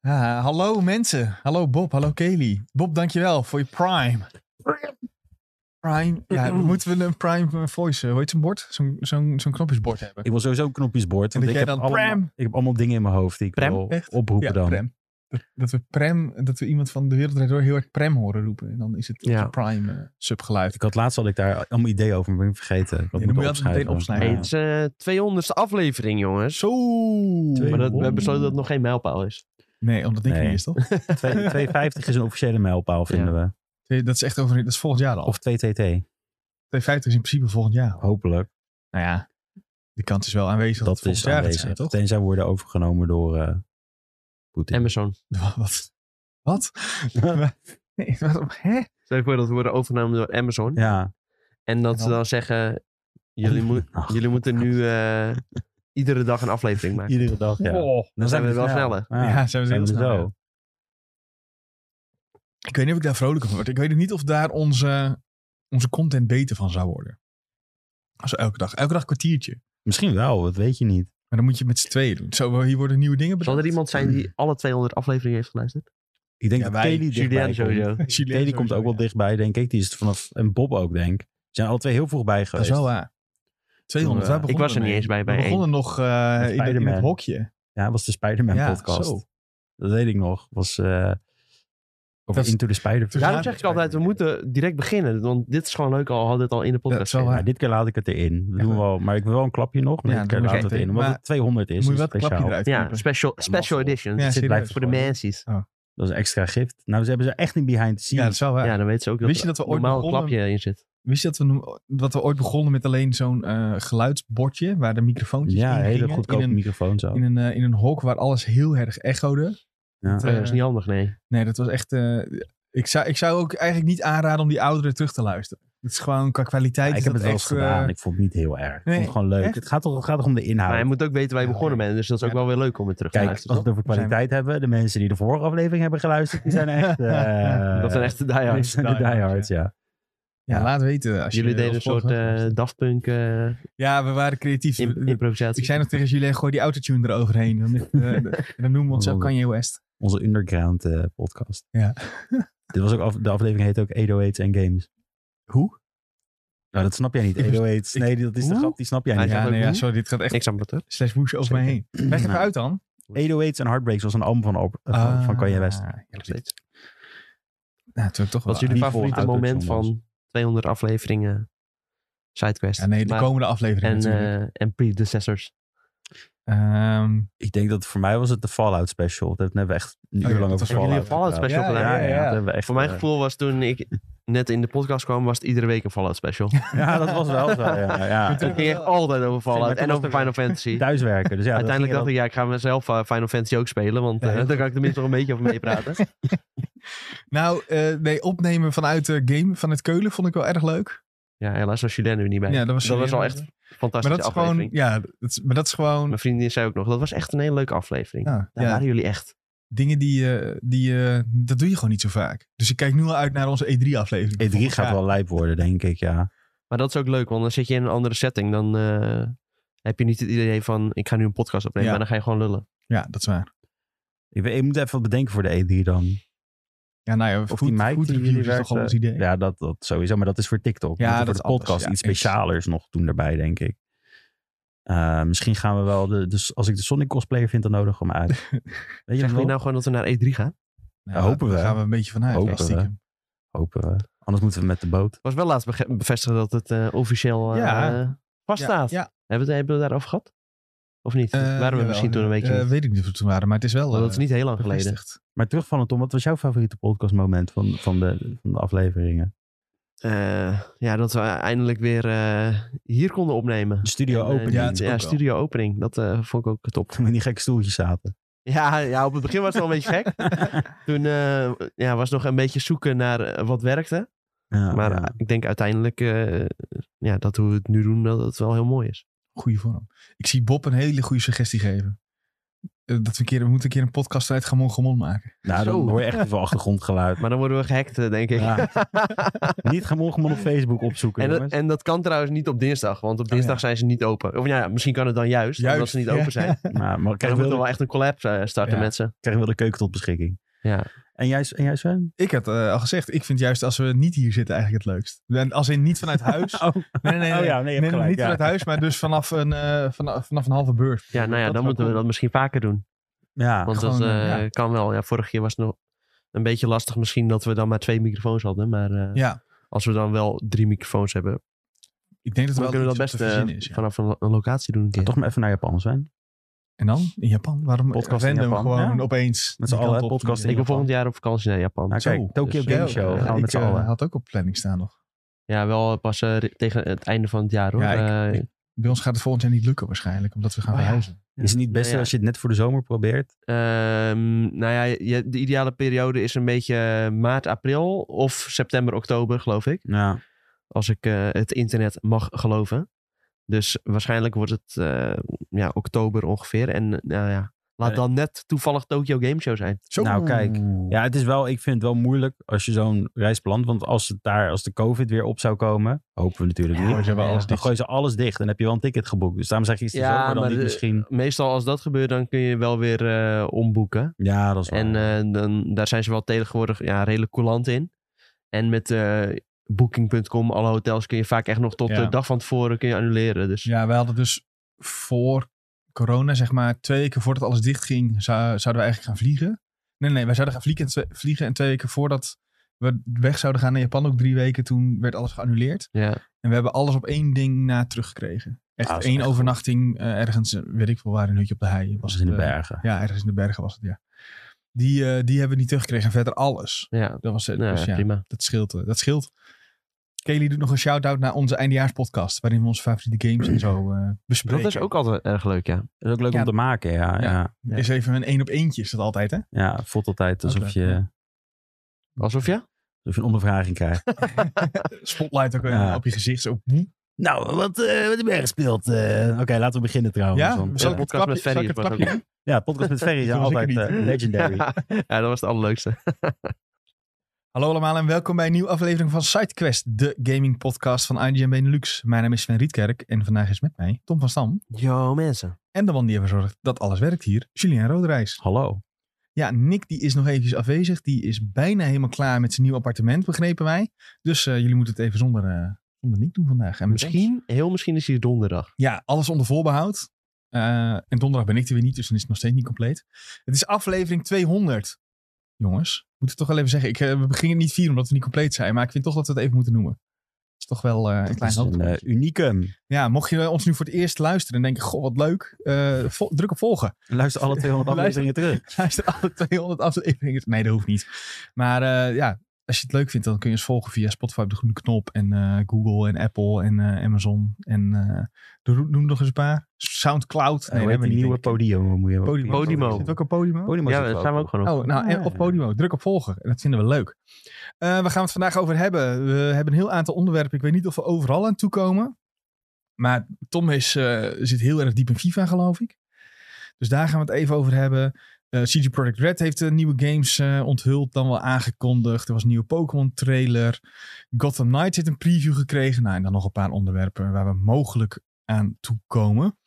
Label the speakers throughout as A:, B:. A: Ja, hallo mensen. Hallo Bob, hallo Kelly. Bob, dankjewel voor je prime. Prime. Ja, moeten we een prime voice, eh, hoe heet zo'n bord? Zo'n zo'n zo'n knopjesbord hebben.
B: Ik wil sowieso een knopjesbord.
A: En
B: Want
A: dat
B: ik
A: jij
B: heb,
A: dan
B: allemaal,
A: prem.
B: ik heb allemaal dingen in mijn hoofd die ik
C: Prem?
B: wil
A: Echt?
B: oproepen dan.
A: Prem. Dat, dat we prem, dat we iemand van de wereld Draait door heel erg prem horen roepen. En dan is het
C: Ja.
A: het prime eh, subgeluid.
B: Ik had laatst had ik daar allemaal ideeën over, maar ben ik vergeten. Ik had
A: dan
B: moeten
A: moet je altijd meteen
C: Hey,
A: opsnijden.
C: het is de 200ste aflevering, jongens.
A: Zo!
C: Maar
B: Maar
C: dat, we hebben besloten dat het nog geen mijlpaal is.
A: Nee, omdat ik
B: Nee.
A: niet is, toch?
B: Ja. Twee- 250 is een officiële mijlpaal, vinden we.
A: Nee, Dat is echt over, dat is volgend jaar al.
B: Of 2TT,
A: 250 is in principe volgend jaar. al.
B: hopelijk.
A: Nou ja, de kans is wel aanwezig dat, het
B: Dat
A: volgend
B: is
A: jaar gaat
B: aanwezig.
A: zijn, toch?
B: Tenzij worden overgenomen door eh Poetin.
C: Amazon.
A: Wat? Wat? nee, waarom? Hè?
C: Stel je voor dat we worden overgenomen door Amazon.
B: Ja,
C: En dat
A: En
C: ze
A: dan-
C: dan zeggen, jullie, moet-
B: Ach.
C: jullie moeten nu eh, iedere dag een aflevering maken.
B: iedere dag. Ja.
A: Oh.
B: Dan
C: zijn we wel sneller.
B: Ja,
A: Ja, zijn we
B: zijn
A: heel
B: we
A: snel.
B: Ah, zo.
A: ja. Ik weet niet of ik daar vrolijk van word. Ik weet niet of daar onze, onze content beter van zou worden. Als we elke dag, elke dag een kwartiertje.
B: Misschien wel, dat weet je niet.
A: Maar dan moet je met z'n tweeën doen. Zo, hier worden nieuwe dingen
C: Zal
A: bedacht.
C: er iemand zijn die alle 200 afleveringen heeft geluisterd?
B: Ik denk
A: Ja,
B: dat
A: wij-
B: Kelly dichtbij
C: Julian
B: komt.
C: sowieso.
A: Julien
B: Kelly
A: sowieso,
B: komt ook wel
A: ja.
B: dichtbij, denk ik. Die is het vanaf, en Bob ook, denk ik. Ze zijn alle twee heel vroeg bij
A: Dat is
B: geweest.
A: wel waar. 200.
B: Ik
A: waar begonnen
C: was er
A: we
C: niet
A: mee?
C: eens bij, bij
A: We
C: één.
A: begonnen nog eh,
B: Met
A: in, het- in het
B: Spider-Man.
A: hokje.
B: Ja, dat was de Spider-Man
A: Ja,
B: podcast.
A: zo.
B: Dat weet ik nog. Was eh, over
A: Dat is-
B: Into the Spider-Verse.
A: Ja,
C: Daarom zeg ik altijd, we moeten direct beginnen. Want dit is gewoon leuk, al hadden we het al in de
A: Dat
C: podcast.
A: is wel
C: gezegd.
A: waar.
B: Ja, dit keer laat ik het erin. We
A: Ja,
B: doen
A: maar-
B: wel, maar ik wil wel een klapje nog. Maar
A: Ja,
B: dit keer
A: doe
B: laat
A: maar
B: ik het
A: meteen.
B: in. Omdat
A: Maar
B: het 200 is.
A: Moet je
B: is
A: wel een klapje
B: speciaal.
A: eruit
C: Ja,
A: knippen.
C: special, special edition.
A: Ja,
C: Dat zit
A: serieus.
C: blijven voor de mensies.
B: Dat is extra gift. Nou, ze hebben ze echt een behind the
A: Ja, dat
B: scenes.
A: is wel waar.
C: Ja, dan weten ze ook dat,
A: Wist je dat we ooit
C: normaal een
A: begonnen-
C: klapje in zit.
A: Wist je dat we, no- dat we ooit begonnen met alleen zo'n eh, geluidsbordje waar de microfoontjes
B: Ja,
A: in
B: hele
A: gingen,
B: goedkope
A: in een,
B: microfoon zo.
A: in, een, eh, in een hok waar alles heel erg echode.
B: Oh. Ja.
A: Dat,
C: Eh,
A: eh,
C: dat is niet handig, nee.
A: nee, dat was echt... eh, ik, zou, ik zou ook eigenlijk niet aanraden om die ouderen terug te luisteren. Het is gewoon qua kwaliteit
B: Ja, ik
A: is
B: heb
A: dat
B: het wel eens
A: echt, eh,
B: gedaan. Ik vond het niet heel erg. ik
A: nee,
B: vond het gewoon leuk.
A: echt?
B: Het gaat, toch, het gaat toch om de inhoud.
C: Maar je moet ook weten waar je
A: Ja,
C: begonnen
A: oké.
C: bent. Dus dat is ook
A: Ja.
C: wel weer leuk om het terug te
B: Kijk, als
C: luisteren.
B: we het over
A: We zijn-
B: kwaliteit hebben, de mensen die de vorige aflevering hebben geluisterd, die zijn echt... eh,
C: toch? dat zijn echt de
B: die
C: diehards.
B: zijn de
A: diehards,
B: diehards, ja.
A: ja,
B: Ja.
A: laat weten. Als je
C: Jullie deden een
A: ons volgt.
C: soort eh Daft Punk eh,
A: ja, we waren creatief.
C: imp-
A: ik
C: improvisatie.
A: zei nog tegen Julien, gooi die autotune eroverheen. Dan, eh, en dan noemen we
B: Oh.
A: onszelf Kanye West.
B: Onze underground eh, podcast.
A: Ja.
B: Dit was ook af- de aflevering heet ook 808 en Games.
A: Hoe?
B: Nou, dat snap jij niet.
A: Ik vers-
B: 808. Nee, dat is de
C: Hoe?
B: grap. Die snap jij
C: Hij
B: niet.
C: zegt
A: Ja,
C: ook
A: nee, ja,
C: hoe?
A: sorry, dit gaat echt
C: Niks aan het hoor.
A: slash woes over mij heen.
B: Nou,
A: Leg even uit dan.
B: 808 en Heartbreaks was een album van, op, eh, van- van Kanye West.
A: Ah, ja,
C: Nog steeds.
A: Nou, natuurlijk toch wel.
C: Wat is jullie
B: die
C: favoriete
B: gewoon
C: moment
B: autotune
C: van 200 afleveringen Sidequest?
A: Ja, nee, de
C: Maar-
A: komende aflevering
C: en,
A: natuurlijk.
C: eh, en predecessors.
A: Ehm,
B: Ik denk dat voor mij was het de Fallout special. Dat hebben we echt een
A: Oh ja,
B: uur
A: dat
B: lang over
A: was ook
B: Fallout.
C: jullie Fallout
B: gedaan.
C: special
B: Ja,
C: gedaan.
B: ja, ja,
A: Ja.
B: Dat hebben we echt,
C: Voor mijn
B: eh,
C: gevoel was toen ik net in de podcast kwam, was het iedere week een Fallout special.
B: Ja, dat was wel zo. Ja, ja.
C: Het ging echt altijd over
B: Maar
C: Fallout
B: toen
C: en
B: was
C: over
B: er-
C: Final Fantasy.
B: Thuiswerken. Dus ja, dat
C: Uiteindelijk dacht
B: ging
C: ik, ja, ik ga mezelf eh, Final Fantasy ook spelen, want eh,
A: Ja, heel
C: daar kan ik tenminste nog een beetje over meepraten.
A: nou, eh, nee, opnemen vanuit de game van het Keulen vond ik wel erg leuk.
C: Ja, helaas was Julien er weer niet bij.
A: Ja, dat was,
C: al echt een
A: Maar
C: fantastische
A: dat is
C: aflevering.
A: gewoon, ja, dat is- maar dat is gewoon
C: Mijn vriendin zei ook nog, dat was echt een hele leuke aflevering.
A: ja,
C: Daar
A: ja,
C: waren jullie echt.
A: dingen die, je- die je- dat doe je gewoon niet zo vaak. Dus ik kijk nu al uit naar onze E3-aflevering.
B: E3 E gaat wel lijp worden, denk ik, ja.
C: Maar dat is ook leuk, want dan zit je in een andere setting. Dan eh, heb je niet het idee van, ik ga nu een podcast
A: Ja.
C: opnemen. Maar dan ga je gewoon lullen.
A: Ja, dat is waar.
B: Ik, weet- ik moet even wat bedenken voor de E3 dan.
A: Ja, nou ja,
B: Of
A: food-
B: die Mike
A: food
B: die
A: reviews
B: jullie
A: is toch al
B: werkte.
A: ons idee.
B: Ja, dat, dat sowieso. Maar dat is voor TikTok.
A: Ja,
B: Ja,
A: dat
B: voor
A: is
B: de
A: anders,
B: podcast
A: ja,
B: iets
A: eens.
B: specialers nog doen daarbij, denk ik. Eh, misschien gaan we wel... De, dus als ik de Sonic cosplayer vind, dan nodig hem uit. Weet je
C: Zeg je
B: nog?
C: nou gewoon dat we naar E3 gaan?
A: Nou,
B: hopen
A: daar
B: we.
A: gaan we een beetje vanuit.
B: Hopen
A: ja,
B: we.
A: stiekem.
B: Hopen we. Anders moeten we met de boot.
C: was wel laatst bege- bevestigd dat het eh, officieel eh
A: Ja.
C: vaststaat.
A: Ja,
C: Hebben, we het, hebben we het daarover gehad? Of niet?
A: ja. Eh,
C: waren we
A: jawel.
C: misschien toen een beetje
A: Eh,
C: niet?
A: Weet ik niet of we toen waren, maar het is wel...
C: Want dat
A: eh,
C: is niet heel lang geleden.
A: bevestigd.
B: Maar terugvallen, Tom. Wat was jouw favoriete podcastmoment van, van, de, van de afleveringen?
C: Eh, ja, dat we eindelijk weer eh, hier konden opnemen.
B: De studio
C: En, eh,
B: open.
C: die-
A: ja,
B: Ja,
A: het is ook
C: ja,
A: wel.
C: studio opening. Dat eh, vond ik ook top.
B: Toen we in die gekke stoeltjes zaten.
C: Ja, ja, op het begin was het wel een beetje gek. Toen eh, ja, was nog een beetje zoeken naar eh, wat
A: Ah,
C: werkte.
B: Ja,
C: maar
B: ja.
C: eh, ik denk uiteindelijk eh, ja, dat hoe we het nu doen, dat het wel heel mooi is.
A: Goeie vorm. Ik zie Bob een hele goede suggestie geven. eh, dat we, een keer, we moeten een keer een podcast uit Gamon Gamon maken.
B: Nou, dan
C: Zo.
B: hoor je echt even achtergrondgeluid.
C: Maar dan worden we gehackt, eh, denk ik.
B: Ja. Niet gaan morgen maar op Facebook opzoeken,
C: en, dat,
B: jongens.
C: en dat kan trouwens niet op dinsdag, want op dinsdag
A: Oh, ja.
C: zijn ze niet open. Of ja, misschien kan het dan juist, omdat
A: Juist,
C: ze niet
A: ja.
C: open zijn. Maar
B: Nou, maar
C: dan
B: krijgen we
C: moeten we
B: wel,
C: wel echt een collab eh, starten
A: Ja.
C: met ze.
B: krijgen we wel de keuken tot beschikking.
C: Ja.
B: En jij, en jij Sven?
A: Ik had eh, al gezegd, ik vind juist als we niet hier zitten eigenlijk het leukst. En als in niet vanuit huis.
B: Oh,
A: Nee, nee, nee.
B: oh ja, nee, je hebt
A: Nee, nee,
B: gelijk.
A: niet
B: ja.
A: vanuit huis, maar dus vanaf een, eh, vanaf, vanaf een halve beurs.
C: ja, nou
A: Dat
C: ja, dan
A: zou
C: moeten we
A: cool.
C: dat misschien vaker doen.
B: Ja.
C: Want
A: gewoon,
C: dat eh,
A: eh, ja.
C: kan wel. Ja, vorig keer was het nog een beetje lastig misschien dat we dan maar twee microfoons hadden. Maar eh,
A: Ja,
C: als we dan wel drie microfoons hebben, dan
A: ik denk dat er wel
C: kunnen we dat
A: iets
C: best
A: op te
C: eh,
A: verzinnen is. ja.
C: vanaf een, lo- een locatie doen een keer.
B: Toch maar even naar Japan, Sven.
A: En dan? In Japan? Waarom
B: Podcast in
A: random
B: Japan,
A: gewoon
B: ja.
A: opeens?
B: Met z'n
A: die
B: allen,
A: kant
B: hè,
A: op?
B: podcast
A: Ja.
B: in
C: ik wil
B: Japan.
C: volgend jaar op vakantie naar Japan.
B: Nou
A: Zo.
B: kijk, Tokyo
C: Dus,
B: Game
A: Ja, ja,
B: Show. gaan we
A: ik,
B: met z'n
A: eh,
B: allen.
A: had ook op planning staan nog.
C: Ja, wel pas eh, ri- tegen het einde van het jaar hoor.
A: Ja, ik-
C: Eh,
A: ik- Bij ons gaat het volgend jaar niet lukken waarschijnlijk, omdat we gaan
C: Oh ja.
A: verhuizen.
B: Is het niet best
C: Nou ja.
B: als je het net voor de zomer probeert?
C: Ehm, nou ja, je- de ideale periode is een beetje eh, maart, april of september, oktober, geloof ik.
B: Ja.
C: Als ik eh, het internet mag geloven. Dus waarschijnlijk wordt het eh, ja, oktober ongeveer. En eh, nou ja, laat
B: Eh.
C: dan net toevallig Tokyo Game Show zijn.
A: Zo.
B: Nou, kijk.
A: Ja.
B: ja, het is wel, ik vind het wel moeilijk als je zo'n reis plant. Want als het daar, als de COVID weer op zou komen, hopen we natuurlijk
A: Mooi,
B: niet. eh,
A: ze hebben
C: Ja,
A: alles
B: Dan
A: dicht.
B: gooi je ze alles dicht en heb je wel een ticket geboekt. Dus daarom zeg ik, is de
C: Ja,
B: zomer dan
C: maar
B: niet
C: de-
B: misschien...
C: Meestal als dat gebeurt, dan kun je wel weer eh, omboeken.
B: Ja, dat is
A: Ah.
B: waar.
C: En eh, dan, daar zijn ze wel tegenwoordig ja, redelijk coulant in. En met eh, Booking.com, alle hotels, kun je vaak echt nog tot
A: Ja.
C: de dag van tevoren kun je annuleren. Dus
A: Ja, wij hadden dus voor corona, zeg maar, twee weken voordat alles dicht ging, zou- zouden we eigenlijk gaan vliegen. Nee, nee, wij zouden gaan vliegen en, twee, vliegen en twee weken voordat we weg zouden gaan naar Japan, ook drie weken, toen werd alles geannuleerd.
C: ja.
A: En we hebben alles op één ding na teruggekregen. Echt
B: Ah, dat is
A: één
B: echt
A: overnachting eh, ergens, eh, weet ik veel waar, een hutje op de hei.
B: was
A: Was
B: het in de
A: eh,
B: bergen.
A: Ja, ergens in de bergen was het, ja. Die, eh, die hebben we niet teruggekregen en verder alles.
C: Ja,
A: Dat was het.
C: nou,
A: dus ja,
C: prima.
A: dat scheelt. eh, Dat scheelt. Kelly doet nog een shout-out naar onze eindejaarspodcast. Waarin we onze favoriete games en zo eh, bespreken.
C: Dat is ook altijd erg leuk, ja.
B: Dat is ook leuk
A: Ja.
B: om te maken, ja.
A: Ja.
B: Ja,
A: Is even een één op eentje is dat altijd, hè?
B: ja het voelt altijd
A: Dat is
B: alsof je,
A: leuk,
C: Alsof je?
B: alsof je een ondervraging krijgt.
A: Spotlight ook eh,
B: Ja.
A: op je gezicht. Zo. Hm.
B: nou, wat, eh, wat heb jij gespeeld? Eh, Oké, laten we beginnen trouwens.
A: Ja,
B: want,
A: zal
B: eh,
A: ik het
C: podcast met
A: klapje, zal
C: Ferry
A: ik het
C: was ook-
A: klapje?
B: ja, podcast met Ferry zijn
A: Dat was ik er
B: altijd
A: niet.
B: eh, legendary.
C: ja, dat was het allerleukste.
A: Hallo allemaal en welkom bij een nieuwe aflevering van SideQuest, de gaming podcast van IGN Benelux. Mijn naam is Sven Rietkerk en vandaag is met mij Tom van Stam.
C: Yo, mensen.
A: En de man die ervoor zorgt dat alles werkt hier, Julien Roderijs.
B: Hallo.
A: Ja, Nick die is nog eventjes afwezig. Die is bijna helemaal klaar met zijn nieuw appartement, begrepen wij. Dus eh, jullie moeten het even zonder, eh, zonder Nick doen vandaag. En met ons.
C: Misschien, heel misschien is hier donderdag.
A: Ja, alles onder voorbehoud. Eh, en donderdag ben ik er weer niet, dus dan is het nog steeds niet compleet. Het is aflevering 200. Jongens, moet ik toch wel even zeggen. Ik, eh, we beginnen niet vier omdat we niet compleet zijn, maar ik vind toch dat we het even moeten noemen. Het is toch wel eh, een
B: Dat
A: klein
B: is een
A: hoogtepuntje.
B: eh, unicum.
A: Ja, mocht je ons nu voor het eerst luisteren en denken, goh, wat leuk. eh, vol- druk op volgen.
B: Luister alle 200
A: Luister-
B: afleveringen terug.
A: Luister alle 200 afleveringen. Nee, dat hoeft niet. Maar eh, ja, als je het leuk vindt, dan kun je ons volgen via Spotify op de groene knop. En eh, Google en Apple en eh, Amazon. En eh, doe- noem nog eens een paar. Soundcloud.
B: Nee, we hebben een
A: niet,
B: nieuwe
A: denk ik.
B: podium. Moet je
A: Podimo.
C: Podimo.
A: Zit ook een Podimo?
B: Podimo
C: Ja,
B: zit
C: dat
B: er
C: gaan we ook gewoon op.
A: Oh, nou, en
B: Ja.
A: op Podimo. Druk op volgen. En Dat vinden we leuk. Eh waar gaan we het vandaag over hebben? We hebben een heel aantal onderwerpen. Ik weet niet of we overal aan toe komen. Maar Tom is, eh, zit heel erg diep in FIFA, geloof ik. Dus daar gaan we het even over hebben. Eh CG Projekt Red heeft eh, nieuwe games eh, onthuld, dan wel aangekondigd. Er was een nieuwe Pokémon trailer. Gotham Knights heeft een preview gekregen. Nou, en dan nog een paar onderwerpen waar we mogelijk aan toe komen.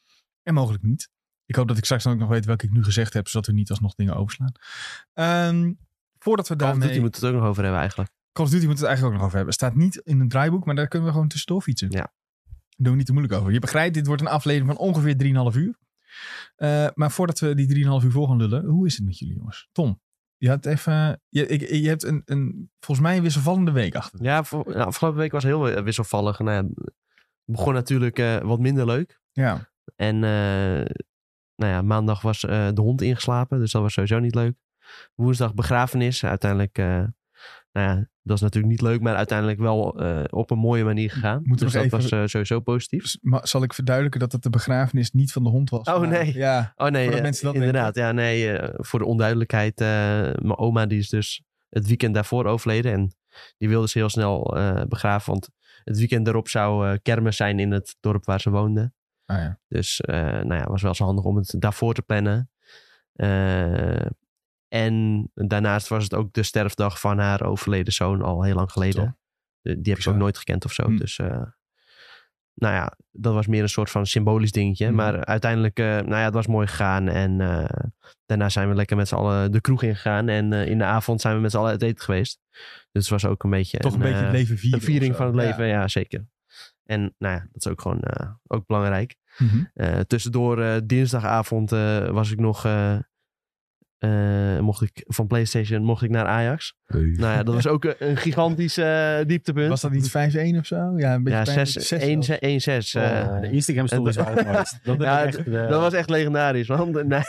A: En mogelijk niet. Ik hoop dat ik straks dan ook nog weet welke ik nu gezegd heb, zodat we niet alsnog dingen overslaan. Ehm, voordat we
C: Call of
A: daarmee...
C: Duty moet het ook nog over hebben eigenlijk.
A: Call of Duty moeten we het eigenlijk ook nog over hebben. Staat niet in het draaiboek, maar daar kunnen we gewoon tussendoor fietsen.
C: Ja.
A: Doen we niet te moeilijk over. Je begrijpt, dit wordt een aflevering van ongeveer 3,5 uur. Eh, maar voordat we die 3,5 uur voor gaan lullen, hoe is het met jullie jongens? Tom, je, had even, je, ik, je hebt een, een volgens mij een wisselvallende week achter.
C: Ja, voor- nou, afgelopen week was heel eh, wisselvallig. Nou ja, het begon natuurlijk eh, wat minder leuk.
A: Ja,
C: En eh, nou ja, maandag was eh, de hond ingeslapen, dus dat was sowieso niet leuk. Woensdag begrafenis, uiteindelijk... eh, nou ja, dat is natuurlijk niet leuk, maar uiteindelijk wel eh, op een mooie manier gegaan.
A: Moeten
C: dus
A: we
C: dat
A: nog
C: was eh, sowieso positief.
A: S- Dus ma- zal ik verduidelijken dat het de begrafenis niet van de hond was?
C: Oh,
A: maar-
C: nee.
A: Ja,
C: Oh nee,
A: Voordat
C: eh,
A: mensen dat
C: inderdaad. Ja, nee, eh, voor de onduidelijkheid. eh, mijn oma die is dus het weekend daarvoor overleden. En die wilde ze heel snel eh, begraven. Want het weekend daarop zou eh, kermis zijn in het dorp waar ze woonde.
A: Ah, ja.
C: Dus eh nou ja, was wel zo handig om het daarvoor te plannen. Eh, en daarnaast was het ook de sterfdag van haar overleden zoon al heel lang geleden. De- die heb ik
A: Bizar.
C: ook nooit gekend of zo.
A: Hmm.
C: Dus eh, nou ja, dat was meer een soort van symbolisch dingetje.
A: Hmm.
C: Maar uiteindelijk, eh, nou ja, het was mooi gegaan. En eh, daarna zijn we lekker met z'n allen de kroeg ingegaan. En eh, in de avond zijn we met z'n allen uit eten geweest. Dus het was ook een beetje...
A: Toch een beetje
C: eh,
A: het leven vieren.
C: een viering
A: of zo.
C: van het
A: Ja.
C: leven, ja, zeker. En nou ja, dat is ook gewoon eh, ook belangrijk.
A: Mhm.
C: Eh, tussendoor, eh, dinsdagavond eh, was ik nog, eh, eh, mocht ik van PlayStation mocht ik naar Ajax. Nou ja, dat was ook een, een gigantisch eh, dieptepunt.
A: Was dat niet 5-1 of zo? Ja, een beetje
C: ja,
A: pijn-
C: 6
A: zes
C: 1-6.
A: zelfs. Oh,
C: eh,
B: Oh, de Instagram stories
C: en-
B: waren nooit. Dat,
C: Ja,
B: ja, echt, eh,
C: dat was echt legendarisch. Want na,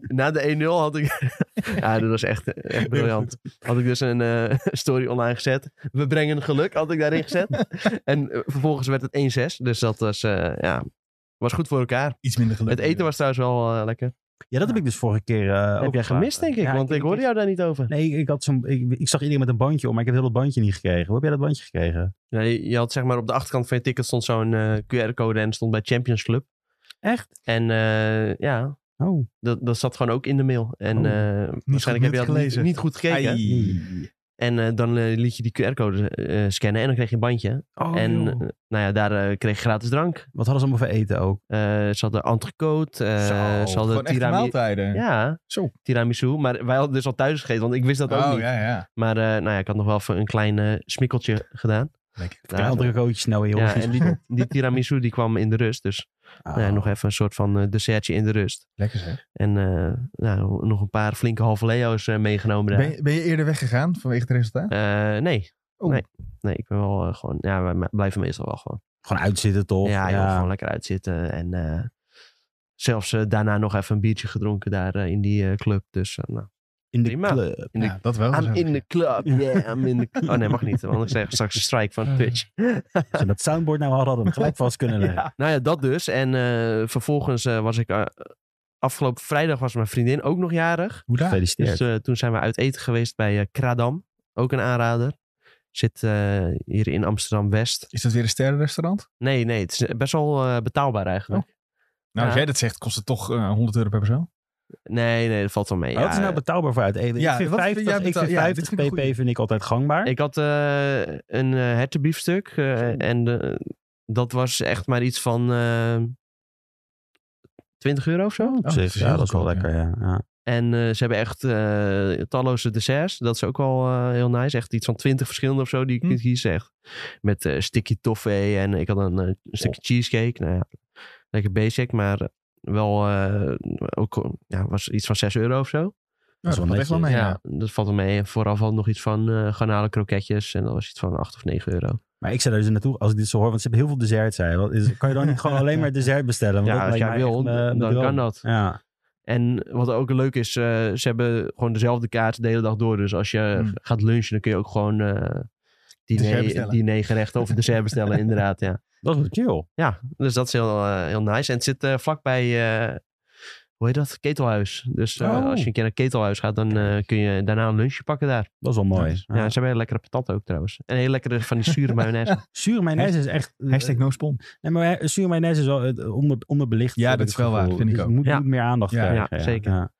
C: na de 1-0 had ik. ja, dat was echt, echt briljant. Had ik dus een eh, story online gezet. We brengen geluk, had ik daarin gezet. en eh, vervolgens werd het 1-6. Dus dat was, eh, ja, was goed voor elkaar.
A: Iets minder
C: Het
A: gelukkig.
C: eten was trouwens wel eh, lekker.
B: ja, dat heb ik dus vorige keer eh, ook
C: Heb jij
B: gevraagd.
C: gemist, denk ik?
B: Ja,
C: want ik, hoorde jou daar niet over.
B: Nee, ik, had zo'n, ik, ik zag iedereen met een bandje om, maar ik heb heel dat bandje niet gekregen. Hoe heb jij dat bandje gekregen?
C: Nee, je had zeg maar op de achterkant van je ticket stond zo'n eh, QR-code en stond bij Champions Club.
B: Echt?
C: En eh, ja,
B: Oh.
C: dat, dat zat gewoon ook in de mail. En
B: Oh.
C: eh,
A: goed
C: waarschijnlijk heb je dat niet,
A: gelezen.
C: niet goed gekeken.
A: Ai.
C: En eh, dan eh, liet je die QR-code eh, scannen en dan kreeg je een bandje.
B: oh
C: en
B: joh.
C: eh, nou ja, daar eh, kreeg je gratis drank.
B: Wat hadden ze allemaal voor eten ook?
C: Eh, ze hadden entrecote, eh,
A: Zo,
C: ze
A: gewoon
C: hadden
A: echte
C: tiramisu.
A: maaltijden.
C: Ja,
A: Zo.
C: tiramisu. Maar wij hadden dus al thuis gegeten, want ik wist dat ook
A: Oh,
C: niet.
A: ja, ja.
C: Maar eh, nou ja, ik had nog wel even een klein eh, smikkeltje gedaan.
A: Lekker.
C: Nou,
B: Een andere kootjes nou, joh.
C: ja, en die, die tiramisu die kwam in de rust. Dus nou
B: Oh.
C: ja, nog even een soort van eh, dessertje in de rust.
A: Lekker zeg.
C: En eh, nou, nog een paar flinke halve leo's eh, meegenomen. daar.
A: Ben, je- ben je eerder weggegaan vanwege het resultaat?
C: Eh, nee.
A: Oh.
C: nee. Nee, ik ben wel eh, gewoon... Ja, wij ma- blijven meestal wel gewoon.
B: Gewoon uitzitten, toch?
C: ja, joh, gewoon lekker uitzitten. En eh, zelfs eh, daarna nog even een biertje gedronken daar eh, in die eh, club. Dus eh, nou,
B: In de
C: prima.
B: club.
C: in de-
A: Oh, Ja, dat wel.
C: I'm
A: zou ik
C: in the club. Yeah, I'm in the club. Oh nee, mag niet. Want anders krijg ik straks een strike van Twitch.
B: Als we dat soundboard nou hadden, hadden we hem gelijk vast kunnen leggen.
C: Nou ja, dat dus. En eh, vervolgens eh, was ik... eh, afgelopen vrijdag was mijn vriendin ook nog jarig.
A: Hoe daar?
B: Gefeliciteerd.
C: Dus eh, toen zijn we uit eten geweest bij eh, Kradam. Ook een aanrader. Zit eh, hier in Amsterdam-West.
A: Is dat weer een sterrenrestaurant?
C: Nee, nee. Het is best wel eh, betaalbaar eigenlijk.
B: Oh.
C: Ja.
A: Nou, als jij dat zegt, kost het toch eh, 100 euro per persoon?
C: Nee, nee. Dat valt wel mee.
B: Maar Wat is nou betaalbaar voor uit eten?
A: Ja,
B: ik vind
A: wat vind
B: 50,
A: jij
B: ik vind
A: betaal- ja, dit
B: 50
A: vind ik een
B: pp vind ik altijd gangbaar.
C: Ik had eh, een eh hertenbiefstuk. eh, en eh, dat was echt maar iets van eh 20 euro of zo.
B: Op
A: Oh,
B: zich,
A: dat is
B: ja,
A: heel
B: dat is wel
A: goedkoop,
B: lekker, ja. ja.
C: En eh, ze hebben echt eh, talloze desserts. Dat is ook wel eh, heel nice. Echt iets van 20 verschillende of zo die ik
A: Hm.
C: niet hier zeg. Met eh sticky toffee en ik had een, eh, stukje cheesecake. Nou ja, lekker basic, maar wel eh, ook eh, ja, was iets van 6 euro of zo.
A: Nou,
B: wel
A: dat valt echt wel
B: netjes.
A: mee.
C: ja,
A: ja.
C: dat valt wel mee. En vooraf had nog iets van eh garnalen kroketjes. En dat was iets van 8 of 9 euro.
B: Maar ik zou daar dus naartoe, als ik dit zo hoor, want ze hebben heel veel dessert, zei je. Wat is- Kan je dan niet gewoon alleen maar dessert bestellen? Want
C: Ja,
B: dat
C: als jij
B: lijkt mij
C: wil,
B: echt, eh,
C: dan
B: bedoel.
C: kan dat.
B: Ja,
C: En wat ook leuk is, eh, ze hebben gewoon dezelfde kaart de hele dag door. Dus als je
A: Hmm.
C: gaat lunchen, dan kun je ook gewoon eh
A: Dessert
C: diner,
A: bestellen.
C: dinergerechten of dessert bestellen, inderdaad. Ja.
B: dat is wel chill.
C: ja, dus dat is heel, eh, heel nice. En het zit eh, vlakbij, eh, hoe heet dat? Ketelhuis. Dus eh,
B: Oh.
C: als je een keer naar Ketelhuis gaat, dan eh, kun je daarna een lunchje pakken daar.
B: Dat is wel mooi.
A: Nice.
C: Ja, ze hebben hele lekkere patat ook trouwens. En hele lekkere van die zure mayonaise.
B: Zure mayonaise is dus echt...
C: eh,
A: Hashtag no spon.
B: Nee, maar eh, zure mayonaise is wel eh, onder, onderbelicht.
A: Ja,
B: heb
A: dat
B: ik
A: is wel
B: het
A: waar,
B: gevoel.
A: vind ik
B: Dus het
A: ook.
B: moet,
C: Ja.
B: moet meer aandacht
A: Ja.
B: krijgen.
C: Ja, zeker.
B: Ja.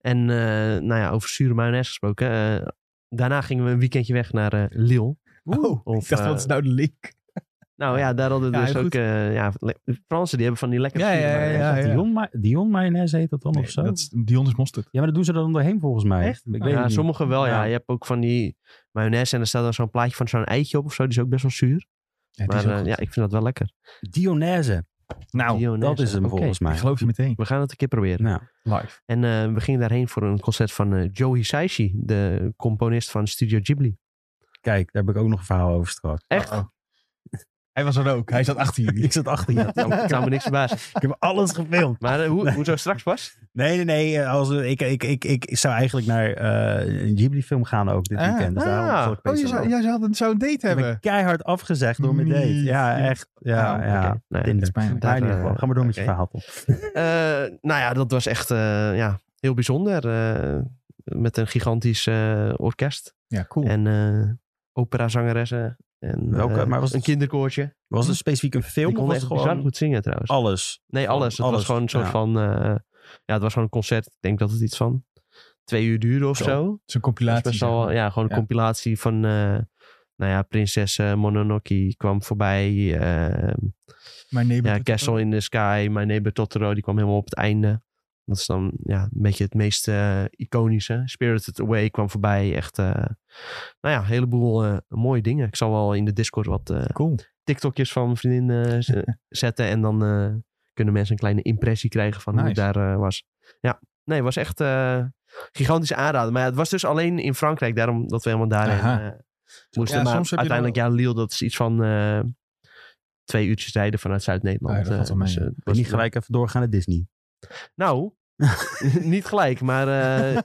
C: En eh, nou ja, over zure mayonaise gesproken. eh, daarna gingen we een weekendje weg naar eh, Lille.
A: Oh,
C: Of,
A: ik dacht,
C: eh,
A: wat is nou de link?
C: Nou ja, daar hadden we
A: Ja,
C: dus
A: heel
C: ook...
A: goed.
C: eh, ja, le- de Fransen die hebben van die lekkere
A: Ja,
C: zure
A: ja, ja,
C: mayonaise.
A: Ah, ja.
B: Dion, ma- Dion mayonaise heet dat dan
A: Nee,
B: of zo?
A: dat is, Dion is mosterd.
B: Ja, maar dat doen ze er dan doorheen volgens mij.
A: Echt?
B: Ik weet
A: Ja,
B: het
C: Nou Ja,
B: niet.
C: sommige wel, ja.
B: Ja.
C: Je hebt ook van die mayonaise en er staat dan zo'n plaatje van zo'n eitje op of zo. Die is ook best wel zuur.
A: Ja, die
C: maar
A: is ook
C: eh,
A: goed.
C: ja, ik vind dat wel lekker.
B: Dionaise.
A: nou,
C: Dionese.
B: Dat is hem
C: Oké,
B: volgens mij.
A: ik geloof je meteen.
C: We gaan het een keer proberen.
B: Nou,
A: Live.
C: En eh, we gingen daarheen voor een concert van eh, Joe Hisaishi, de componist van Studio Ghibli.
B: kijk, daar heb ik ook nog een verhaal over straks.
C: Echt?
A: Uh-oh. Hij was er ook. Hij zat achter jullie.
B: Ik zat achter je.
C: Nou, Ik zou me niks verbazen.
B: ik heb alles gefilmd.
C: Maar eh, hoe, hoezo straks pas?
B: Nee, nee, nee. eh, Als, ik, ik, ik, ik, ik zou eigenlijk naar eh, een Ghibli-film gaan ook dit
A: Ah,
B: weekend. Dus
C: ah.
B: daarom zal ik
A: Oh, je
B: meestal
A: zou,
B: wel.
A: jij zou, een- zou een date
B: Ik ben
A: hebben.
B: keihard afgezegd door mijn date.
A: Niet.
B: Ja, echt. Ja,
A: Nou,
B: ja.
C: Oké, nou Mm. ja.
A: Dat
B: Tinder.
A: is pijnlijk.
B: Maar in ieder
C: eh,
B: geval, ga maar door met je
C: oké.
B: verhaal. Tom.
C: Eh, nou ja, dat was echt eh, ja, heel bijzonder. eh, met een gigantisch eh, orkest.
A: Ja, cool.
C: En eh operazangeressen. En,
B: Welke?
C: eh,
B: maar was
C: een
B: het,
C: kinderkoortje.
B: was het specifiek een
C: Die
B: film of
C: kon
B: was het
C: echt bizar
B: gewoon
C: goed zingen trouwens.
B: alles?
C: Nee, alles. Het
B: Alles,
C: was gewoon een soort
B: ja.
C: van eh, Ja, het was gewoon een concert. Ik denk dat het iets van twee uur duurde of
A: Zo.
C: zo.
A: Het is een
C: Dat
A: compilatie. eh,
C: is best
A: zeg
C: wel,
A: maar.
C: ja, gewoon een
A: Ja.
C: compilatie van, eh, nou ja, prinses eh, Mononoke kwam voorbij. ehm,
A: My Neighbor
C: ja,
A: Totoro.
C: Castle in the Sky, My Neighbor Totoro, die kwam helemaal op het einde. Dat is dan ja, een beetje het meest eh, iconische. Spirited Away kwam voorbij. Echt, eh, nou ja, een heleboel eh, mooie dingen. Ik zal wel in de Discord wat eh,
A: Cool.
C: TikTokjes van mijn vriendin eh, z- zetten. En dan eh, kunnen mensen een kleine impressie krijgen van hoe het
A: Nice.
C: daar eh, was. Ja, nee, het was echt eh gigantische aanrader. Maar ja, het was dus alleen in Frankrijk. Daarom dat we helemaal daarin
A: Aha.
C: eh, moesten.
A: Ja,
C: maar
A: soms heb je
C: uiteindelijk, ja, Lille, dat is iets van eh, twee uurtjes rijden vanuit
A: Ah,
C: Zuid-Nederland.
A: ja, dat
C: Eh,
A: valt wel mee,
C: dus,
A: ja.
C: eh, het
B: Wil
C: was-
B: je niet gelijk even doorgaan naar Disney.
C: Nou, niet gelijk. Maar eh,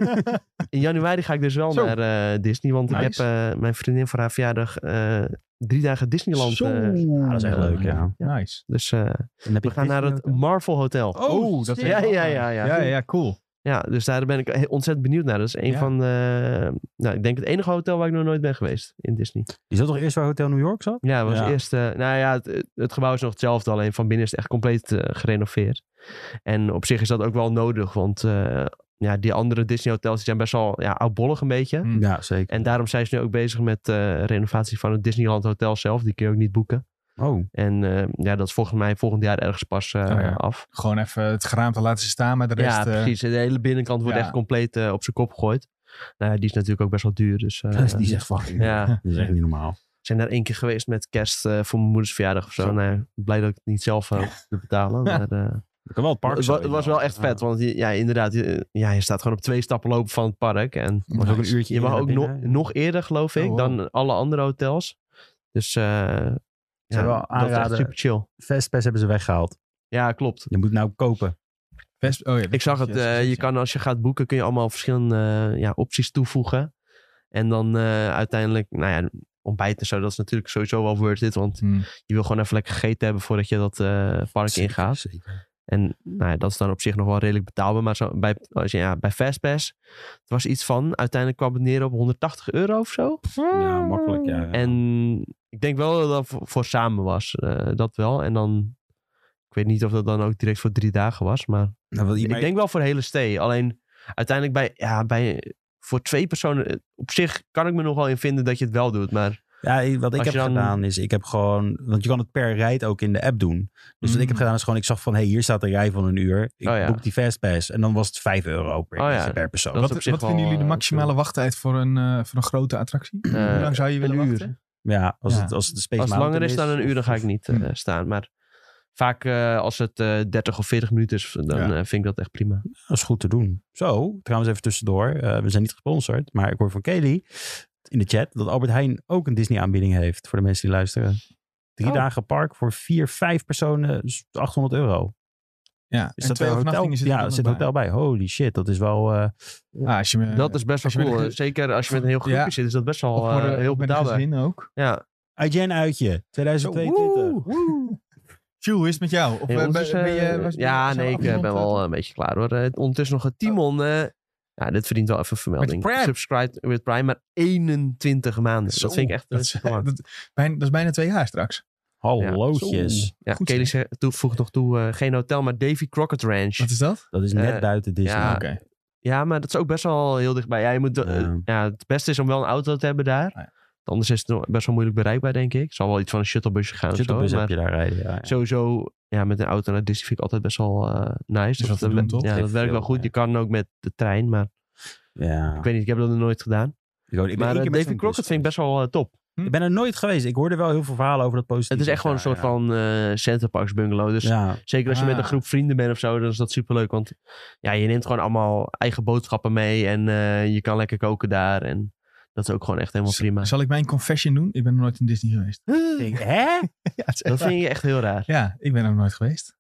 C: in januari ga ik dus wel
A: Zo.
C: naar eh, Disney. Want ik heb
A: Nice.
C: eh, mijn vriendin voor haar verjaardag eh, drie dagen Disneyland.
A: Zo.
C: eh,
B: Ah, dat is echt
C: eh,
B: leuk, ja.
C: ja.
A: Nice.
C: dus eh,
B: En heb
C: we
B: je
C: gaan naar
B: Disney
C: het
B: ook?
C: Marvel Hotel.
A: Oh, dat is
C: ja,
A: helemaal
C: ja,
A: nice.
C: ja, ja.
A: Ja, ja, cool.
C: Ja, dus daar ben ik he- ontzettend benieuwd naar. Dat is een
A: Ja.
C: van de... Nou, ik denk het enige hotel waar ik nog nooit ben geweest in Disney.
B: Is dat toch eerst waar Hotel New York zat?
C: Ja, het was
B: Ja.
C: eerst... eh, nou ja, het, het gebouw is nog hetzelfde. Alleen van binnen is het echt compleet eh, gerenoveerd. En op zich is dat ook wel nodig. Want eh, ja, die andere Disney hotels die zijn best wel ja, oudbollig een beetje.
A: Hm.
B: Ja, zeker.
C: En daarom zijn ze nu ook bezig met eh, renovatie van het Disneyland Hotel zelf. Die kun je ook niet boeken.
B: Oh,
C: En eh, ja, dat is volgens mij volgend jaar ergens pas eh,
A: Oh ja.
C: af.
A: Gewoon even het geraamte laten staan, maar de rest...
C: ja,
A: eh,
C: precies. De hele binnenkant wordt
A: ja.
C: echt compleet eh, op zijn kop gegooid. Nou ja, die is natuurlijk ook best wel duur. Dus, eh,
B: die is echt fucking
C: ja,
B: Dat is echt niet normaal.
C: we zijn daar één keer geweest met kerst eh, voor mijn moeders verjaardag of zo.
A: Zo.
C: Nou, ja, blij dat ik het niet zelf eh, hoefde te betalen. Maar, eh,
B: Ik kan wel het park
C: het, wa-
B: zo
C: het was
B: inderdaad.
C: wel echt vet, want je- ja, inderdaad, je, ja, je staat gewoon op twee stappen lopen van het park. En
B: Het was ook een uurtje
C: je mag
B: eerder
C: ook
B: naar
C: nog
B: binnen.
C: nog eerder, geloof ik,
A: Oh, wow.
C: dan alle andere hotels. Dus eh, ja,
B: wel
C: dat is echt
B: aanraden.
C: super chill.
B: Fastpass hebben ze weggehaald.
C: Ja, klopt.
B: Je moet nou kopen.
A: West- oh, ja,
C: Ik zag het.
A: yes, yes,
C: eh,
A: yes,
C: je
A: yes.
C: kan, als je gaat boeken, kun je allemaal verschillende eh, ja, opties toevoegen. En dan eh, uiteindelijk, nou ja, ontbijt en zo. Dat is natuurlijk sowieso wel worth it. Want
A: Hm.
C: je wil gewoon even lekker gegeten hebben voordat je dat eh, park
B: Zeker,
C: ingaat.
B: zeker.
C: En nou ja, dat is dan op zich nog wel redelijk betaalbaar. Maar zo, bij, als je, ja, bij Fastpass, het was iets van, uiteindelijk kwam het neer op 180 euro of zo.
B: Ja, makkelijk. Ja.
C: En ik denk wel dat dat voor, voor samen was. eh, dat wel. En dan, ik weet niet of dat dan ook direct voor drie dagen was. Maar
B: Nou, wil je- maar-
C: ik denk wel voor de hele stee. Alleen uiteindelijk bij, ja, bij, voor twee personen. eh, Op zich kan ik me nog wel in vinden dat je het wel doet. Maar
B: Ja, wat ik
C: Als
B: heb
C: je dan-
B: gedaan is, ik heb gewoon... Want je kan het per rijd ook in de app doen. Dus wat ik
A: Mm.
B: heb gedaan is gewoon, ik zag van... Hé, hey, hier staat een rij van een uur. Ik
C: Oh ja.
B: boek die Fastpass. En dan was het 5 euro per,
C: Oh ja.
B: per persoon.
C: Dat is op
A: Wat,
C: zich
A: wat
C: wel,
A: vinden jullie de
C: eh,
A: maximale wachttijd voor een, eh, voor een grote attractie? Hoe lang zou je willen
C: een uur.
A: wachten?
B: Ja, als,
A: Ja.
B: Het, als het de Space
C: eh, als het
B: Mountain
C: langer is dan een uur, dan ga ik niet eh,
A: Hmm.
C: staan. Maar vaak eh, als het eh 30 of 40 minuten is, dan
A: Ja.
C: eh, vind ik dat echt prima.
B: Dat is goed te doen. Zo, trouwens even tussendoor. eh, we zijn niet gesponsord, maar ik hoor van Kelly in de chat... dat Albert Heijn ook een Disney-aanbieding heeft voor de mensen die luisteren. Drie
A: Oh.
B: dagen park voor vier, vijf personen, dus 800 euro.
A: Ja,
B: Is
A: en
B: dat
A: twee
B: wel hotel?
A: overnachtingen zitten
B: ja,
A: er
B: er
A: dan
B: zit een
A: nog
B: hotel bij. Holy shit, dat is wel... eh,
A: bij. Ah, als je me,
C: dat is best wel
A: als je met
C: cool.
A: een
C: eh,
A: ge-
C: Zeker als je met een heel groepje
A: Ja.
C: zit, is dat best wel
A: of voor,
C: eh,
A: eh,
C: heel
A: met een
C: betaalbaar.
A: gezin ook.
C: Ja,
B: IGN uitje, 2022.
A: Tjoe, is het met jou? Of
C: Hey,
A: eh, ben,
C: ondertussen,
A: ben je, was-
C: ja
A: zijn we
C: nee, ik eh,
A: afgerond,
C: ben
A: eh,
C: wel
A: tot-
C: een beetje klaar hoor. Eh, Ondertussen nog het Timon. eh, ja, dit verdient wel even een vermelding.
A: Oh. Prime.
C: Subscribe with Prime, maar 21 maanden.
A: Zo,
C: dat vind ik echt...
A: Dat is,
C: eh, lang.
A: dat, bijna, dat is bijna twee jaar straks.
B: Hallootjes.
A: Zo.
C: ja,
A: goed
C: Kelly
A: zeg.
C: zegt- toe, voegt nog toe, eh, geen hotel, maar Davy Crockett Ranch.
A: Wat is dat?
B: Dat is net
C: Eh,
B: buiten Disney.
C: ja.
A: Oké.
C: Ja, maar dat is ook best wel heel dichtbij. Ja, je moet, eh,
B: Ja.
C: ja, het beste is om wel een auto te hebben daar.
A: Ja.
C: Want Anders is het nog best wel moeilijk bereikbaar, denk ik. Zal wel iets van een shuttlebusje gaan. of zo,
B: Shuttlebus
C: maar-
B: heb je daar rijden, ja. ja.
C: sowieso ja, met een auto naar Disney vind ik altijd best wel eh, nice.
A: Is
C: dat
A: wat te doen,
C: ja,
A: toch?
C: dat
B: Geeft
C: werkt wel
B: veel,
C: goed.
B: ja.
C: Je kan ook met de trein, maar
B: ja.
C: ik weet niet, ik heb dat nog nooit gedaan.
B: Ik, ook- ik ben
C: maar
B: één
C: eh,
B: keer met
C: David
B: zo'n
C: Crockett
B: bus
C: vind ik best wel eh, top.
B: Ik ben er nooit geweest. Ik hoorde wel heel veel verhalen over dat positief.
C: Het is echt gewoon een soort van eh Centerparks bungalow. Dus
B: Ja,
C: zeker als je met een
A: Ah.
C: groep vrienden bent of zo, dan is dat superleuk. Want ja, je neemt gewoon allemaal eigen boodschappen mee en eh, je kan lekker koken daar. En dat is ook gewoon echt helemaal
A: Z-
C: prima.
A: Zal ik mijn confession doen? Ik ben nog nooit in Disney geweest.
B: Ik- hè?
A: ja, het is echt
C: Dat
A: waar.
C: vind je echt heel raar.
A: ja, ik ben er nog nooit geweest.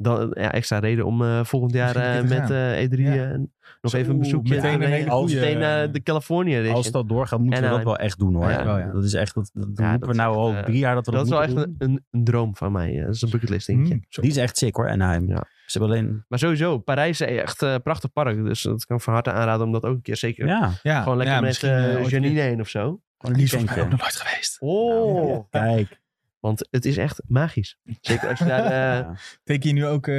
C: Dan, ja, extra reden om eh, volgend jaar
A: Misschien
C: eh,
A: een keer
C: met
A: te
C: eh, E3
A: Ja.
C: eh, nog
A: Zo,
C: even een bezoekje
A: meteen
C: aan
A: een
C: te
A: hele
C: nemen.
A: goeie,
C: Meteen eh,
A: eh,
C: de California Edition.
B: Als dat doorgaat, moeten we
C: En
B: dat wel echt doen hoor.
C: Ja,
A: wel, ja.
B: Dat is echt, dat, dat
C: Ja,
B: roepen
C: dat
B: we
C: is
B: nou
C: echt,
B: al
C: eh,
B: drie jaar dat we
C: Dat is wel echt
B: moeten
C: een,
B: doen.
C: een, een droom van mij. eh. Dat is een bucketlist dingetje.
A: Mm, zo.
B: Die is echt sick hoor, Anaheim.
C: Ja.
B: Ze hebben alleen...
C: Maar sowieso, Parijs is echt eh, een prachtig park. Dus dat kan ik van harte aanraden om dat ook een keer zeker...
B: Ja,
A: Ja,
C: Gewoon lekker
A: ja,
C: met
A: misschien,
C: eh,
A: eh, ooit
C: Janine
A: weer.
C: heen of zo.
B: gewoon een
A: Die is volgens mij ook
B: weekendje.
A: nog nooit geweest.
B: Nou,
C: Oh!
B: Kijk.
C: Want het is echt magisch. Zeker als je daar... eh,
B: Ja.
A: Teken je nu ook eh,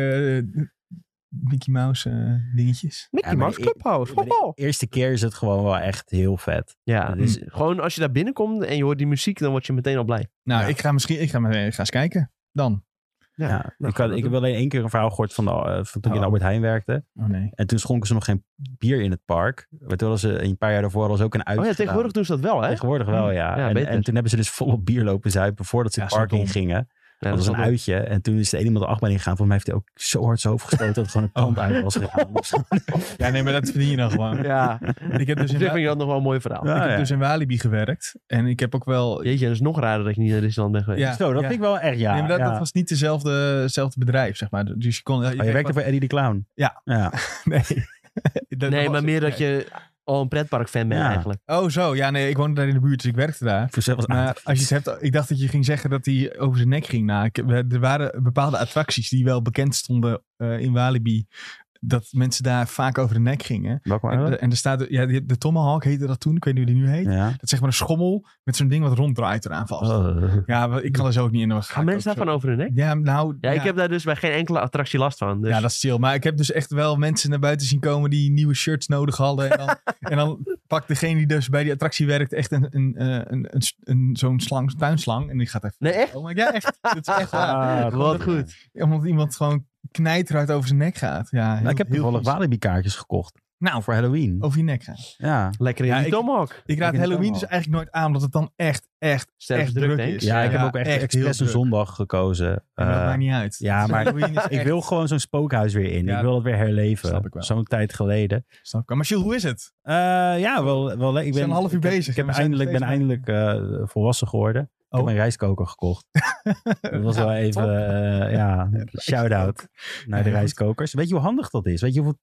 A: Mickey Mouse eh, dingetjes.
C: Mickey
B: Ja, maar
C: Mouse
B: de-
C: Clubhouse.
B: maar de-
C: hoho.
B: Eerste keer is het gewoon wel echt heel vet.
C: oh. Ja,
B: Mm.
C: dus gewoon als je daar binnenkomt en je hoort die muziek, dan word je meteen al blij.
A: Nou,
B: Ja.
A: ik ga misschien ik ga, maar, eh, ga eens kijken dan.
C: Ja,
B: Ja,
C: nou,
B: ik, had, ik heb alleen één keer een verhaal gehoord van, de, eh, van toen ik in
A: Oh.
B: Albert Heijn werkte.
A: Oh nee.
B: En toen schonken ze nog geen bier in het park. Maar toen hadden ze een paar jaar daarvoor hadden ze ook een uit.
C: Oh ja, tegenwoordig doen ze dat wel, hè?
B: Tegenwoordig wel, ja.
C: Ja,
B: en,
C: beter.
B: en toen hebben ze dus volop bier lopen zuipen voordat ze
A: Mm. Ja,
B: het
A: zo dom.
B: park in gingen.
C: Ja,
B: dat was
C: is
B: een
C: wel-
B: uitje. En toen is de ene iemand de achtbaan ingegaan. Volgens mij heeft hij ook zo hard zijn hoofd gestoten dat het gewoon een tand
A: Oh.
B: uit was gegaan.
A: Ja, nee, maar dat verdien je dan gewoon.
C: Ja,
A: Ik heb dus
C: dus
A: in,
C: ik vind
A: Wa-
C: ik dat nog wel een mooi verhaal.
B: Ja.
A: ik heb
B: Ah,
A: dus in Walibi gewerkt. En ik heb ook wel...
C: Jeetje, dat is nog raarder dat je niet naar Disneyland bent geweest.
A: Ja,
B: Zo, dat
A: ja.
B: vind ik wel echt ja.
A: Nee, maar dat,
B: ja.
A: dat was niet dezelfde- hetzelfde bedrijf, zeg maar. Dus je kon...
B: Oh, je werkte voor Eddie de Clown.
A: Ja.
B: ja.
A: Nee. Dat
C: nee,
A: was
C: maar
A: het.
C: meer dat je al een pretparkfan bent
B: Ja.
C: eigenlijk.
A: Oh zo, ja nee, ik woonde daar in de buurt, dus ik werkte daar.
B: Voor zelfs een
A: Maar
B: aardig
A: Nou als je
B: fiets.
A: het hebt, ik dacht dat je ging zeggen dat hij over zijn nek ging. Nou, ik, we- er waren bepaalde attracties die wel bekend stonden eh, in Walibi. Dat mensen daar vaak over de nek gingen.
B: Welke
C: Oh.
A: En,
B: waren dat?
A: er- en er staat, ja, die- de Tomahawk heette dat toen, ik weet niet hoe die nu heet.
B: Ja.
A: Dat is zeg maar een schommel met zo'n ding wat ronddraait eraan vast.
B: Oh.
A: Ja, maar ik kan er zo ook niet in. dan ga
C: Gaan
A: ik
C: mensen
A: ook zo-
C: daarvan over hun nek?
A: Ja, nou.
C: Ja, ik heb daar dus bij geen enkele attractie last van. Dus
A: Ja, dat is chill. Maar ik heb dus echt wel mensen naar buiten zien komen die nieuwe shirts nodig hadden. En dan, en dan pakt degene die dus bij die attractie werkt echt een, een, eh, een, een, een- zo'n slang, tuinslang. En die gaat even...
C: Nee, echt?
A: Oh my god, ja, echt. Dat is echt waar.
B: Ah,
C: Wat goed.
A: Ja, Omdat iemand gewoon knijteruit over zijn nek gaat. Ja, heel-
B: Nou, ik heb
A: heel
B: toevallig
A: vies.
B: Walibi kaartjes gekocht.
A: Nou,
B: Voor Halloween.
A: over je nek gaat.
B: Ja.
C: Lekker in
A: Ja,
C: die
A: ik- Ik
C: tomahawk.
A: raad
B: Ik vind het
A: Halloween
B: ook
A: dus
B: wel.
A: eigenlijk nooit aan, omdat het dan echt, echt,
C: Sterk
A: echt
C: druk,
A: druk,
C: denk ik.
A: is.
B: ja, ik heb ook
A: heel
B: echt expres een
A: druk.
B: zondag gekozen.
A: En dat
B: Eh,
A: maakt niet uit. Dus
B: ja, maar-
A: Halloween is
B: ik
A: echt-
B: wil gewoon zo'n spookhuis weer in.
A: Ja,
B: ik wil dat weer herleven.
A: snap ik wel.
B: Zo'n tijd geleden.
A: Snap ik wel. Maar Jules, hoe is het?
B: Eh, ja, wel, wel le- ik ben
A: zijn een half uur
B: ik heb-
A: bezig
B: Ik
A: en
B: heb
A: we zijn
B: eindelijk, ben
A: nog steeds
B: eindelijk eh, volwassen geworden. Ik
A: Oh.
B: heb een rijstkoker gekocht. Dat was wel
A: Ja,
B: even,
A: top.
B: eh, ja, shout-out naar de
A: Ja, goed.
B: rijstkokers. Weet je hoe handig dat is? Weet je hoeveel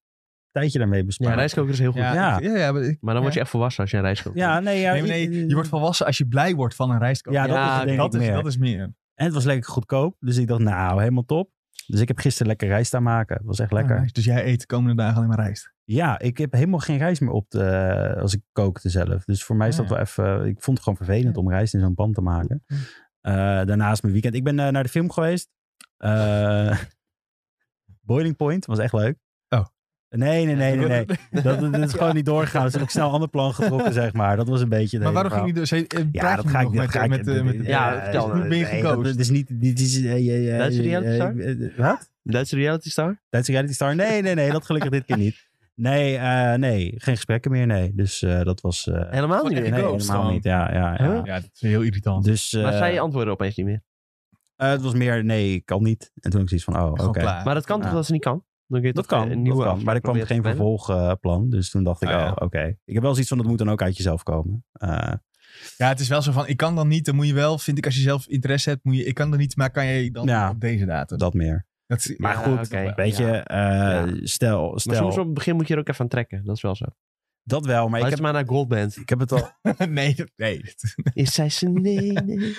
B: tijd je daarmee
C: Ja,
B: bespaart?
C: een rijstkoker is heel goed.
A: Ja,
B: Ja.
A: ja. ja, maar ik-
C: Maar dan word je echt volwassen als je een rijstkoker hebt.
B: Ja, nee, ja,
A: nee, maar nee,
B: i-
A: je wordt volwassen als je blij wordt van een rijstkoker.
B: Ja, dat
C: Ja,
B: is het denk
A: dat,
B: ik
A: is,
B: meer.
A: dat is meer.
B: En het was lekker goedkoop. Dus ik dacht, nou, helemaal top. Dus ik heb gisteren lekker rijst aan maken. Het was echt lekker.
A: Ah, nice. Dus jij eet de komende dagen alleen maar rijst.
B: Ja, ik heb helemaal geen rijst meer op de, eh, als ik kookte zelf. Dus voor mij is
A: Ah, Ja,
B: dat wel even... Ik vond het gewoon vervelend om rijst in zo'n pan te maken. Eh, daarnaast mijn weekend. Ik ben eh, naar de film geweest. Eh, Boiling Point was echt leuk.
A: Oh.
B: Nee, nee, nee, nee. nee. Dat, dat is gewoon niet doorgegaan. Dus heb ik snel een ander plan getrokken, zeg maar. Dat was een beetje... het
A: maar
B: hele
A: waarom ging
B: verhaal.
A: je dus... eh, praat
B: Ja, dat
A: je
B: ga ik
A: nog
B: niet.
A: met,
B: ga ik-
A: met, eh, met,
C: ja, vertel
B: dat
C: nou.
B: is niet-
A: Ben je
B: nee, dat-
A: gecoacht?
B: Dat is niet... Dit is... eh, eh, eh,
C: Duitse reality
B: eh,
C: star?
B: eh, Wat?
C: Duitse reality star?
B: Tijdens Reality Star? Nee, nee, nee. Dat gelukkig dit keer niet. Nee, eh, nee. Geen gesprekken meer, nee. Dus eh, dat was... eh,
C: Helemaal
A: Fuck,
C: niet meer.
A: echt
B: nee,
A: ghost
B: helemaal
A: gewoon.
B: niet. Ja, ja, ja.
C: Huh?
A: Ja, dat is heel irritant.
B: Dus eh,
C: Maar zij antwoorden opeens niet meer.
B: eh, het was meer, nee, ik kan niet. En toen had ik zoiets van, oh, oké.
A: Gewoon klaar.
C: Maar dat kan toch
B: Ja.
C: dat ze niet kan? Dan kun je
B: Dat
C: toch eh,
B: kan,
C: een
B: dat
C: nieuwe
B: kan. Maar er
C: afspraak
B: kwam
C: proberen
B: geen
C: te plannen?
B: vervolgplan. dus toen dacht ik,
A: Ah, ja.
B: oh, oké. Ik heb wel zoiets van, dat moet dan ook uit jezelf komen. Eh,
A: Ja, het is wel zo van, ik kan dan niet, dan moet je wel, vind ik, als je zelf interesse hebt, moet je, ik kan dan niet, maar kan je dan
B: Ja.
A: op deze datum.
B: dat meer.
A: Dat is-
B: Maar
C: Ja,
B: goed,
C: oké.
B: weet je,
C: Ja.
B: eh, stel,
C: Maar
B: stel
C: soms op het begin moet je er ook even aan trekken. Dat is wel zo.
B: dat wel, maar ik
C: Luister
B: heb,
C: maar naar Goldband.
B: ik heb het al...
A: nee, dat- nee. dat-
C: Is zij ze nee, nee.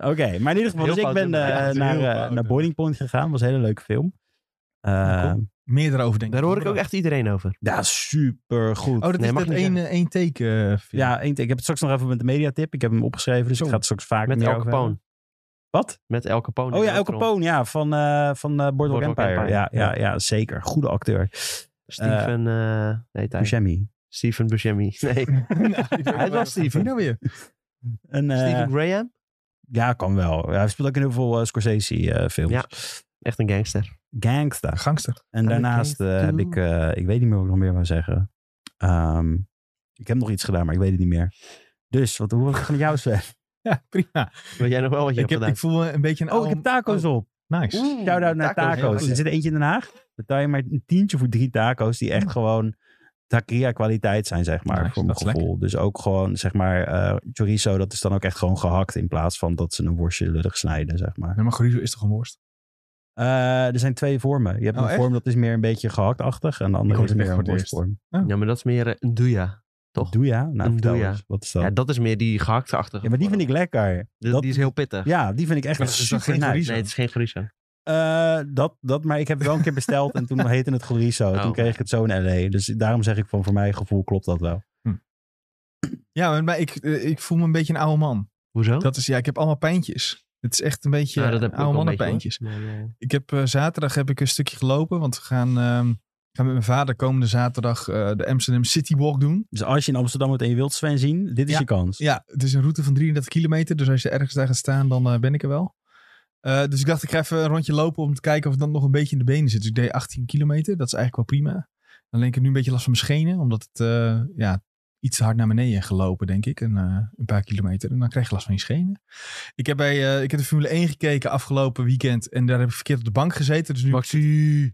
B: Oké, maar in ieder geval,
C: Heel
B: dus ik
C: fout,
B: ben
C: hè?
B: eh,
A: Ja, dat is
B: naar,
A: heel
B: eh,
A: fout,
B: naar
A: hè?
B: Boiling Point gegaan. was een hele leuke film. Eh,
A: Ja, Meer erover denken.
C: Daar hoor ik ook echt iedereen over.
B: ja, super goed.
A: Oh, dat
C: Nee,
A: is
C: mag
A: dat
C: niet
A: één, één teken. eh, film.
B: Ja, één- ik heb het straks nog even met de mediatip. Ik heb hem opgeschreven, dus
A: Zo.
B: ik ga het straks vaak
C: Met
B: meer
C: El
B: over
C: Capone.
B: hebben. Wat?
C: Met El Capone.
B: Oh
C: in
B: ja,
C: de
B: El
C: hoofdrol.
B: Capone, ja, van, eh van eh Boardwalk,
C: Boardwalk
B: Empire.
C: Empire.
B: Ja, ja, ja, zeker. Goede acteur.
C: Steven... eh nee, daar.
B: Buscemi.
C: Steven Buscemi. Nee. Hij was Steven.
A: Nou weer.
B: En, eh,
C: Steven Graham.
B: ja, kan wel. Ja, hij speelt ook in heel veel eh, Scorsese-films.
C: Ja. Echt een gangster.
B: Gangsta.
A: Gangster.
B: En daarnaast
C: gangster.
B: eh, heb ik... eh, ik weet niet meer wat ik nog meer wou zeggen. Ehm, ik heb nog iets gedaan, maar ik weet het niet meer. Dus, wat, hoe was het met jou, Sven?
A: Ja, prima.
C: Weet jij nog wel wat je
A: Ik,
C: hebt
A: heb,
C: gedaan?
A: ik voel me een beetje een
B: Oh, ik heb taco's op.
A: Nice.
B: Shout-out naar
C: tacos.
B: tacos. Er zit eentje in Den Haag. Betaal je maar een tientje voor drie tacos die echt gewoon taqueria kwaliteit zijn, zeg maar,
A: Mm. Nice,
B: voor mijn
A: dat is
B: gevoel. Dus ook gewoon, zeg maar, eh, chorizo, dat is dan ook echt gewoon gehakt in plaats van dat ze een worstje lullig snijden, zeg maar.
A: Nee, maar chorizo is toch een worst?
B: Eh, er zijn twee vormen. Je hebt
A: Oh,
B: een
A: echt?
B: vorm dat is meer een beetje gehaktachtig en de andere
A: hoor
B: is
A: het
B: meer
A: echt
B: een
A: voor het eerst.
B: worstvorm.
C: Ja, maar dat is meer eh, een duja. Toch?
B: Doe ja? Nou,
C: Een
B: vertel
C: doja.
B: eens, Wat is dat?
C: Ja,
B: Ja,
C: dat is meer die gehakteachtige.
B: maar die vind ik lekker.
C: Die,
B: dat-
C: die is heel pittig.
B: Ja, die vind ik echt
A: Maar dat is dan
B: super
A: geen chorizo?
C: Nee, het is geen chorizo.
B: Eh, dat, dat, maar ik heb het wel een keer besteld en toen heette het chorizo.
C: Oh.
B: Toen kreeg ik het zo in L.A. Dus daarom zeg ik van, voor mijn gevoel klopt dat wel.
A: Ja, maar ik, eh, ik voel me een beetje een oude man.
C: Hoezo?
A: Dat is, ja, ik heb allemaal pijntjes. Het is echt een beetje
C: Oh.
B: eh,
A: eh,
C: Nou, dat heb ik ook
A: oude
C: wel een
A: mannenpijntjes.
C: beetje, hoor. Maar, eh,
A: Ik heb eh, zaterdag heb ik een stukje gelopen, want we gaan, ehm, gaan met mijn vader komende zaterdag eh, de Amsterdam City Walk doen.
B: Dus als je in Amsterdam moet en je wilt Sven zien, dit is
A: Ja.
B: je kans.
A: Ja, het is een route van 33 kilometer, dus als je ergens daar gaat staan, dan eh, ben ik er wel. Eh, dus ik dacht, ik ga even een rondje lopen om te kijken of het dan nog een beetje in de benen zit. Dus ik deed 18 kilometer, dat is eigenlijk wel prima. Alleen ik heb nu een beetje last van mijn schenen, omdat het eh, ja, iets te hard naar beneden gelopen, denk ik. Een, eh, een paar kilometer. En dan krijg je last van je schenen. Ik heb, bij, eh, ik heb de Formule 1 gekeken afgelopen weekend en daar heb ik verkeerd op de bank gezeten. Dus nu, dus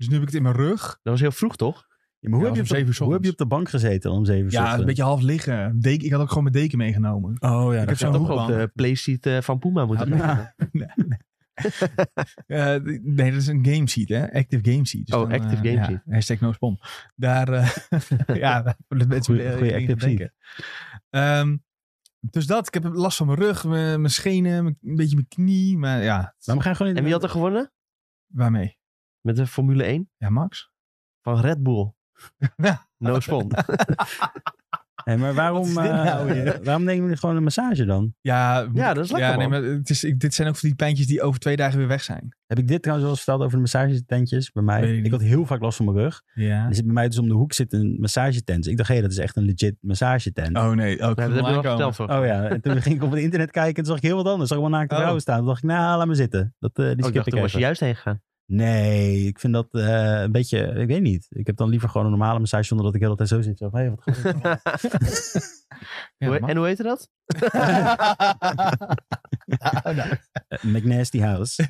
A: nu heb ik het in mijn rug.
C: Dat was heel vroeg, toch?
B: Ja, maar hoe,
A: Ja,
B: heb
A: was
B: je
A: om
B: op de,
A: zeven uur
B: hoe heb je op de bank gezeten om 7 uur?
A: Ja, een beetje half liggen. Deken, ik had ook gewoon mijn deken meegenomen.
B: Oh ja,
A: ik
B: dat
A: heb
B: zou
A: zo'n
C: Toch ook
A: hoekbank.
C: de playseat eh, van Puma moeten
B: Ja. nou,
C: leggen.
A: Eh, d- nee, dat is een game seat, hè? Active game seat. Dus
C: Oh,
A: dan, eh,
C: active game
A: ja,
C: seat.
A: Hashtag no spon. Daar, eh, ja, dat mensen
B: Goeie- goeie
A: erin
B: active
A: gaan denken. Ehm, dus dat, ik heb last van mijn rug, mijn, mijn schenen, mijn- een beetje mijn knie. Maar ja,
B: Nou, we gaan gewoon in
C: En wie had er gewonnen?
A: waarmee?
C: Met de Formule 1
A: Ja, Max?
C: van Red Bull. No spon.
B: Hé, maar waarom,
A: Wat is dit
B: eh,
A: nou weer?
B: waarom nemen jullie gewoon een massage dan?
A: Ja, moet
C: Ja,
A: ik-
C: dat is lekker,
A: Ja, nee,
C: man.
A: maar het is, ik- dit zijn ook van die pijntjes die over twee dagen weer weg zijn.
B: Heb ik dit trouwens wel eens verteld over de massagetentjes bij mij?
A: Weet ik
B: Ik
A: niet.
B: had heel vaak last van mijn rug.
A: Ja.
B: Er zit bij mij dus om de hoek zit een massagetent. Dus ik dacht, hé, dat is echt een legit massagetent.
A: Oh nee, ook
C: Nee, dat heb je al verteld voor.
B: Oh ja, en toen ging ik op het internet kijken en toen zag ik heel wat anders. Zag ik wel naakte
A: Oh.
B: vrouwen staan. Toen dacht ik, nou, laat maar zitten. Dat, eh, die
C: Oh, ik
B: skip
C: dacht,
B: ik
C: toen was je
B: even.
C: juist heen gegaan.
B: Nee, ik vind dat eh, een beetje, ik weet niet. Ik heb dan liever gewoon een normale massage zonder dat ik de hele tijd zo zit. Zo van, hé, wat goed.
C: Hoe- en hoe heette dat?
B: Eh, McNasty House.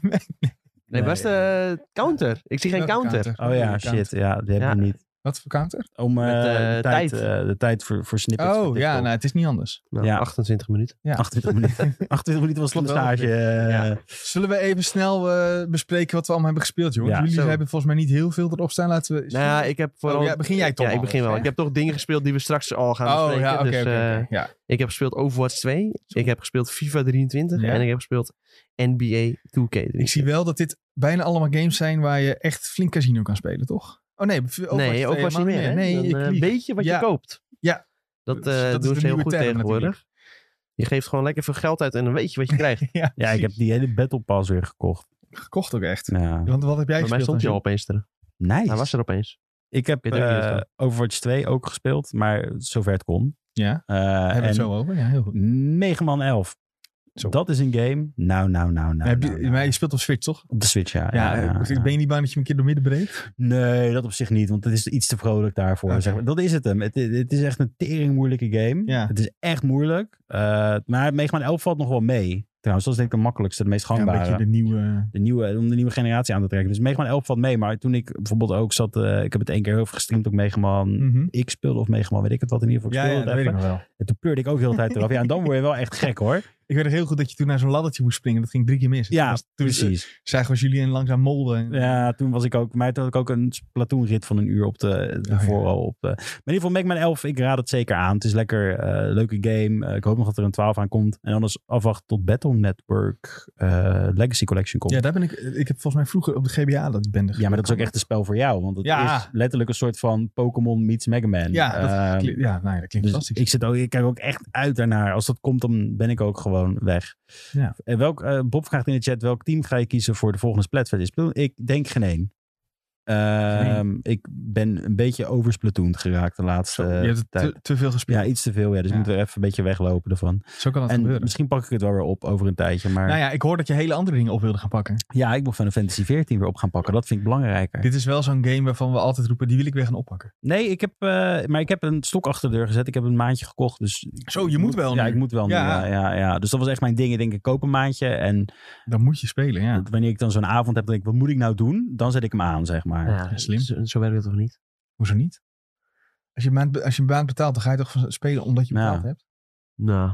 C: Nee, was de eh, counter. Ik zie geen counter.
B: Oh ja, shit. Ja, die heb
C: Ja.
B: ik niet.
A: Wat voor counter?
B: Om eh,
C: Met, eh,
B: de tijd,
C: tijd.
B: eh, de tijd voor, voor snippets.
A: Oh
B: voor
A: ja,
B: TikTok.
A: nou het is niet anders.
C: Nou,
B: Ja.
C: 28 minuten.
A: Ja.
B: 28 minuten. 28 minuten was de
A: Klopt wel.
B: massage. eh,
C: Ja.
A: Zullen we even snel eh, bespreken wat we allemaal hebben gespeeld, jongens?
B: Ja,
A: Jullie
C: zo.
A: hebben volgens mij niet heel veel erop staan. Laten we.
C: Nou ja, ik heb vooral...
A: Oh, ja, begin jij toch
C: Ja, ik begin
A: anders,
C: wel.
A: hè?
C: Ik heb toch dingen gespeeld die we straks al gaan
A: oh
C: bespreken.
A: ja, oké.
C: dus,
A: oké,
C: eh,
A: oké. ja.
C: Ik heb gespeeld Overwatch 2. Ik heb gespeeld FIFA 23.
A: Ja.
C: En ik heb gespeeld NBA 2K.
A: Ik zie wel dat dit bijna allemaal games zijn waar je echt flink casino kan spelen, toch? Oh nee, Overwatch
C: nee,
A: 2
C: ook was niet
A: helemaal
C: meer. hè?
A: Nee,
C: Dan,
A: ik
C: eh,
A: lieg.
C: weet je wat
A: Ja.
C: je koopt.
A: Ja.
C: Dat, eh,
A: Dat is de
C: doen ze heel
A: nieuwe
C: goed
A: term
C: tegenwoordig. Je geeft gewoon lekker veel geld uit en dan weet je wat je krijgt.
A: ja,
B: ja, ik heb die hele Battle Pass weer gekocht.
A: gekocht ook echt.
B: Ja.
A: Want wat heb jij
C: Bij mij
A: gespeeld?
C: stond je al
A: dan,
C: opeens er.
B: Nice.
C: Hij was er opeens.
B: Ik heb
C: Ik weet ook niet
B: eh,
C: wat.
B: Overwatch 2 ook gespeeld, maar zover het kon.
A: Ja,
B: Eh,
A: Jules? Hebben we
B: en
A: het zo over? Ja, heel goed.
B: Mega Man 11.
A: Zo.
B: Dat is een game. Nou, nou, nou, nou.
A: Heb je-
B: nou, nou.
A: Maar je speelt op Switch, toch?
B: Op de Switch, ja.
A: Ja, dus
B: ja, ja,
A: ik
B: ja.
A: ben je niet bang dat je hem een keer door midden breekt?
B: Nee, dat op zich niet, want het is iets te vrolijk daarvoor.
A: Oké.
B: Zeg maar. Dat is het hem. Het, het is echt een tering moeilijke game.
A: Ja.
B: Het is echt moeilijk. Eh, maar Mega Man 11 valt nog wel mee. Trouwens, dat is denk ik de makkelijkste, de meest
A: Ja, een
B: gangbare.
A: beetje de nieuwe...
B: de nieuwe, om de nieuwe generatie aan te trekken. Dus Mega Man 11 valt mee. Maar toen ik bijvoorbeeld ook zat... eh, ik heb het één keer heel veel gestreamd op Mega Man
A: Mhm.
B: ik speelde of Mega Man, weet ik het wat. In ieder geval,
A: Ja,
B: ik
A: ja,
B: speelde
A: dat weet
B: het
A: ik
B: even.
A: nog wel.
B: En toen pleurde ik ook heel de hele tijd eraf. Ja, en dan word je wel echt gek hoor.
A: Ik weet nog heel goed dat je toen naar zo'n laddertje moest springen. Dat ging drie keer mis.
B: Ja,
A: Toen was- toen
B: Precies.
A: zagen we jullie en langzaam molden.
B: Ja, toen was ik ook... Maar toen had ik ook een platoonrit van een uur op de, de
A: Oh, ja.
B: vooral. Op de, maar in ieder geval, Mega Man 11, ik raad het zeker aan. Het is lekker, eh, leuke game. Eh, ik hoop nog dat er een 12 aan komt. En anders afwachten tot Battle Network eh, Legacy Collection komt.
A: Ja,
B: Ja,
A: daar ben ik. Ik heb volgens mij vroeger op de GBA dat ik ben.
B: maar dat is ook echt een spel voor jou. Want het
A: Ja.
B: is letterlijk een soort van Pokémon meets Mega Man.
A: Ja, dat
B: Ehm,
A: kli- ja, nou ja, dat klinkt
B: Dus
A: fantastisch.
B: ik, zit ook, ik kijk ook echt uit daarnaar. Als dat komt, dan ben ik ook gewoon weg.
A: Ja.
B: En welk, eh, Bob vraagt in de chat, welk team ga je kiezen voor de volgende Splatfest? Ik denk geen één. Ehm, Ik ben een beetje oversplatoend geraakt de laatste
A: Zo, je hebt het
B: eh, tijd.
A: te, te veel gespeeld.
B: Ja, iets te veel. Ja, dus
A: Ja.
B: ik moet er even een beetje weglopen ervan.
A: Zo kan dat
B: en
A: gebeuren.
B: misschien pak ik het wel weer op over een tijdje. Maar
A: Nou
B: ja.
A: ja, ik hoor dat je hele andere dingen op wilde gaan pakken.
B: ik moet Final Fantasy 14 weer op gaan pakken. Dat vind ik belangrijker.
A: Dit is wel zo'n game waarvan we altijd roepen, die wil ik weer gaan oppakken.
B: Nee, ik heb, eh, maar ik heb een stok achter de deur gezet. Ik heb een maandje gekocht. Dus ik-
A: Zo, je
B: ik
A: moet wel
B: Ja,
A: nu.
B: ik moet wel
A: Ja.
B: nu. Ja, ja, ja. Dus dat was echt mijn ding. Ik denk, ik koop een maandje. En
A: Dan moet je spelen, ja.
B: wanneer ik dan zo'n avond heb, dan denk ik, wat moet ik nou doen? Dan zet ik hem aan, zeg maar.
C: Ja,
A: slim.
C: Zo, zo werkt het toch niet?
A: Hoezo niet? Als je, een maand, als je een maand betaalt, dan ga je toch van spelen omdat je
B: Ja.
A: betaald hebt?
C: Nou,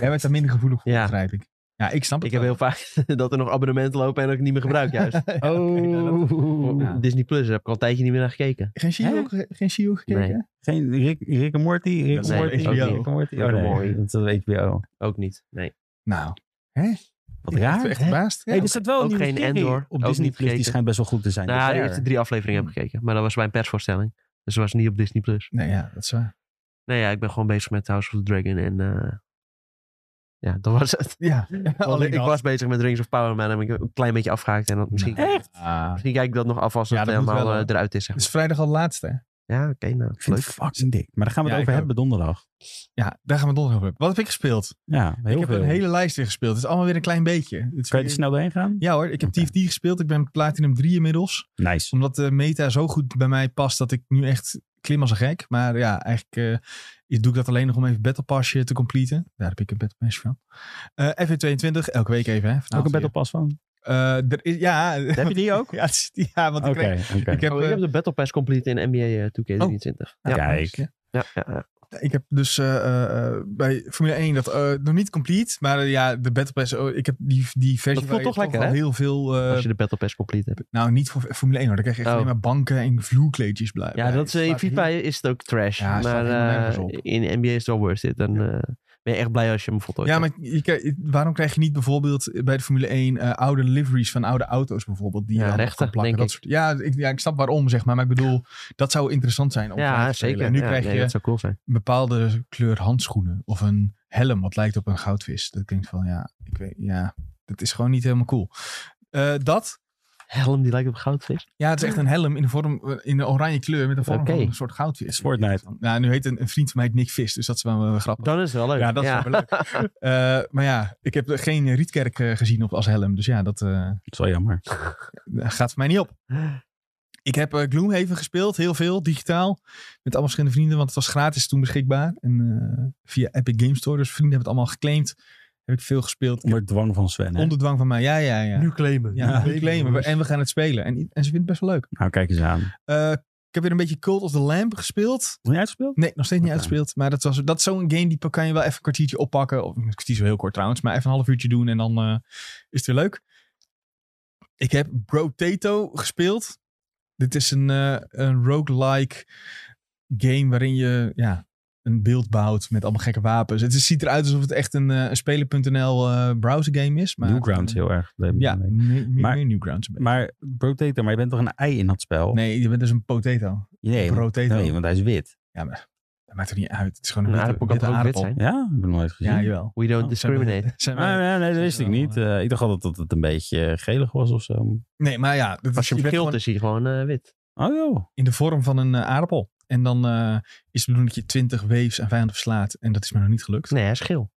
A: Jij bent daar minder gevoelig voor,
C: Ja.
A: begrijp ik. Ja, ik snap het
C: ik heb
A: wel.
C: heel vaak dat er nog abonnementen lopen en dat ik het niet meer gebruik juist.
A: Oké,
B: Oh.
A: nou, dat-
C: Voor
A: Ja.
C: Disney Plus, daar heb ik al een tijdje niet meer naar gekeken.
A: Geen Shio ge- geen Shio gekeken?
C: Nee.
B: Geen Rick, Rick en Morty? Rick
A: Dat
B: en
A: is
B: Morty?
A: HBO.
B: Rick en Morty?
C: Rick
B: Oh,
C: en
B: nee.
C: Morty.
B: Dat is HBO.
C: Ook niet, nee.
A: Nou,
B: Wat
A: ik ben
B: raar.
A: echt
B: hè?
A: verbaasd. Ja,
B: Hey, er staat wel
C: Ook
B: een nieuwe
C: geen
B: serie
C: Endor.
B: op
C: Ook
B: Disney
C: niet
B: Plus. Die
C: gekeken.
B: schijnt best wel goed te zijn.
C: Nou,
B: Dat
C: de
B: is
C: eerste
B: raar.
C: drie afleveringen
A: Hmm.
C: heb ik gekeken. Maar dat was bij een persvoorstelling. Dus dat was niet op Disney+. Plus.
A: Nee, ja, dat is waar.
C: Nee, ja, ik ben gewoon bezig met House of the Dragon en eh, Ja, dat was het.
A: Ja,
C: Want ik was bezig met Rings of Power, maar dan ben ik een klein beetje afgehaakt. En dat misschien,
B: Echt?
A: Ah.
C: misschien kijk ik dat nog af als
A: Ja,
C: het
A: dat moet
C: helemaal
A: wel,
C: eh,
A: hoor.
C: eruit is. Zeg
A: Het
C: maar.
A: is vrijdag al de laatste. hè?
C: Ja, oké. nou,
B: Ik vind
C: leuk.
B: het fucking dik. Maar daar gaan we het
A: Ja,
B: over
A: ik
B: hebben donderdag.
A: Ja, daar gaan we het nog over hebben. Wat heb ik gespeeld?
B: Ja, heel
A: ik heb
B: veel.
A: een hele lijst weer gespeeld. Het is allemaal weer een klein beetje. Het is
B: Kan je
A: weer-
B: er snel doorheen gaan?
A: Ja hoor, ik heb
B: Oké.
A: TFT gespeeld. Ik ben met Platinum 3 inmiddels.
B: Nice.
A: Omdat de meta zo goed bij mij past dat ik nu echt klim als een gek. Maar ja, eigenlijk eh, doe ik dat alleen nog om even Battle Passje te completen. Daar heb ik een Battle Pass van. Eh FW22, elke week even. Hè,
B: Ook een
A: vanavond
B: Battle Pass van?
A: weer. Eh, er is, ja,
B: Heb je die ook?
A: ja, het is- ja, want
B: Oké,
A: ik, kreeg-
B: oké.
A: ik heb...
C: Oh, ik
A: eh,
C: heb de Battle Pass complete in NBA eh, 2K23. Ja.
B: Kijk.
C: Ja, ja, ja.
A: Ik heb dus eh, eh, eh, bij Formule 1 dat eh, nog niet complete. Maar eh, ja, de Battle Pass, oh, ik heb die, die versie
C: voelt
A: waar je
C: toch lekker,
A: al
C: hè?
A: heel veel... eh,
C: als je de Battle Pass complete hebt.
A: Nou, niet voor Formule 1 hoor. Dan krijg je echt
C: Oh.
A: alleen maar banken en vloerkleedjes blijven.
C: Ja, dat is, eh, in FIFA is het ook trash.
A: Ja, het slaat
C: maar
A: helemaal nergens
C: eh,
A: op.
C: in NBA is het wel worth it. Dan eh, ben je echt blij als je hem voltooid
A: Ja,
C: hebt.
A: maar je, krijg- waarom krijg je niet bijvoorbeeld bij de Formule 1 eh, oude liveries van oude auto's bijvoorbeeld? Die
C: Ja,
A: je dan op
C: rechten,
A: kan plakken,
C: denk
A: dat soort- ja, ik, ja, ik snap waarom zeg maar. Maar ik bedoel, dat zou interessant zijn om van
C: Ja,
A: te spelen.
C: zeker.
A: En nu
C: Ja,
A: krijg
C: nee,
A: je
C: Dat zou cool zijn.
A: een bepaalde kleur handschoenen of een helm wat lijkt op een goudvis. Dat klinkt van, ja, ik weet, ja, dat is gewoon niet helemaal cool. Eh, dat,
C: Helm die lijkt op goudvis.
A: ja, het is echt een helm in de vorm, eh, in een oranje kleur met een vorm
C: Oké.
A: van een soort goudvis.
B: Fortnite.
A: Nou, nu heet een, een vriend van mij Nick Vis, dus dat is wel eh, grappig.
C: Dan is het wel leuk.
A: Ja, dat is wel leuk. Eh, maar ja, ik heb geen Rietkerk eh, gezien op als helm. Dus ja, dat eh,
B: Dat is wel jammer.
A: gaat voor mij niet op. Ik heb eh, Gloomhaven gespeeld, heel veel, digitaal. Met allemaal verschillende vrienden, want het was gratis toen beschikbaar. En eh, via Epic Game Store, dus vrienden hebben het allemaal geclaimd. Heb ik veel gespeeld. Ik heb
B: Onder dwang van Sven. hè?
A: onder dwang van mij, ja, ja, ja.
C: Nu claimen.
A: ja, we claimen we- en we gaan het spelen. En, en ze vindt het best wel leuk.
B: Nou, kijk eens aan.
A: Eh, ik heb weer een beetje Cult of the Lamp gespeeld.
B: Nog niet uitgespeeld?
A: Nee, nog steeds niet
B: Oké.
A: uitgespeeld. Maar dat, was, dat is zo'n game, die pa- kan je wel even een kwartiertje oppakken. Of een kwartier is wel heel kort trouwens. Maar even een half uurtje doen en dan eh, is het weer leuk. Ik heb Brotato gespeeld. Dit is een, eh, een roguelike game waarin je ja, een beeld bouwt met allemaal gekke wapens. Het is- ziet eruit alsof het echt een, eh, een spelen.nl eh browser game is. Maar,
B: Newgrounds heel erg.
A: Ja,
B: Nee.
A: meer, meer-
B: Maar-
A: meer Newgrounds. een beetje.
B: Maar Potato, maar je bent toch een ei in dat spel?
A: nee, je bent dus een potato.
B: nee want,
A: Brotato.
B: nee, want Nou, hij is wit.
A: Ja, maar dat maakt er niet uit. Het is gewoon een,
C: Een
A: witte-
C: aardappel Nou, kan
A: witte
C: toch ook wit
A: aardappel.
C: zijn?
B: Ja, ik heb hem nooit gezien.
A: Ja, jawel.
C: We don't
A: Oh,
C: discriminate.
A: zijn we- zijn we-
B: Ah, ja, nee, dat wist ik
A: wel,
B: niet. Eh, ik dacht altijd dat het een beetje eh, gelig was of zo.
A: Nee, maar ja, dat
C: Als je
A: is,
C: hem
A: bent
C: scheelt
A: gewoon
C: is hij gewoon eh, wit.
B: Oh joh.
A: in de vorm van een eh, aardappel. En dan eh, is de bedoeling dat je 20 waves aan vijanden verslaat. En dat is me nog niet gelukt.
C: Nee, hij is geel.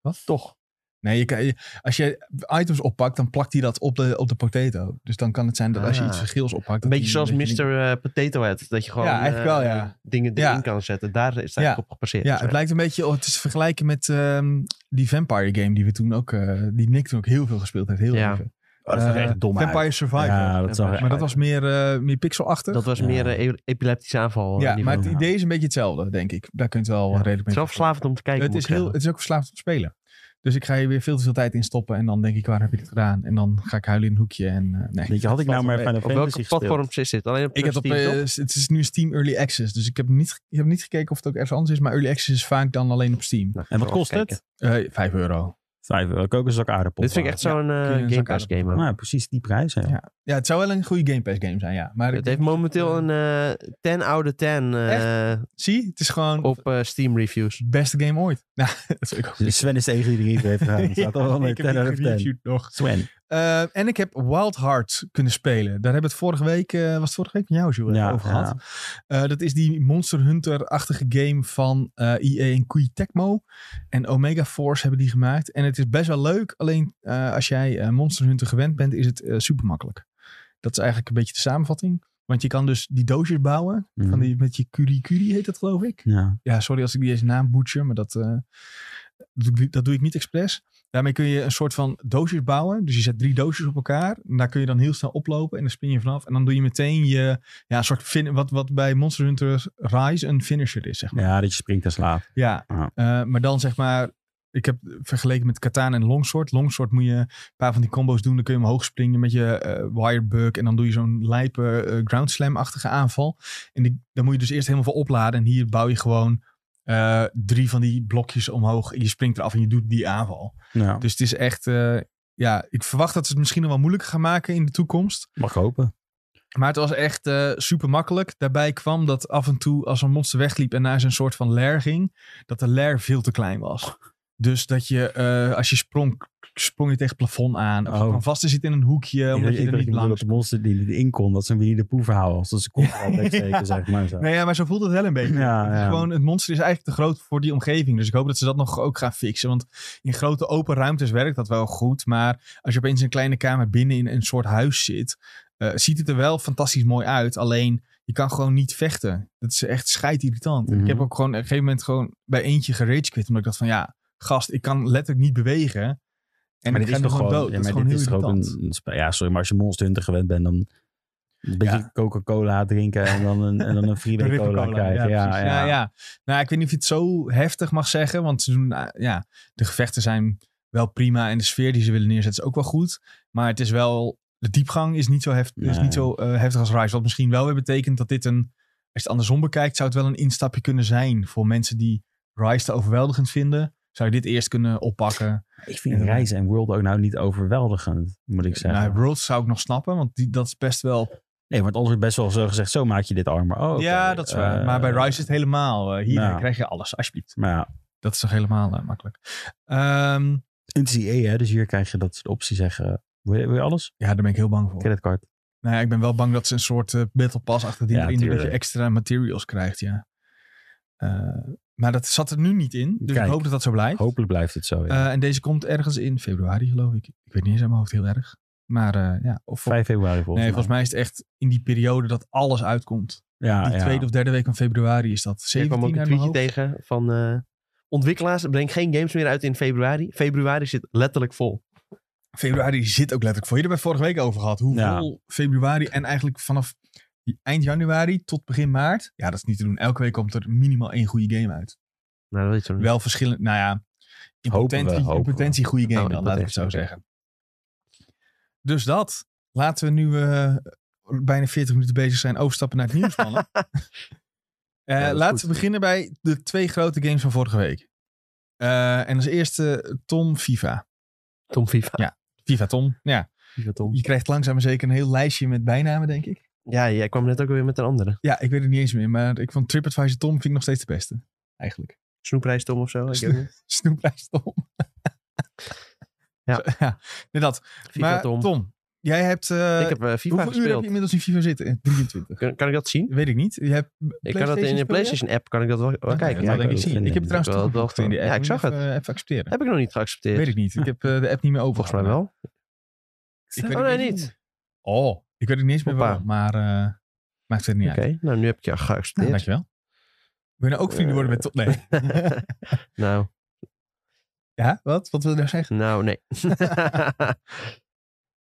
A: Wat? Toch? Nee, je kan, je- als je items oppakt, dan plakt hij dat op de, op de potato. Dus dan kan het zijn dat als je
C: Ah.
A: iets vergeels oppakt...
C: Een
A: dat
C: beetje
A: hij-
C: zoals
A: dat je
C: Mr.
A: niet-
C: eh, Potato Head. Dat je gewoon
A: Ja, eigenlijk
C: eh,
A: wel, ja.
C: dingen
A: Ja.
C: erin kan zetten. Daar is het eigenlijk op gepasseerd.
A: Ja, het lijkt een beetje... oh, het is te vergelijken met ehm, die Vampire game die we toen ook... eh, die Nick toen ook heel veel gespeeld heeft. Heel
C: Ja.
A: even.
B: Oh, dat is
A: Eh,
B: echt dom uit.
A: Vampire Survivor.
B: Ja, dat zag
C: Maar
B: er
A: maar dat
B: uit.
A: was meer, eh, meer pixelachtig.
C: dat was
B: Ja.
C: meer eh, e- epileptische aanval.
A: ja, maar het
B: niveau.
A: idee is een beetje hetzelfde, denk ik. Daar kunt je wel
C: Ja.
A: redelijk
C: het is
A: mee
C: wel verslavend om te kijken.
A: Het
C: moet
A: is,
C: ik
A: heel,
C: zeggen.
A: het is ook verslaafd op spelen. Dus ik ga hier weer veel te veel tijd in stoppen. En dan denk ik, waar heb je dit gedaan? En dan ga ik huilen in een hoekje. En, eh, nee.
B: Weet je, had ik nou maar Final
C: Op welke
B: Fantasy gespeeld.
C: platforms is dit? Alleen op
A: Ik heb op,
C: Steam,
A: eh,
C: toch?
A: het is nu Steam Early Access. Dus ik heb niet, ik heb niet gekeken of het ook ergens anders is. Maar Early Access is vaak dan alleen op Steam.
C: Nou,
B: En wat
C: even
B: kost
C: kijken.
B: het?
A: Eh 5 euro.
B: Vijf euro. Kook een zak aardappel.
C: Dit vind ik echt zo'n eh,
A: kun je een
C: Game
A: zak
C: Pass
A: aardappelen.
C: game. ook.
B: Nou, precies die prijs. hè.
A: Ja. Ja, het zou wel een goede Game Pass game zijn, ja. Maar
C: Het
A: ik-
C: heeft momenteel een eh 10 out of 10 eh,
A: zie, het is gewoon
C: op eh, Steam reviews.
A: beste game ooit. Nou, dat vind ik ook.
B: Dus Sven is de enige die erin heeft gedaan. Het staat al
A: ik
B: met
A: heb
B: 10
A: niet
B: out of 10.
A: gereviewd nog.
B: Sven.
A: Eh, en ik heb Wild Heart kunnen spelen. Daar hebben we het vorige week, eh, was het vorige week met jou, Jules,
B: Ja,
A: over
B: ja.
A: gehad. Eh, dat is die Monster Hunter-achtige game van eh EA en Koei Tecmo. En Omega Force hebben die gemaakt. En het is best wel leuk. Alleen eh, als jij eh, Monster Hunter gewend bent, is het eh, super makkelijk. Dat is eigenlijk een beetje de samenvatting. Want je kan dus die doosjes bouwen. Van
B: Mhm.
A: die, met je Curie Curie heet dat geloof ik.
B: Ja.
A: Ja, sorry als ik die eens naam boetje, maar dat, eh, dat, doe, ik- dat doe ik niet expres. Daarmee kun je een soort van doosjes bouwen. Dus je zet drie doosjes op elkaar. En daar kun je dan heel snel oplopen en dan spin je vanaf. En dan doe je meteen je, ja, een soort fin wat, wat bij Monster Hunter Rise een finisher is, zeg maar.
B: ja, dat je springt en slaat.
A: Ja,
B: Ja.
A: eh, maar dan zeg maar, ik heb vergeleken met katana en longsword. Longsword moet je een paar van die combo's doen. Dan kun je omhoog springen met je eh wirebug. En dan doe je zo'n lijpe eh, ground slam-achtige aanval. En die, dan moet je dus eerst helemaal voor opladen. En hier bouw je gewoon eh, drie van die blokjes omhoog. En je springt eraf en je doet die aanval.
B: Ja.
A: Dus het is echt, eh, ja, ik verwacht dat ze het misschien nog wel moeilijker gaan maken in de toekomst.
B: Mag hopen.
A: Maar het was echt eh, super makkelijk. Daarbij kwam dat af en toe als een monster wegliep en naar zijn soort van lair ging, dat de lair veel te klein was. Dus dat je, eh, als je sprong, sprong je tegen het plafond aan. Of je
B: Oh.
A: kwam vast te zitten in een hoekje, omdat je er niet
B: lang...
A: langs
B: Dat de monster die erin kon, dat ze hem weer niet de poe verhouden. Als dat ze kop al wegsteken, zeg maar zo.
A: Nee, ja, maar zo voelt het wel een beetje.
B: Ja,
A: het, is
B: ja.
A: Gewoon, het monster is eigenlijk te groot voor die omgeving. Dus ik hoop dat ze dat nog ook gaan fixen. Want in grote open ruimtes werkt dat wel goed. Maar als je opeens in een kleine kamer binnen in een soort huis zit, eh, ziet het er wel fantastisch mooi uit. Alleen je kan gewoon niet vechten. Dat is echt scheidirritant.
B: Mhm.
A: Ik heb ook gewoon op een gegeven moment gewoon bij eentje geragequit. Omdat ik dacht van ja, gast, ik kan letterlijk niet bewegen. En
B: maar
A: ik
B: dit
A: ga
B: is
A: nu
B: toch
A: gewoon
B: gewoon...
A: dood.
B: ja,
A: dat is
B: maar
A: gewoon
B: dit
A: heel
B: is toch ook
A: irritant.
B: een, een spe- Ja, sorry, maar als je Monster Hunter gewend bent, dan... Een beetje
A: Ja.
B: Coca-Cola drinken en dan een, en dan een freeway
A: Een
B: cola
A: River Cola,
B: krijgen. Ja,
A: precies.
B: ja, ja.
A: Nou, ik weet niet of je het zo heftig mag zeggen. Want ze doen, nou, ja, de gevechten zijn wel prima. En de sfeer die ze willen neerzetten is ook wel goed. Maar het is wel... De diepgang is niet zo, heft, is
B: Nee.
A: niet zo eh, heftig als Rise. Wat misschien wel weer betekent dat dit een... Als je het andersom bekijkt, zou het wel een instapje kunnen zijn. Voor mensen die Rise te overweldigend vinden. Zou je dit eerst kunnen oppakken.
B: Ik vind reizen en World ook nou niet overweldigend, moet ik zeggen.
A: Nou, Worlds zou ik nog snappen. Want die, dat is best wel...
B: nee, want anders wordt best wel zo gezegd, zo maak je dit armor. Oh, oké.
A: Ja, dat is waar.
B: Eh,
A: maar bij Rise is het helemaal... eh, hier
B: nou.
A: krijg je alles, alsjeblieft.
B: Maar ja, het
A: Dat is toch helemaal eh, makkelijk. Ehm
B: is IE, hè, dus hier krijg je dat soort opties zeggen. Wil je, wil je alles?
A: Ja, daar ben ik heel bang voor.
B: Creditcard.
A: Nou ja, ik ben wel bang dat ze een soort eh, battle pass achter die
B: Ja,
A: erin dat je
B: tuurlijk.
A: extra materials krijgt, ja. Eh, maar dat zat er nu niet in, dus
B: Kijk.
A: ik hoop dat dat zo blijft.
B: Hopelijk blijft het zo. Ja.
A: Eh, en deze komt ergens in februari, geloof ik. Ik weet niet eens uit mijn hoofd heel erg. Maar eh, ja, of
B: 5 februari volgens
A: nee,
B: mij.
A: volgens mij is het echt in die periode dat alles uitkomt.
B: ja,
A: Die
B: ja.
A: tweede of derde week van februari is dat.
C: Ik
A: 17
C: kwam ook een
A: uit mijn
C: tweetje
A: hoofd.
C: tegen van eh, ontwikkelaars, breng geen games meer uit in februari. Februari zit letterlijk vol.
A: Februari zit ook letterlijk voor. Je hebt het vorige week over gehad. Hoeveel februari en eigenlijk vanaf eind januari tot begin maart. Ja, dat is niet te doen. Elke week komt er minimaal één goede game uit.
C: Nou, dat weet je nog niet.
A: Wel verschillend, nou ja, in
B: Hopen we,
A: potentie, in
B: hopen we.
A: potentie goede game
C: Oh, in
A: dan, laat ik het zo
C: potentie,
A: zeggen. Dus dat. Laten we nu eh, bijna 40 minuten bezig zijn overstappen naar het nieuws, mannen. Eh,
C: dat is
A: laten
C: goed.
A: we beginnen bij de twee grote games van vorige week. Eh, en als eerste Tom FIFA.
C: Tom FIFA.
A: Ja. FIFA Tom, ja.
C: FIFA Tom.
A: Je krijgt langzaam maar zeker een heel lijstje met bijnamen, denk ik.
C: Ja, jij kwam net ook weer met een andere.
A: Ja, ik weet het niet eens meer, maar ik vond TripAdvisor Tom vind ik nog steeds de beste. Eigenlijk.
C: Snoeprijs Tom of zo. Ik weet niet.
A: Snoeprijs Tom.
C: Ja.
A: Zo, ja. Nee, dat.
C: FIFA
A: maar Tom.
C: Tom.
A: jij hebt... eh,
C: ik heb eh, FIFA
A: hoeveel uur heb
C: gespeeld.
A: je inmiddels in FIFA zitten? Eh, 23.
C: Kan, kan ik dat zien?
A: Weet ik niet. Je hebt
C: Ik kan
A: PlayStation
C: dat in de
A: speel je?
C: PlayStation app kan ik dat wel, wel
A: Oké,
C: kijken.
A: dat zal
B: ja, ik
A: denk ik
B: ook
A: zien.
B: vinden.
A: Ik heb het
C: Ik
A: trouwens
C: wel- wel
A: toegevoegd in
C: gewoon-
A: die app.
C: Ja, ik
A: Moet
C: zag
A: je Even, eh, even accepteren.
C: Heb ik nog niet geaccepteerd.
A: Weet ik niet. Ik heb eh, de app niet meer over.
C: Volgens mij wel.
A: Ik weet
C: Oh,
A: het
C: nee, niet.
A: Oh, ik weet het niet eens meer
C: Hoppa.
A: waarom, maar eh, maakt het niet
C: Oké,
A: uit.
C: nou nu heb ik je
A: Nou,
C: geaccepteerd.
A: dankjewel. Wil je nou ook vrienden worden met Tom? Nee.
C: nou,
A: ja, wat? Wat wil je nou zeggen?
C: nou nee.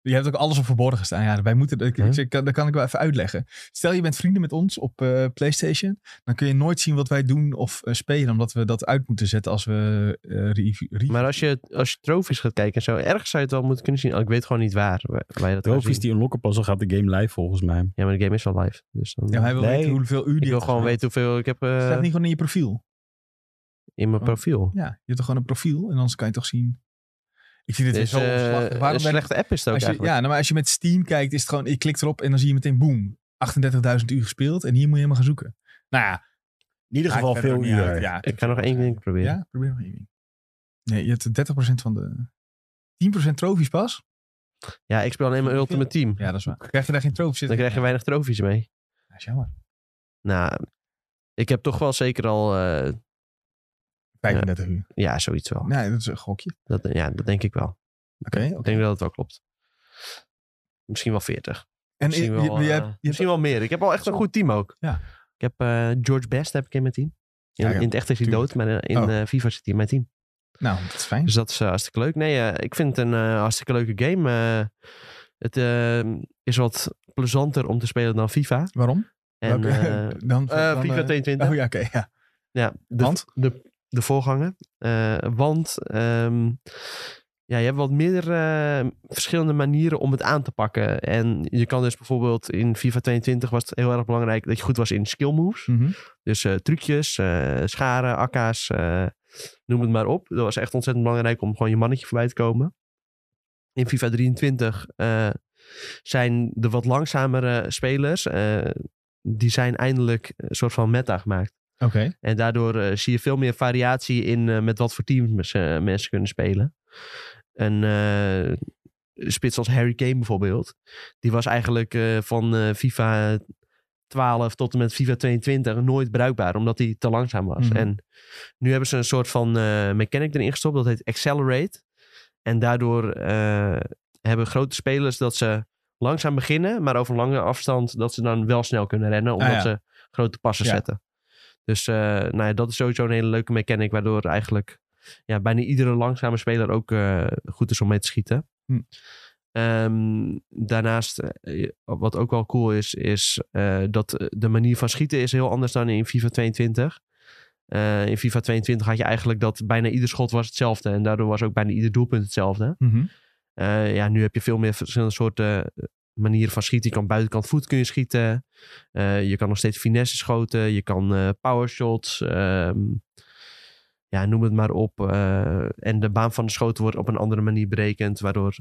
A: Je hebt ook alles op verborgen staan. Ja, wij moeten, ik,
C: Huh?
A: ik- dat kan ik wel even uitleggen. Stel je bent vrienden met ons op eh, PlayStation. Dan kun je nooit zien wat wij doen of eh, spelen. Omdat we dat uit moeten zetten als we eh review- review-
C: maar als je, als je trofies gaat kijken en zo, ergens zou je het wel moeten kunnen zien. Oh, ik weet gewoon niet waar, waar waar je dat kan
B: Trofies
C: zien.
B: die unlocken pas, dan gaat de game live volgens mij.
C: Ja, maar de game is wel live. Dus dan,
A: Ja, maar hij wil
B: Nee.
A: weten hoeveel uur die
C: ik wil
A: heeft
C: gewoon
A: gespeeld.
C: weten hoeveel ik heb eh,
A: Staat niet gewoon in je profiel?
C: in mijn
A: Oh.
C: profiel.
A: Ja, je hebt toch gewoon een profiel en anders kan je toch zien. Ik vind dit
C: Dus,
A: weer zo
C: eh,
A: onverslachtig.
C: een
A: Waarom ben
C: slechte app is het ook
A: als je,
C: eigenlijk.
A: ja, nou, maar als je met Steam kijkt, is het gewoon, je klikt erop en dan zie je meteen boom. 38.000 uur gespeeld en hier moet je helemaal gaan zoeken. Nou ja,
B: In ieder geval
A: maakt verder
B: veel
A: ook niet
B: uur.
A: uit. Ja,
C: Ik ga nog één ding proberen.
A: Ja, probeer nog één ding. Nee, je hebt 30% van de... 10% trofies pas?
C: Ja, ik speel alleen maar Ultimate Team.
A: Ja, dat is waar. Krijg je daar geen trofies
C: Dan
A: zitten?
C: krijg je weinig trofies mee.
A: Ja, is jammer.
C: Nou, ik heb toch wel zeker al, eh,
A: 35 uur.
C: ja, zoiets wel.
A: Nee, dat is een gokje.
C: Dat, ja, dat denk ik wel.
A: Oké.
C: Ik
A: oké.
C: denk dat het wel klopt. Misschien wel 40.
A: En je,
C: misschien, wel,
A: je- je
C: eh,
A: hebt- je hebt
C: misschien wel meer. Ik heb al echt een goed team ook.
A: Ja.
C: Ik heb eh, George Best heb ik in mijn team. In,
A: Ja, ja,
C: in het echt is hij
A: tuurlijk.
C: dood, maar eh, in
A: Oh.
C: eh, FIFA zit hij in mijn team.
A: Nou, dat is fijn.
C: Dus dat is eh, hartstikke leuk. Nee, eh, ik vind het een eh, hartstikke leuke game. Eh, het eh, is wat plezanter om te spelen dan FIFA.
A: Waarom?
C: En,
A: Welke-
C: eh,
A: dan,
C: eh,
A: dan,
C: FIFA
A: eh,
C: 22.
A: Oh ja, oké. ja.
C: Ja, de,
A: Want?
C: de, de voorganger. Eh, want ehm, ja, je hebt wat meer eh, verschillende manieren om het aan te pakken. En je kan dus bijvoorbeeld in FIFA 22 was het heel erg belangrijk dat je goed was in skill moves.
A: Mhm.
C: Dus eh, trucjes, eh, scharen, akka's, eh, noem het maar op. Dat was echt ontzettend belangrijk om gewoon je mannetje voorbij te komen. In FIFA 23 eh, zijn de wat langzamere spelers, eh, die zijn eindelijk een soort van meta gemaakt.
A: Oké.
C: En daardoor eh, zie je veel meer variatie in eh, met wat voor teams eh, mensen kunnen spelen. Een eh, spits als Harry Kane bijvoorbeeld. Die was eigenlijk eh, van eh, FIFA 12 tot en met FIFA 22 nooit bruikbaar. Omdat hij te langzaam was.
A: Mhm.
C: En nu hebben ze een soort van eh, mechanic erin gestopt. Dat heet Accelerate. En daardoor eh, hebben grote spelers dat ze langzaam beginnen. Maar over een lange afstand dat ze dan wel snel kunnen rennen. Omdat
A: Ah, ja.
C: ze grote passen
A: Ja.
C: zetten. Dus eh, nou ja, dat is sowieso een hele leuke mechanic. Waardoor eigenlijk ja, bijna iedere langzame speler ook eh, goed is om mee te schieten.
A: Hm.
C: Ehm, daarnaast, eh, wat ook wel cool is, is eh, dat eh, de manier van schieten is heel anders dan in FIFA 22. Eh, in FIFA 22 had je eigenlijk dat bijna ieder schot was hetzelfde. En daardoor was ook bijna ieder doelpunt hetzelfde.
A: Mhm.
C: Eh, ja, nu heb je veel meer verschillende soorten eh, manieren van schieten. Je kan buitenkant voet kun je schieten. Eh, je kan nog steeds finesse schoten. Je kan eh powershots. ehm, ja, noem het maar op. Eh, en de baan van de schoten wordt op een andere manier berekend. Waardoor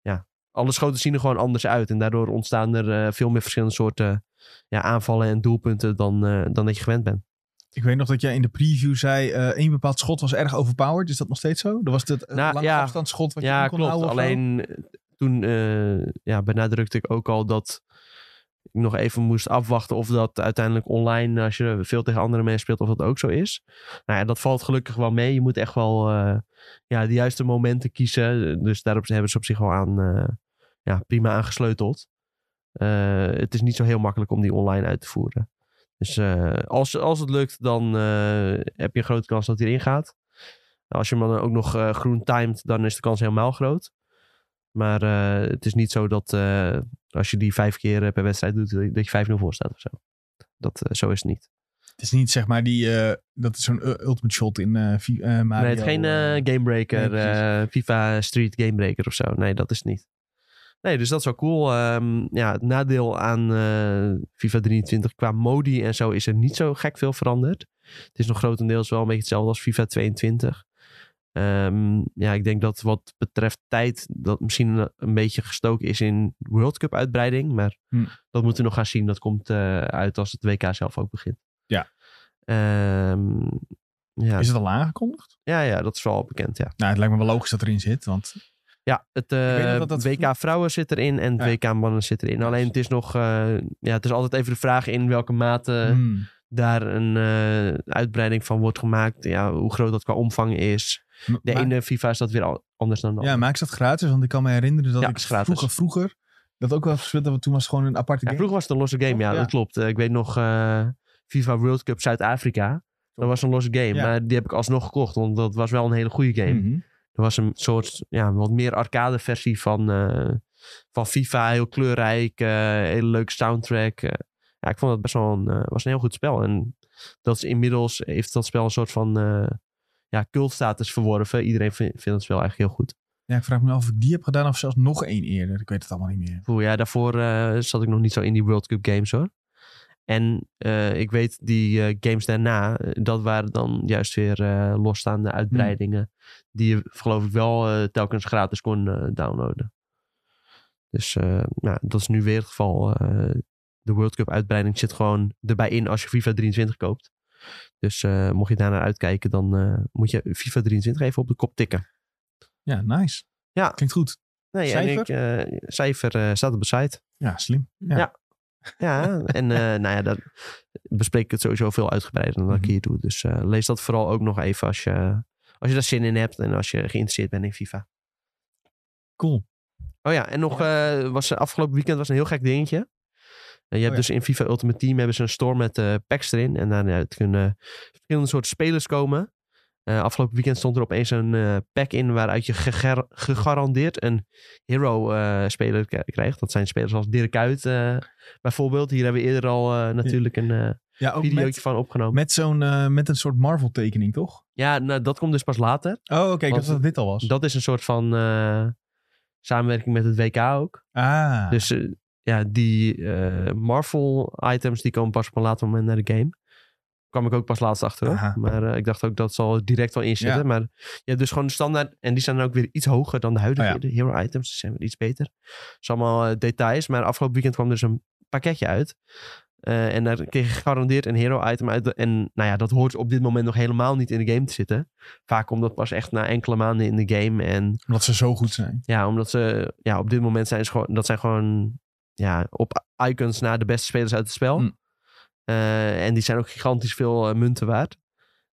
C: ja, alle schoten zien er gewoon anders uit. En daardoor ontstaan er eh, veel meer verschillende soorten ja, aanvallen en doelpunten dan, eh, dan dat je gewend bent.
A: Ik weet nog dat jij in de preview zei, eh één bepaald schot was erg overpowered. Is dat nog steeds zo? Dat was het
C: Nou,
A: lange
C: ja.
A: afstandsschot wat je
C: ja,
A: in kon
C: klopt.
A: houden of zo?
C: Alleen eh, toen eh, ja, benadrukte ik ook al dat ik nog even moest afwachten of dat uiteindelijk online, eh, als je veel tegen andere mensen speelt, of dat ook zo is. Nou ja, dat valt gelukkig wel mee. Je moet echt wel eh, ja, de juiste momenten kiezen. Dus daarop hebben ze op zich wel aan, eh, ja, prima aangesleuteld. Eh, het is niet zo heel makkelijk om die online uit te voeren. Dus eh, als, als het lukt, dan eh, heb je een grote kans dat hij erin gaat. Als je hem dan ook nog eh, groen timed, dan is de kans helemaal groot. Maar eh, het is niet zo dat eh, als je die vijf keer eh, per wedstrijd doet, dat je 5-0 voor staat of zo. Dat, eh, zo is het niet.
A: Het is niet zeg maar die, eh, dat is zo'n eh, ultimate shot in eh Vi- eh, Mario.
C: nee, het is geen
A: eh,
C: eh, gamebreaker,
A: nee,
C: eh, FIFA Street gamebreaker of zo. Nee, dat is het niet. Nee, dus dat is wel cool. Ehm, ja, het nadeel aan eh, FIFA 23 qua modi en zo is er niet zo gek veel veranderd. Het is nog grotendeels wel een beetje hetzelfde als FIFA 22. Ehm, ja, ik denk dat wat betreft tijd dat misschien een, een beetje gestoken is in World Cup uitbreiding. Maar
A: Hm.
C: dat moeten we nog gaan zien. Dat komt eh, uit als het WK zelf ook begint.
A: Ja.
C: Ehm, ja,
A: Is het al aangekondigd?
C: ja, ja, dat is wel bekend, ja.
A: Nou, het lijkt me wel logisch dat erin zit, want...
C: Ja, het
A: weet nog
C: eh,
A: dat dat-
C: WK vrouwen zit erin en het WK mannen zit erin. Alleen het is nog, eh, ja, het is altijd even de vraag in welke mate
A: hmm.
C: daar een eh, uitbreiding van wordt gemaakt. Ja, hoe groot dat qua omvang is.
A: Ma-
C: De
A: ma-
C: ene FIFA is dat weer al anders dan de
A: Ja,
C: andere.
A: maak ze dat gratis? Want ik kan me herinneren dat
C: Ja,
A: ik
C: is gratis.
A: vroeger, vroeger dat ook wel gespeeld hebben. Toen was het gewoon een aparte
C: Ja,
A: game.
C: vroeger was het een losse game, ja,
A: Ja.
C: dat klopt. Eh, ik weet nog eh, FIFA World Cup Zuid-Afrika. Dat was een losse game,
A: Ja.
C: maar die heb ik alsnog gekocht, want dat was wel een hele goede game.
A: Mhm.
C: Er was een soort, ja, wat meer arcade versie van, eh, van FIFA. Heel kleurrijk, eh hele leuke soundtrack. eh. ja, ik vond dat best wel een, eh, was een heel goed spel. En dat is inmiddels, heeft dat spel een soort van, eh ja, cultstatus verworven. Iedereen vind- vindt het spel eigenlijk heel goed.
A: Ja, ik vraag me af of ik die heb gedaan of zelfs nog één eerder. Ik weet het allemaal niet meer.
C: Oeh, ja, daarvoor eh, zat ik nog niet zo in die World Cup games hoor. En eh, ik weet die eh, games daarna, eh, dat waren dan juist weer eh, losstaande uitbreidingen. Die je geloof ik wel eh, telkens gratis kon eh, downloaden. Dus eh, nou, dat is nu weer het geval. eh, de World Cup uitbreiding zit gewoon erbij in als je FIFA 23 koopt. Dus eh, mocht je daarnaar uitkijken, dan eh, moet je FIFA 23 even op de kop tikken.
A: Ja, nice.
C: Ja.
A: Klinkt goed.
C: Nee, En
A: Cijfer?
C: ik, eh, cijfer eh, staat op de site.
A: Ja, slim. Ja.
C: Ja. Ja, en eh, nou ja, dat bespreek ik het sowieso veel uitgebreider dan dat ik
A: Mhm.
C: hier doe. Dus eh, lees dat vooral ook nog even als je, als je daar zin in hebt en als je geïnteresseerd bent in FIFA.
A: Cool.
C: Oh ja, en nog eh, was er afgelopen weekend was een heel gek dingetje. Eh, je hebt
A: Oh
C: dus in FIFA Ultimate Team hebben ze een store met eh, packs erin. En daaruit kunnen verschillende soorten spelers komen. Eh, afgelopen weekend stond er opeens een eh, pack in waaruit je gegar- gegarandeerd een hero-speler krijgt. Dat zijn spelers als Dirk Kuyt eh, bijvoorbeeld. Hier hebben we eerder al eh, natuurlijk een eh,
A: Ja, ook
C: videootje
A: met,
C: van opgenomen.
A: met zo'n eh, met een soort Marvel tekening, toch?
C: Ja, nou, dat komt dus pas later.
A: Oh, oké. ik
C: Want-
A: dacht dat dit al was.
C: Dat is een soort van eh, samenwerking met het WK ook.
A: ah.
C: Dus eh, ja, die eh, Marvel-items die komen pas op een later moment naar de game. Kwam ik ook pas laatst achter. hoor.
A: Aha.
C: Maar eh, ik dacht ook dat zal er direct wel in zitten.
A: Ja.
C: Maar je hebt dus gewoon de standaard. En die zijn dan ook weer iets hoger dan de huidige
A: Oh
C: hero-items. Die zijn weer iets beter. Het is allemaal eh, details. Maar afgelopen weekend kwam dus een dus pakketje uit. Eh, Eh, en daar kreeg je gegarandeerd een hero-item uit. En nou ja, dat hoort op dit moment nog helemaal niet in de game te zitten. Vaak komt dat pas echt na enkele maanden in de game. En
A: Omdat ze zo goed zijn.
C: ja, omdat ze ja, op dit moment zijn ze gewoon, dat zijn gewoon ja, op icons na de beste spelers uit het spel.
A: Hm.
C: Eh, en die zijn ook gigantisch veel eh, munten waard.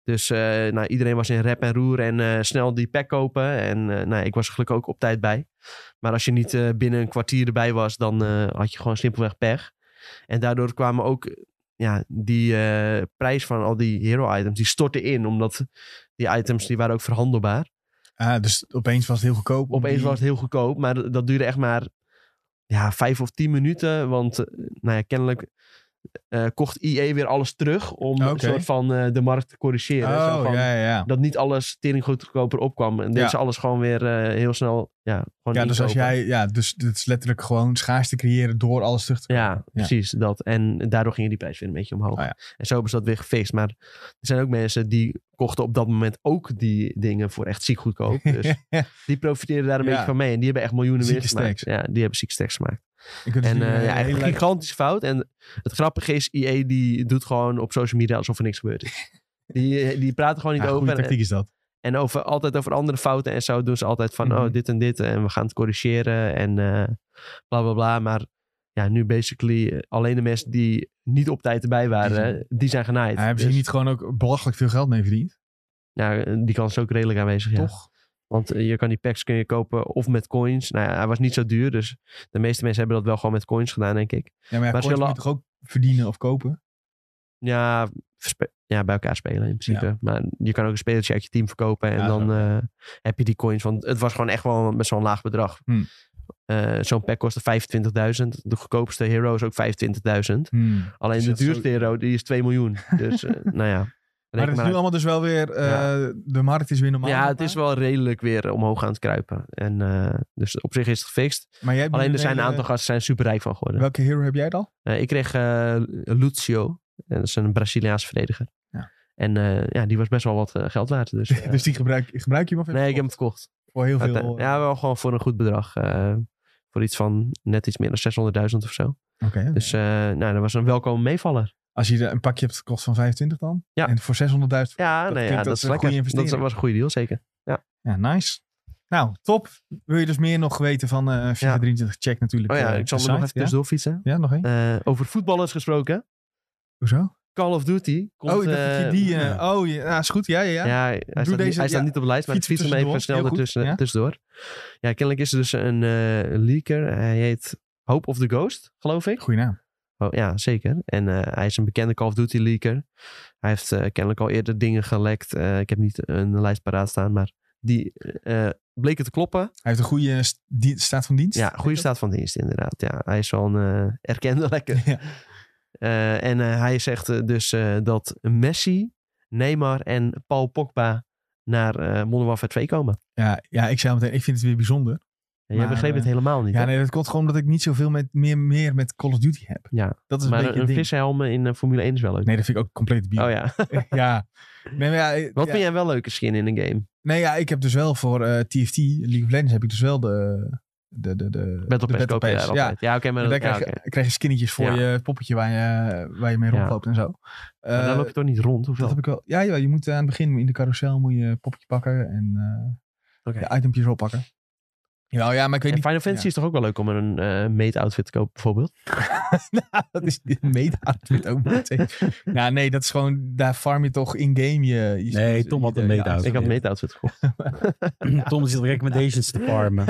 C: Dus eh, nou, iedereen was in rep en roer en eh, snel die pack kopen. En eh, nou, ik was er gelukkig ook op tijd bij. Maar als je niet eh, binnen een kwartier erbij was, dan eh, had je gewoon simpelweg pech. En daardoor kwamen ook eh, ja, die eh, prijs van al die hero items, die stortte in. Omdat die items, die waren ook verhandelbaar.
A: Ah, dus opeens was het heel goedkoop. om
C: Opeens
A: die-
C: was het heel goedkoop, maar d- dat duurde echt maar ja, vijf of tien minuten. Want eh, nou ja, kennelijk eh, kocht IE weer alles terug om een
A: Oké.
C: soort van eh, de markt te corrigeren. Zo
A: Oh,
C: van,
A: ja, ja, ja.
C: Dat niet alles tering goedkoper opkwam. En dit
A: Ja.
C: is alles gewoon weer eh, heel snel. Ja, gewoon
A: Ja, dus als
C: inkopen.
A: jij, ja, dus het is letterlijk gewoon schaarste creëren door alles terug te
C: Ja, precies. Dat. En daardoor ging die prijs weer een beetje omhoog.
A: Ah, ja.
C: En zo hebben ze dat weer gefixt. Maar er zijn ook mensen die kochten op dat moment ook die dingen voor echt ziek goedkoop. Dus die profiteren daar een
A: Ja.
C: beetje van mee. En die hebben echt miljoenen
A: Zieke
C: winst gemaakt.
A: stacks.
C: Ja, die hebben ziek stacks gemaakt.
A: Ik wil dus
C: En
A: nu,
C: eh,
A: eh,
C: ja,
A: heel
C: eigenlijk
A: leuk-
C: een gigantische fout. En het grappige is, IE die doet gewoon op social media alsof er niks gebeurd is. Die, eh, die praten gewoon niet
A: Ja, goede
C: over. En,
A: tactiek is dat.
C: en over, altijd over andere fouten en zo doen ze altijd van,
A: Mhm.
C: oh, dit en dit. En we gaan het corrigeren en eh bla bla bla. Maar ja, nu basically eh, alleen de mensen die niet op tijd erbij waren, die, zijn genaaid.
A: Ja, hebben ze
C: Dus,
A: hier niet gewoon ook belachelijk veel geld mee verdiend?
C: ja, die kans is ook redelijk aanwezig, ja.
A: Toch?
C: Want eh, je kan die packs kun je kopen of met coins. Nou ja, hij was niet zo duur, dus de meeste mensen hebben dat wel gewoon met coins gedaan, denk ik.
A: Ja, maar ja,
C: Maar
A: coins
C: zullen-
A: moet je toch ook verdienen of kopen?
C: Ja, verspe- ja, bij elkaar spelen in principe. Maar je kan ook een spelertje uit je team verkopen en
A: Ja,
C: dan
A: zo.
C: eh, heb je die coins. Want het was gewoon echt wel best wel een laag bedrag.
A: Hmm.
C: Eh, Zo'n pack kostte 25.000. De goedkoopste hero is ook 25.000.
A: Hmm.
C: Alleen
A: Dus
C: de
A: dat is zo-
C: duurste hero die is 2 miljoen. Dus eh, nou ja.
A: Maar het
C: reken
A: is
C: maar
A: nu
C: uit.
A: allemaal dus wel weer, eh, de markt is weer normaal.
C: ja,
A: zeg
C: het is
A: maar.
C: wel redelijk weer omhoog aan het kruipen. En, eh, dus op zich is het gefixt.
A: Maar jij hebt
C: Alleen
A: nu
C: er zijn een
A: hele-
C: aantal gasten zijn super rijk van geworden.
A: Welke hero heb jij dan?
C: Eh, ik kreeg eh, Lucio. En dat is een Braziliaans verdediger.
A: Ja.
C: En eh, ja, die was best wel wat eh, geld waard. Dus, eh,
A: Dus die gebruik, gebruik je hem of heb je
C: nee, ik heb
A: hem
C: hem verkocht.
A: voor heel
C: Uite-
A: veel. eh,
C: ja, wel gewoon voor een goed bedrag. eh, voor iets van net iets meer dan 600.000 of zo.
A: Oké.
C: Dus eh, nou, dat was een welkome meevaller.
A: Als je er een pakje hebt gekocht van 25 dan?
C: Ja.
A: En voor 600.000?
C: Ja,
A: Dat
C: nee, ja,
A: klinkt
C: dat,
A: als
C: is
A: een
C: lekker.
A: goede
C: dat
A: investering.
C: was een goede deal, zeker.
A: Ja, nice. Nou, top. Wil je dus meer nog weten van eh FIFA
C: Ja.
A: 23? Check natuurlijk
C: Oh ja,
A: eh,
C: ik zal
A: de
C: er nog even
A: site, ja?
C: tussendoor fietsen.
A: Ja, nog één.
C: Eh, over voetballers gesproken.
A: Hoezo?
C: Call of Duty. Komt,
A: oh, ik dacht dat je
C: eh,
A: die... eh,
B: ja.
A: Oh, ja, ja, is goed. Ja, ja, ja.
C: Ja, hij, staat, niet-
A: deze-
C: hij staat
A: ja,
C: niet op de lijst, maar ik
A: fiets
C: fiets hem
A: tussendoor.
C: even snel
A: Heel goed,
C: ertussen,
A: ja.
C: tussendoor. Ja, kennelijk is er dus een eh, leaker. Hij heet Hope of the Ghost, geloof ik.
A: Goeie naam.
C: Oh, ja, zeker. En eh, hij is een bekende Call of Duty leaker. Hij heeft eh, kennelijk al eerder dingen gelekt. Eh, ik heb niet een lijst paraat staan, maar die eh bleken te kloppen.
A: Hij heeft een goede eh, st- die- staat van dienst.
C: Ja, goede staat van dienst inderdaad. Ja, hij is wel een eh, erkende lekker.
A: Ja.
C: Eh, en eh, hij zegt eh, dus eh, dat Messi, Neymar en Paul Pogba naar eh Modern Warfare 2 komen.
A: Ja, ja, ik zei al meteen, ik vind het weer bijzonder. Maar,
C: Ja, jij begreep het
A: eh,
C: helemaal niet.
A: Ja,
C: hè?
A: nee, dat komt gewoon omdat ik niet zoveel met, meer, meer met Call of Duty heb.
C: Ja.
A: Dat is een
C: maar
A: beetje
C: een,
A: het ding.
C: vishelm in eh, Formule 1 is wel leuk.
A: Nee, dat vind ik ook compleet bier.
C: oh ja.
A: ja. Nee, maar ja, eh,
C: Wat
A: ja.
C: vind jij wel leuke skin in een game?
A: Nee, ja, ik heb dus wel voor eh, TFT, League of Legends, heb ik dus wel de... De, de, de,
C: Battle
A: de
C: Pass koop je daar
A: Ja,
C: altijd. Ja, oké, maar
A: En
C: dat,
A: daar
C: ja,
A: krijg, je-
C: oké.
A: krijg je skinnetjes voor
C: Ja.
A: je poppetje waar je, waar je mee
C: Ja.
A: rondloopt en zo.
C: Maar
A: Eh,
C: dan loop je toch niet rond, of
A: dat
C: wel?
A: heb ik wel. Ja, jawel, je moet eh, aan het begin in de carousel moet je poppetje pakken en eh
C: Oké.
A: je itempjes oppakken. Jawel, ja, maar ik weet
C: En
A: niet.
C: Final Fantasy is toch ook wel leuk om er een eh mate-outfit te kopen, bijvoorbeeld?
A: dat is dit meta-outfit ook meteen. nou, nee, dat is gewoon, daar farm je toch in-game je, je-
B: Nee,
A: je-
B: Tom had
A: je-
B: een
A: je-
B: meta-outfit.
C: Ik had
B: Ja.
C: een meta-outfit gekocht.
B: Tom zit recommendations te farmen.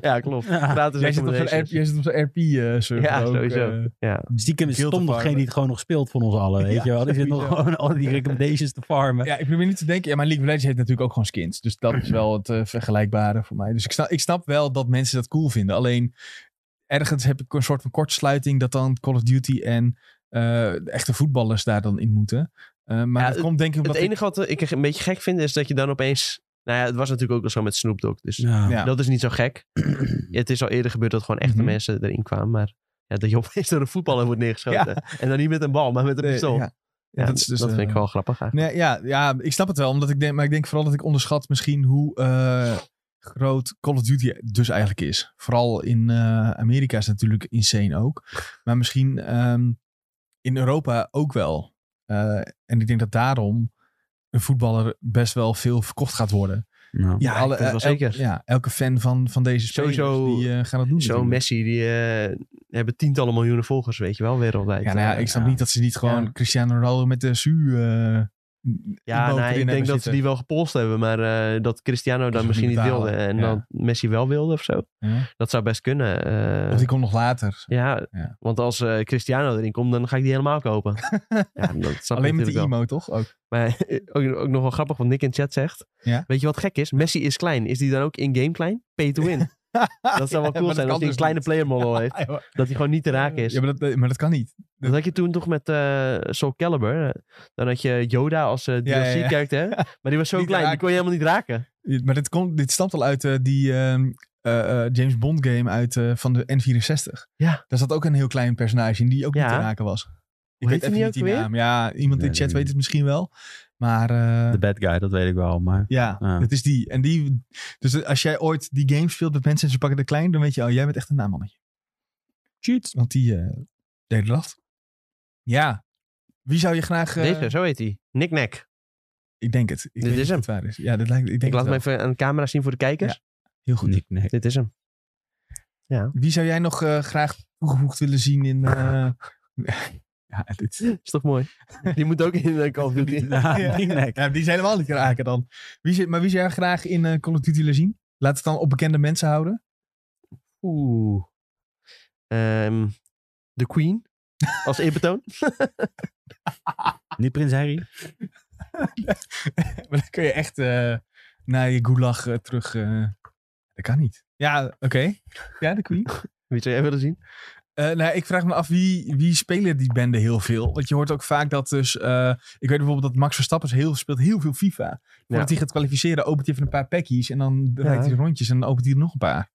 C: ja, klopt. Gratis
A: Jij zit op zo'n RP,
C: recommendations.
A: jij zit op zo'n RP eh, server
C: Ja,
A: ook,
C: sowieso.
A: eh.
C: Ja.
B: Stiekem is
A: Guilty
B: Dus Tom degene
A: farmen.
B: die het gewoon nog speelt van ons allen. Weet
A: Ja,
B: je wel? Die zit nog
A: sowieso.
B: gewoon al die recommendations te farmen.
A: ja, ik probeer niet te denken. Ja, maar League of Legends heeft natuurlijk ook gewoon skins. Dus dat is wel het eh, vergelijkbare voor mij. Dus ik snap, ik snap wel dat mensen dat cool vinden. Alleen ergens heb ik een soort van kortsluiting dat dan Call of Duty en eh, de echte voetballers daar dan in moeten. Eh, maar
C: Ja,
A: dat komt denk ik
C: Het
A: omdat ik-
C: enige wat eh, ik een beetje gek vind, is dat je dan opeens... Nou ja, het was natuurlijk ook al zo met Snoop Dogg, dus
B: Ja.
A: Ja.
C: dat is niet zo gek. het is al eerder gebeurd dat gewoon echte
A: Mhm.
C: mensen erin kwamen, maar... Ja, dat je opeens door een voetballer wordt neergeschoten. En dan niet met een bal, maar met een
A: Nee,
C: pistool.
A: Eh, ja. Ja,
C: Ja,
A: dat is dus,
C: vind
A: eh,
C: ik wel grappig eigenlijk.
A: Nee, ja, ja, ik snap het wel. Omdat ik denk, maar ik denk vooral dat ik onderschat misschien hoe eh, groot Call of Duty dus eigenlijk is. Vooral in eh, Amerika is het natuurlijk insane ook. Maar misschien ehm, in Europa ook wel. Eh, en ik denk dat daarom een voetballer best wel veel verkocht gaat worden.
B: Ja.
C: Ja, ik vind het wel
A: elke-
C: zeker.
A: ja, elke fan van, van deze spelers
C: Sowieso
A: die, eh, gaan dat doen.
C: Zo'n
A: natuurlijk.
C: Messi, die eh, hebben tientallen miljoenen volgers, weet je wel, wereldwijd.
A: Ja, nou ja, ik snap niet dat ze niet gewoon
C: Ja.
A: Cristiano Ronaldo met de SU. eh,
C: Ja,
A: boot
C: nou,
A: erin
C: ik denk
A: hebben
C: dat ze
A: zitten.
C: die wel gepolst hebben, maar eh, dat Cristiano
A: ze
C: dan misschien niet
A: niet
C: wilde.
A: betalen.
C: En
A: Ja.
C: dat Messi wel wilde of zo.
A: ja.
C: Dat zou best kunnen. eh.
A: Of die komt nog later.
C: ja,
A: Ja.
C: want als eh, Cristiano erin komt, dan ga ik die helemaal kopen. ja, dat snap ik
A: Alleen met
C: natuurlijk
A: de
C: wel.
A: IMO, toch? Ook.
C: Maar eh, ook, ook nog wel grappig wat Nick in chat zegt.
A: Ja.
C: Weet je wat gek is? Messi is klein. Is die dan ook in-game klein? Pay to win. Dat zou wel
A: Ja, maar
C: cool zijn
A: dat
C: als hij
A: kan
C: een
A: dus
C: kleine
A: niet.
C: player model heeft.
A: Ja, joh.
C: Dat hij gewoon niet te raken is.
A: Ja, maar dat, maar dat kan niet.
C: Dat had je toen toch met eh, Soul Calibur. eh, Dan had je Yoda als eh
A: Ja, ja, ja.
C: DLC-character. Maar die was zo
A: Niet te
C: klein, die
A: raken.
C: kon je helemaal niet raken.
A: Maar dit, komt dit stamt al uit eh, die ehm, eh, eh, James Bond game uit, eh, van de N64.
C: Ja.
A: Daar zat ook een heel klein personage in die ook
C: Ja.
A: niet te raken was.
C: heet die ook weer?
A: Ja, iemand
B: Nee,
A: in de
B: dat
A: chat
B: weet
A: weet
B: ik
A: het misschien wel. Maar eh,
B: De Ah. bad guy, dat weet ik wel. Maar
A: ja,
B: Ja.
A: het is die. En die. Dus als jij ooit die game speelt met mensen en ze pakken de klein, dan weet je, oh, jij bent echt een namannetje.
B: cheat.
A: Want die eh deed last. Ja. Wie zou je graag. eh,
C: Deze, zo heet hij. Nick-nack.
A: Ik denk het. Ik weet
C: is
A: niet of
C: hem.
A: het waar is. Ja, dit lijkt, ik denk
C: Ik laat
A: het
C: hem
A: wel.
C: even aan de camera zien voor de kijkers.
A: Heel goed.
B: Nick, Nick.
C: Dit is hem.
A: Wie zou jij nog eh, graag toegevoegd willen zien in... eh, ja, dit...
C: Is toch mooi? Die moet ook in eh, Call of Duty.
B: Ja,
A: Ja.
B: Nick, Nick.
A: ja, die is helemaal niet te raken dan. Wie, zou- maar wie zou jij graag in eh, Call of Duty willen zien? Laat het dan op bekende mensen houden.
C: Oeh. Ehm, de Queen. Als eerbetoon.
B: Niet Prins Harry.
A: maar dan kun je echt eh, naar je gulag eh, terug... eh, dat kan niet. Ja, oké. Ja, de Queen.
C: Wie zou jij willen zien?
A: Eh, nou, ja, ik vraag me af wie, wie spelen die bende heel veel. Want je hoort ook vaak dat dus. eh, ik weet bijvoorbeeld dat Max Verstappen is heel, speelt heel veel FIFA. Voordat hij gaat kwalificeren, opent hij even een paar packies. En dan rijdt hij rondjes en dan opent hij er nog een paar.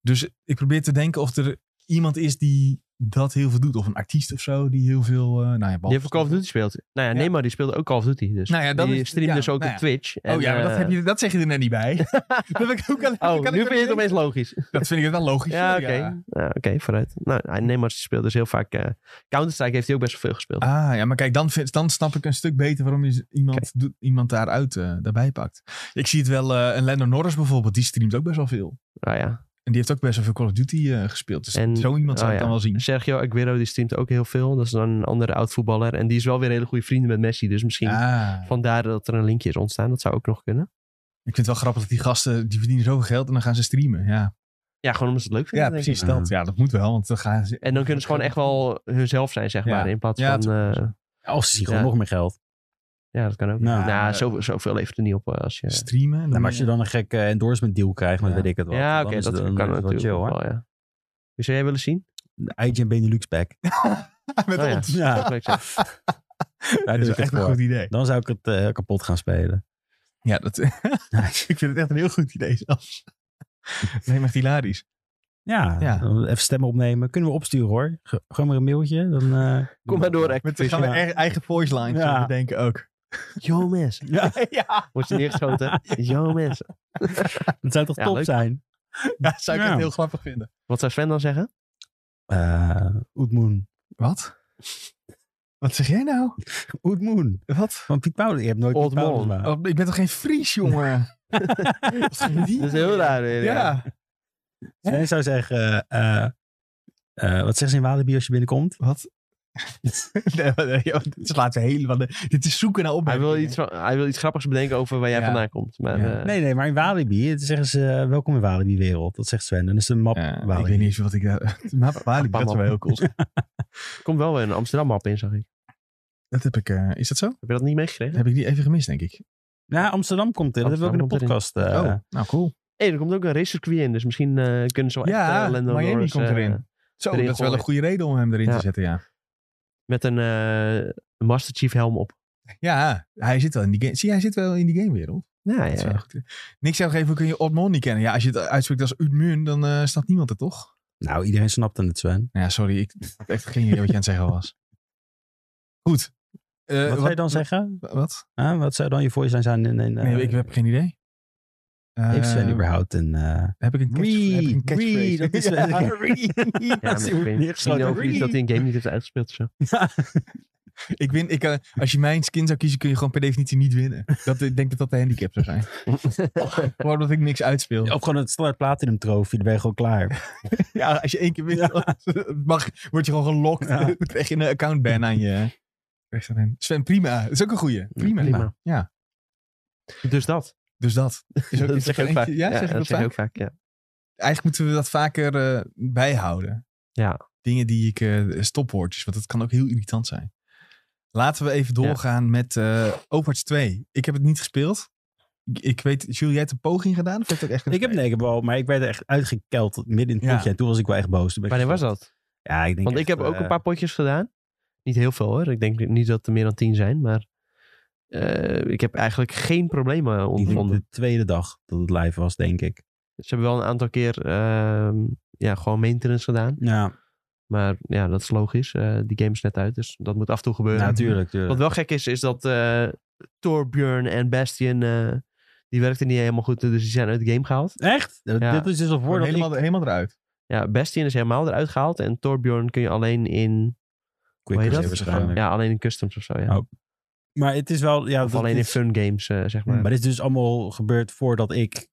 A: Dus ik probeer te denken of er iemand is die dat heel veel doet. Of een artiest of zo die heel veel. eh nou ja,
C: Die heeft voor Call of Duty speelt. Nou ja,
A: Ja.
C: Nemo die speelde ook Call of Duty. Dus.
A: Nou ja, dat
C: die
A: is-
C: streamde
A: ja,
C: dus ook
A: nou
C: op
A: ja.
C: Twitch.
A: Oh
C: en,
A: ja, maar dat,
C: eh,
A: heb je, dat zeg je er net niet bij. dat heb ik, hoe kan, hoe
C: Oh,
A: kan
C: nu
A: ik
C: vind je het
A: dat
C: opeens logisch.
A: Dat vind ik het wel logisch.
C: Ja,
A: hoor,
C: oké. Ja, oké, vooruit. Nou, Neymar speelt dus heel vaak... eh, Counter-Strike heeft hij ook best wel veel gespeeld.
A: Ah ja, maar kijk, dan, vind- dan snap ik een stuk beter waarom je z- iemand, doet- iemand daaruit, eh, daarbij pakt. Ik zie het wel, eh een Lando Norris bijvoorbeeld, die streamt ook best wel veel.
C: Nou ja.
A: En die heeft ook best wel veel Call of Duty eh, gespeeld. Dus
C: En-
A: zo iemand zou
C: oh
A: ik
C: ja.
A: dan wel zien.
C: Sergio Aguero, die streamt ook heel veel. Dat is dan een andere oud-voetballer. En die is wel weer hele goede vrienden met Messi. Dus misschien
A: Ah,
C: vandaar dat er een linkje is ontstaan. Dat zou ook nog kunnen.
A: ik vind het wel grappig dat die gasten, die verdienen zoveel geld en dan gaan ze streamen. Ja,
C: Ja, gewoon omdat ze het leuk vinden.
A: ja
C: denk ik.
A: precies
B: ik.
A: dat. Ja, dat moet wel, want dan gaan ze...
C: En dan kunnen ze gewoon echt wel hunzelf zijn, zeg
A: Ja.
C: maar. In plaats
A: Ja,
C: van... eh,
B: Of ze zien
C: Ja.
B: gewoon nog meer geld.
C: ja, dat kan ook.
B: Nou,
C: Nou,
A: eh,
C: zo, zoveel levert het niet op eh, als je...
A: Streamen.
B: Nou,
A: dan
B: maar als je dan een gek eh, endorsement deal krijgt, maar
A: Ja.
B: weet ik het wel.
C: Ja, oké,
B: is
C: dat
B: het
C: kan
B: dan- is het wel
C: natuurlijk
B: chill,
C: ook
B: hoor.
C: wel, ja. Wie zou jij willen zien?
B: De IGN Benelux pack.
A: Ah, Met
C: Oh ja.
A: ons.
B: Ja,
C: Dat zou ik zeggen.
B: daar
A: dat
B: doe
A: is
B: ik het
A: echt een
B: voor.
A: goed idee.
B: Dan zou ik het eh, kapot gaan spelen.
A: Ja, dat, ik vind het echt een heel goed idee zelfs. Nee, maar echt hilarisch.
B: Ja,
A: Ja.
B: dan even stemmen opnemen. Kunnen we opsturen hoor. Ge- gewoon maar een mailtje. Dan, eh,
C: Kom maar door,
A: Met, dan gaan we
B: ja.
A: e- eigen voice lines
B: Ja.
A: eh, bedenken ook.
C: Yo, mensen.
B: Ja,
A: ja.
C: Wordt je neergeschoten? Yo, mensen.
B: dat zou toch
C: Ja,
B: top
C: leuk.
B: zijn?
A: Ja, dat zou ik
B: Ja.
A: echt heel grappig vinden.
C: Wat zou Sven dan zeggen?
B: Eh Oetmoen.
A: Wat? Wat zeg jij nou?
B: Oetmoen.
A: Wat?
B: Van Piet Paulus. Je hebt nooit
C: Old
B: Piet Paulus
C: Mon.
B: gemaakt.
A: Oh, ik ben toch geen Fries, jongen? Wat ging die?
C: Dat is heel raar. weer, ja.
A: Ja.
B: Sven Dus zou zeggen, eh, eh, eh, wat zeggen ze in Walibi als je binnenkomt?
A: Wat? nee, maar, nee, joh, dit slaat ze helemaal... Dit is zoeken naar
C: Hij,
A: opmerkingen.
C: wil iets van, hij wil iets grappigs bedenken over waar jij
A: Ja.
C: vandaan komt. Maar,
A: Ja.
C: eh,
B: Nee, nee, maar in Walibi dan zeggen ze, eh, welkom in Walibi wereld. Dat zegt Sven. En dat is de map
A: Ja, ik
B: Walibi.
A: weet niet eens wat ik... daar- Maar Walibi, dat Ah, is wel heel cool.
C: er komt wel weer een Amsterdam op in, zag ik.
A: Dat heb ik... eh, is dat zo?
C: Heb je dat niet meegekregen?
A: Dat heb ik die even gemist, denk ik.
B: Ja, Amsterdam komt er. Dat hebben we ook in de
C: Amsterdam
B: podcast. eh,
A: oh, nou cool.
C: Hé, er komt ook een racecircuit in, dus misschien eh, kunnen ze wel
A: Ja,
C: echt eh, Lando
A: Miami
C: Norris,
A: komt
C: eh,
A: erin. Zo,
C: erin
A: dat is wel een
C: gooien.
A: goede reden om hem erin
C: Ja.
A: te zetten, ja.
C: met een eh, Master Chief helm op.
A: Ja, hij zit wel in die game. Zie, hij zit wel in die gamewereld.
C: Ja, ja,
A: Dat is
C: ja.
A: wel goed. Niks zou geven, hoe kun je Otmon niet kennen? Ja, als je het uitspreekt als Utmun, dan eh, snapt niemand het toch?
B: Nou, iedereen snapte het, Sven.
A: Nou Ja, sorry, ik had echt geen idee wat je aan het zeggen was. Goed. Eh,
B: wat zou je dan zeggen?
A: Wat?
B: Huh? wat zou dan je voorzijn zijn? In, in, eh,
A: Nee, ik heb geen idee. Eh,
B: Heeft
A: Eh,
B: ze wel überhaupt een... eh,
A: Heb ik een catch- heb ik een catchphrase?
B: Wee, dat is
A: Ja.
B: ja, Wee.
C: Ja,
B: Als
C: maar ik
B: hij wordt
C: weet misschien
B: neergeschoten,
C: ook niet
B: Wee.
C: dat hij een game niet heeft uitgespeeld of zo.
B: Ja.
A: Ik win, ik, eh, als je mijn skin zou kiezen, kun je gewoon per definitie niet winnen. Dat, ik denk dat dat de handicap zou zijn. Gewoon omdat ik niks uitspeel.
B: Of gewoon het standaard platinum trofee, dan ben je gewoon klaar.
A: Ja, als je één keer wint,
B: Ja.
A: dan mag, word je gewoon gelokt.
B: Ja.
A: Dan krijg je een accountban aan je. Krijg je dan een- Sven, prima. Dat is ook een goeie. Prima.
C: prima.
A: Ja,
C: Dus dat.
A: dus dat. Is ook,
C: dat
A: is
C: zeg
A: er
C: je ook
A: eentje- Ja,
C: vaak.
A: zeg ik
C: dat
A: dat
C: zeg
A: vaak?
C: je ook vaak, ja.
A: Eigenlijk moeten we dat vaker eh, bijhouden.
C: Ja.
A: Dingen die ik... eh, stopwoordjes, want dat kan ook heel irritant zijn. Laten we even doorgaan met eh Overwatch 2. Ik heb het niet gespeeld. Ik, ik weet, Jules, jij hebt een poging gedaan? Of heb je het ook echt
B: Ik heb nee, ik heb wel, maar ik werd er echt uitgekeld midden in het
A: Ja.
B: potje. En toen was ik wel echt boos. Toen ben ik
C: Wanneer was
B: gestopt.
C: dat?
B: Ja, ik denk
C: Want ik
B: echt,
C: heb ook
B: eh,
C: een paar potjes gedaan. Niet heel veel hoor. Ik denk niet dat er meer dan tien zijn. Maar eh, ik heb eigenlijk geen problemen
B: ik denk
C: ondervonden.
B: de tweede dag dat het live was, denk ik.
C: Ze hebben wel een aantal keer ehm, ja, gewoon maintenance gedaan.
B: Ja,
C: Maar ja, dat is logisch. Eh, die game is net uit, dus dat moet af en toe gebeuren.
B: natuurlijk. tuurlijk.
C: Wat wel gek is, is dat eh Torbjörn en Bastion, eh, die werkten niet helemaal goed. Dus die zijn uit de game gehaald.
B: Echt? Dat-
C: Ja.
B: Dit is dus al
A: Gewoon
B: voordat ik
A: helemaal, helemaal eruit.
C: Ja, Bastion is helemaal eruit gehaald. En Torbjörn kun je alleen in,
B: Quick
C: hoe heet
B: was
C: dat?
B: waarschijnlijk.
C: ja, alleen in customs of zo. Ja.
B: Oh, Maar het is wel... Ja,
C: of
B: dat
C: alleen in
B: is-
C: fun games, eh, zeg maar.
B: Maar dit is dus allemaal gebeurd voordat ik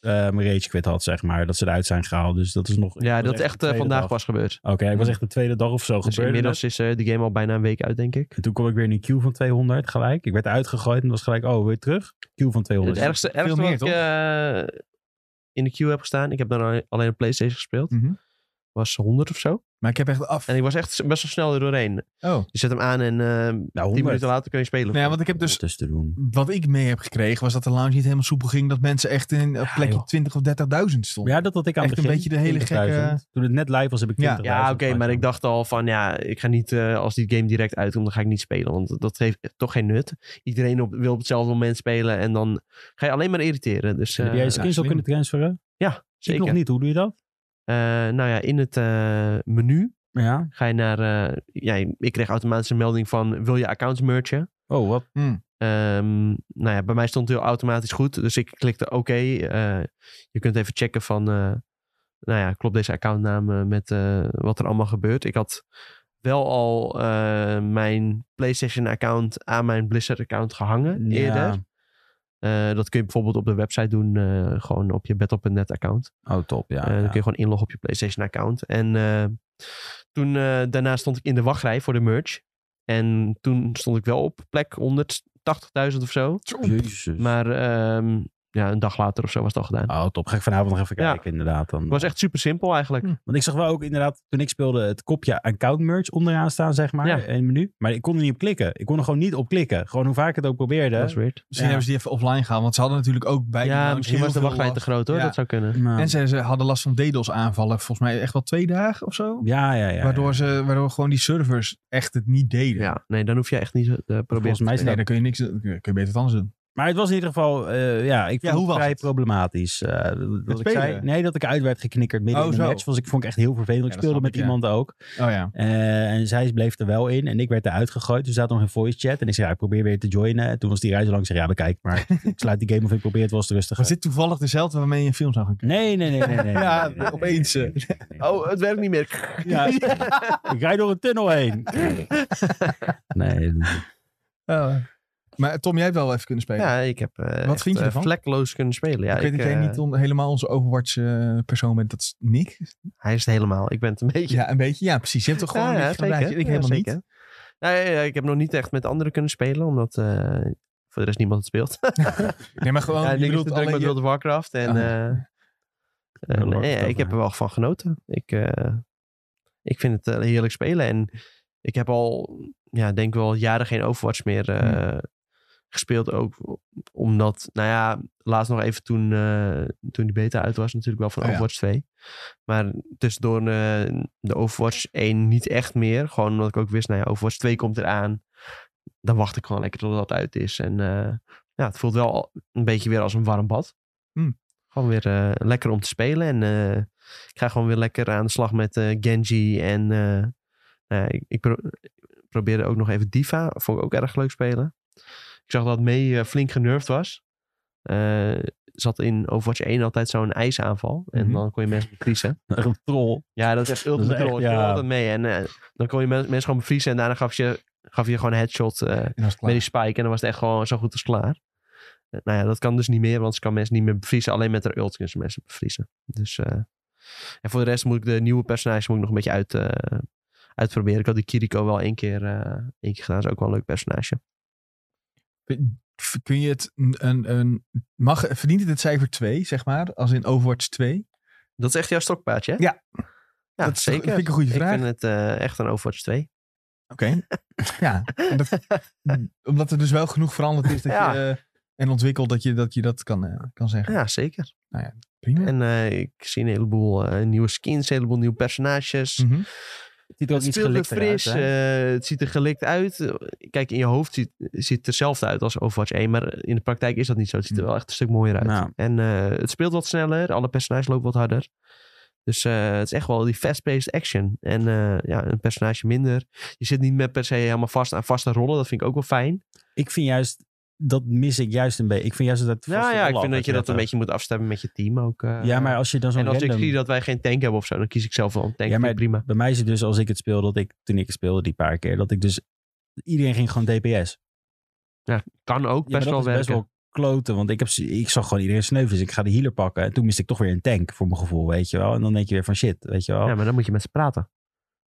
B: eh, mijn rage quit had, zeg maar. Dat ze eruit zijn gehaald. Dus dat is nog...
C: ja,
B: was
C: dat is
B: de
C: echt eh,
B: tweede
C: vandaag
B: dag.
C: pas gebeurd.
B: Oké, ik was echt de tweede dag of zo
C: Dus
B: gebeurd.
C: inmiddels is eh, de game al bijna een week uit, denk ik.
B: En toen kwam ik weer in een queue van 200 gelijk. Ik werd uitgegooid en was gelijk, oh, weer terug? Queue van 200.
C: Het ergste, ergste
A: meer,
C: wat ik
A: toch?
C: eh, in de queue heb gestaan, ik heb dan alleen- alleen op PlayStation gespeeld,
A: Mhm.
C: was 100 of zo.
A: Maar ik heb echt af.
C: Mm-hmm. En ik was echt best wel snel er doorheen.
A: Oh.
C: Je zet hem aan en eh
B: Nou,
C: 10
B: 100.
C: minuten later kun je spelen.
A: Nou ja, want ik heb dus.
B: tussen te doen.
A: Wat ik mee heb gekregen was dat de lounge niet helemaal soepel ging. Dat mensen echt in op plekje
B: joh.
A: 20 of 30.000 stonden.
B: Ja, dat had ik aan
A: Echt
B: het
A: een
B: begin.
A: beetje de hele
B: 20.000.
A: gekke-
B: Toen het net live was, heb ik
A: Ja.
B: 20.000.
C: Ja, oké, maar ik
B: dacht...
C: dacht al van ja, ik ga niet eh, als die game direct uitkomt, dan ga ik niet spelen. Want dat heeft toch geen nut. Iedereen op, wil op hetzelfde moment spelen en dan ga je alleen maar irriteren. Dus eh,
B: Heb jij je skins al
A: slim.
B: kunnen transferen? Ik
C: zeker.
B: nog niet. Hoe doe je dat?
C: Eh, nou ja, in het eh, menu
B: Ja.
C: ga je naar. eh, ja, ik kreeg automatisch een melding van: wil je accounts merchen?
B: Oh, wat?
A: Mm.
C: Ehm, nou ja, bij mij stond heel automatisch goed. Dus ik klikte oké. eh, je kunt even checken van, eh, nou ja, klopt deze accountnaam eh, met eh, wat er allemaal gebeurt. Ik had wel al eh, mijn PlayStation account aan mijn Blizzard account gehangen
B: Ja.
C: eerder. Eh, dat kun je bijvoorbeeld op de website doen, eh, gewoon op je battle.net account.
B: Oh, top. Ja.
C: Eh,
B: ja.
C: Dan kun je gewoon inloggen op je PlayStation account. En eh, toen eh, daarna stond ik in de wachtrij voor de merch. En toen stond ik wel op plek 180.000 of zo.
A: Dus-
B: Jezus.
C: Maar ehm, ja, een dag later of zo was het al gedaan.
A: Ah,
B: Oh, top. Ga ik vanavond nog even
C: Ja.
B: kijken, inderdaad. Dan.
C: Het was echt super simpel eigenlijk.
A: Hm.
B: Want ik zag wel ook inderdaad, toen ik speelde, het kopje account merch onderaan staan, zeg maar,
C: Ja.
B: in het menu. Maar ik kon er niet op klikken. Ik kon er gewoon niet op klikken. Gewoon hoe vaak ik het ook probeerde.
C: Dat is weird.
A: Misschien
B: Ja.
A: hebben ze die even offline gehaald. Want ze hadden natuurlijk ook bij. die
C: Ja,
A: lounge
C: misschien
A: nou, heel
C: was de
A: veel
C: wachtrij te
A: last.
C: groot hoor.
A: Ja.
C: Dat zou kunnen.
B: Maar-
A: En ze, ze hadden last van DDoS aanvallen. Volgens mij echt wel twee dagen of zo.
B: ja, ja, ja.
A: waardoor, ze, waardoor gewoon die servers echt het niet deden.
C: Ja, nee, dan hoef je echt niet eh, te proberen.
B: Volgens mij
A: Nee, dan kun je niks. Dan kun je beter het anders doen.
B: Maar het was in ieder geval, eh, ja, ik
A: Ja,
B: vond
A: hoe
B: het
A: was
B: vrij
A: het?
B: problematisch. Eh, dat ik
A: spelen?
B: zei, nee, dat ik uit werd geknikkerd midden
A: Oh,
B: in de
A: zo.
B: match. Was, ik vond ik echt heel vervelend. ik
A: dat
B: speelde
A: snap
B: met
A: ik, ja.
B: iemand ook.
A: Oh ja.
B: Eh, en zij bleef er wel in en ik werd eruit gegooid. Toen zat nog een voice chat en ik zei, ja, ik probeer weer te joinen. En toen was die reis langs. Ik zei, ja, bekijk maar. ik sluit die game of ik probeer het wel eens te rustig.
A: Was dit toevallig dezelfde waarmee je een film zou gaan kijken?
B: Nee, nee, nee, nee. nee, nee,
A: Ja,
B: nee, nee, nee,
A: opeens,
B: nee,
A: eh.
B: nee, nee, nee.
C: Oh, het werkt niet meer.
B: Ja, ik rijd door een tunnel heen. Nee.
A: Oh. Maar Tom, jij hebt wel even kunnen spelen.
C: Ja, ik heb eh,
A: Wat
C: echt,
A: vind je
C: eh,
A: ervan?
C: vlekloos kunnen spelen. Ja,
A: ik weet dat jij
C: eh,
A: niet on- helemaal onze Overwatch-persoon bent. Dat is Nick.
C: Hij is het helemaal. Ik ben het een beetje.
A: Ja, een beetje. Ja, precies. Je hebt toch gewoon
C: Ja,
A: een
C: ja,
A: beetje
C: zeker.
A: gelijk. Ik
C: Ja,
A: helemaal
C: zeker.
A: niet.
C: Nee, Nou, ja, ik heb nog niet echt met anderen kunnen spelen, omdat eh, voor de rest niemand het speelt.
A: Nee, maar gewoon,
C: ja,
A: je
C: ik bedoel,
A: bedoelt
C: druk
A: alleen
C: met
A: je-
C: World of Warcraft en...
A: Ah.
C: eh, eh, nee,
B: Lord of
C: ja, ik
B: Warcraft.
C: heb er wel van genoten. Ik, eh, ik vind het eh, heerlijk spelen en ik heb al, ja, denk wel jaren geen Overwatch meer eh,
A: Hmm.
C: gespeeld ook. Omdat, nou ja, laatst nog even toen, eh, toen die beta uit was natuurlijk wel van
A: Oh ja.
C: Overwatch 2. Maar tussendoor eh, de Overwatch 1 niet echt meer. Gewoon omdat ik ook wist, nou ja, Overwatch 2 komt eraan. Dan wacht ik gewoon lekker tot dat uit is. En eh, ja, het voelt wel al een beetje weer als een warm bad.
A: Hmm.
C: Gewoon weer eh, lekker om te spelen. En eh, ik ga gewoon weer lekker aan de slag met eh, Genji. En eh, nou ja, ik, ik pro- probeerde ook nog even Diva. Vond ik ook erg leuk spelen. Ik zag dat May eh, flink genervd was. Eh, zat in Overwatch 1 altijd zo'n ijsaanval. En
A: Mhm.
C: dan kon je mensen bevriezen.
B: Een troll.
C: Ja, dat is echt ultimate
B: Dat is echt,
C: troll.
B: ja.
C: Ja. altijd mee. En eh, dan kon je men- mensen gewoon bevriezen. En daarna gaf je, gaf je gewoon een headshot eh,
A: En als het
C: met
A: klaar.
C: die spike. En dan was het echt gewoon zo goed als klaar. Eh, nou ja, dat kan dus niet meer. Want ze kan mensen niet meer bevriezen. Alleen met haar ult kunnen ze mensen bevriezen. Dus, eh, en voor de rest moet ik de nieuwe personages moet ik nog een beetje uit, eh, uitproberen. Ik had die Kiriko wel één keer, eh, één keer gedaan. Dat is ook wel een leuk personage.
A: V- Kun je het een, een, een- mag, verdient het het cijfer 2, zeg maar, als in Overwatch 2?
C: Dat is echt jouw stokpaardje, hè?
A: Ja.
C: Ja,
A: Dat is toch-
C: zeker.
A: vind ik een goede vraag.
C: Ik vind het eh, echt een Overwatch 2.
A: Oké. ja. En dat, omdat er dus wel genoeg veranderd is dat
C: Ja.
A: je, eh, en ontwikkeld dat je dat, je dat kan, eh, kan zeggen.
C: Ja, zeker.
A: Prima.
C: En eh, ik zie een heleboel eh, nieuwe skins, een heleboel nieuwe personages.
A: Mhm.
B: Het ziet er ook
C: Het
B: iets
C: speelt weer
B: gelikt
C: fris.
B: uit. hè?
C: eh, het ziet er gelikt uit. Kijk, in je hoofd ziet, ziet het hetzelfde uit als Overwatch 1. Maar in de praktijk is dat niet zo. Het ziet er wel echt een stuk mooier uit.
B: Hm. Nou.
C: En eh, het speelt wat sneller. Alle personages lopen wat harder. Dus eh, het is echt wel die fast-paced action. En eh, ja, een personage minder. Je zit niet meer per se helemaal vast aan vaste rollen. Dat vind ik ook wel fijn.
B: Ik vind juist, dat mis ik juist een beetje. Ik vind juist dat het
C: Ja,
B: vaste
C: Nou ja ik
B: rollen
C: vind dat je dat een
B: altijd
C: beetje moet afstemmen met je team ook. eh.
B: prettig. Ja, maar als je dan zo'n
C: en als ik
B: random-
C: zie dat wij geen tank hebben of zo, dan kies ik zelf wel een tank.
B: Ja, maar-
C: Vind ik prima.
B: Bij mij is het dus als ik het speel, dat ik toen ik speelde die paar keer, dat ik dus iedereen ging gewoon DPS.
C: Kan ook
B: Ja, maar
C: best
B: dat
C: wel
B: is
C: werken.
B: best wel kloten, want ik, heb, ik zag gewoon iedereen sneuvelen. Dus ik ga de healer pakken. En toen miste ik toch weer een tank, voor mijn gevoel, weet je wel. En dan denk je weer van shit, weet je wel.
C: Ja, maar dan moet je met ze praten.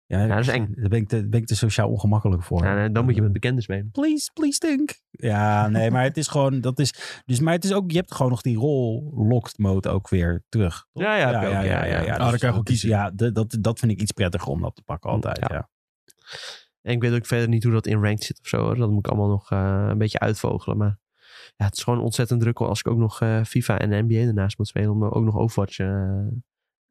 B: Ja,
C: Ja, dat is eng.
B: Daar ben ik te, daar ben ik te sociaal ongemakkelijk voor. Eh,
C: Ja, en dan moet je met bekenden spelen.
B: Please, please think. Ja, nee, maar het is gewoon, dat is, dus, maar het is ook, je hebt gewoon nog die rol locked mode ook weer terug. toch?
C: Ja, ja, heb je ook, ja, ja.
A: Ah, dan kan je
B: Dus
A: gewoon
B: dat is-
A: kiezen.
B: Ja, de- dat, dat vind ik iets prettiger om dat te pakken altijd,
C: Ja.
B: ja.
C: En ik weet ook verder niet hoe dat in ranked zit of zo. Hoor. Dat moet ik allemaal nog eh, een beetje uitvogelen. Maar ja, het is gewoon ontzettend druk als ik ook nog eh, FIFA en NBA ernaast moet spelen. Om ook nog Overwatch. eh,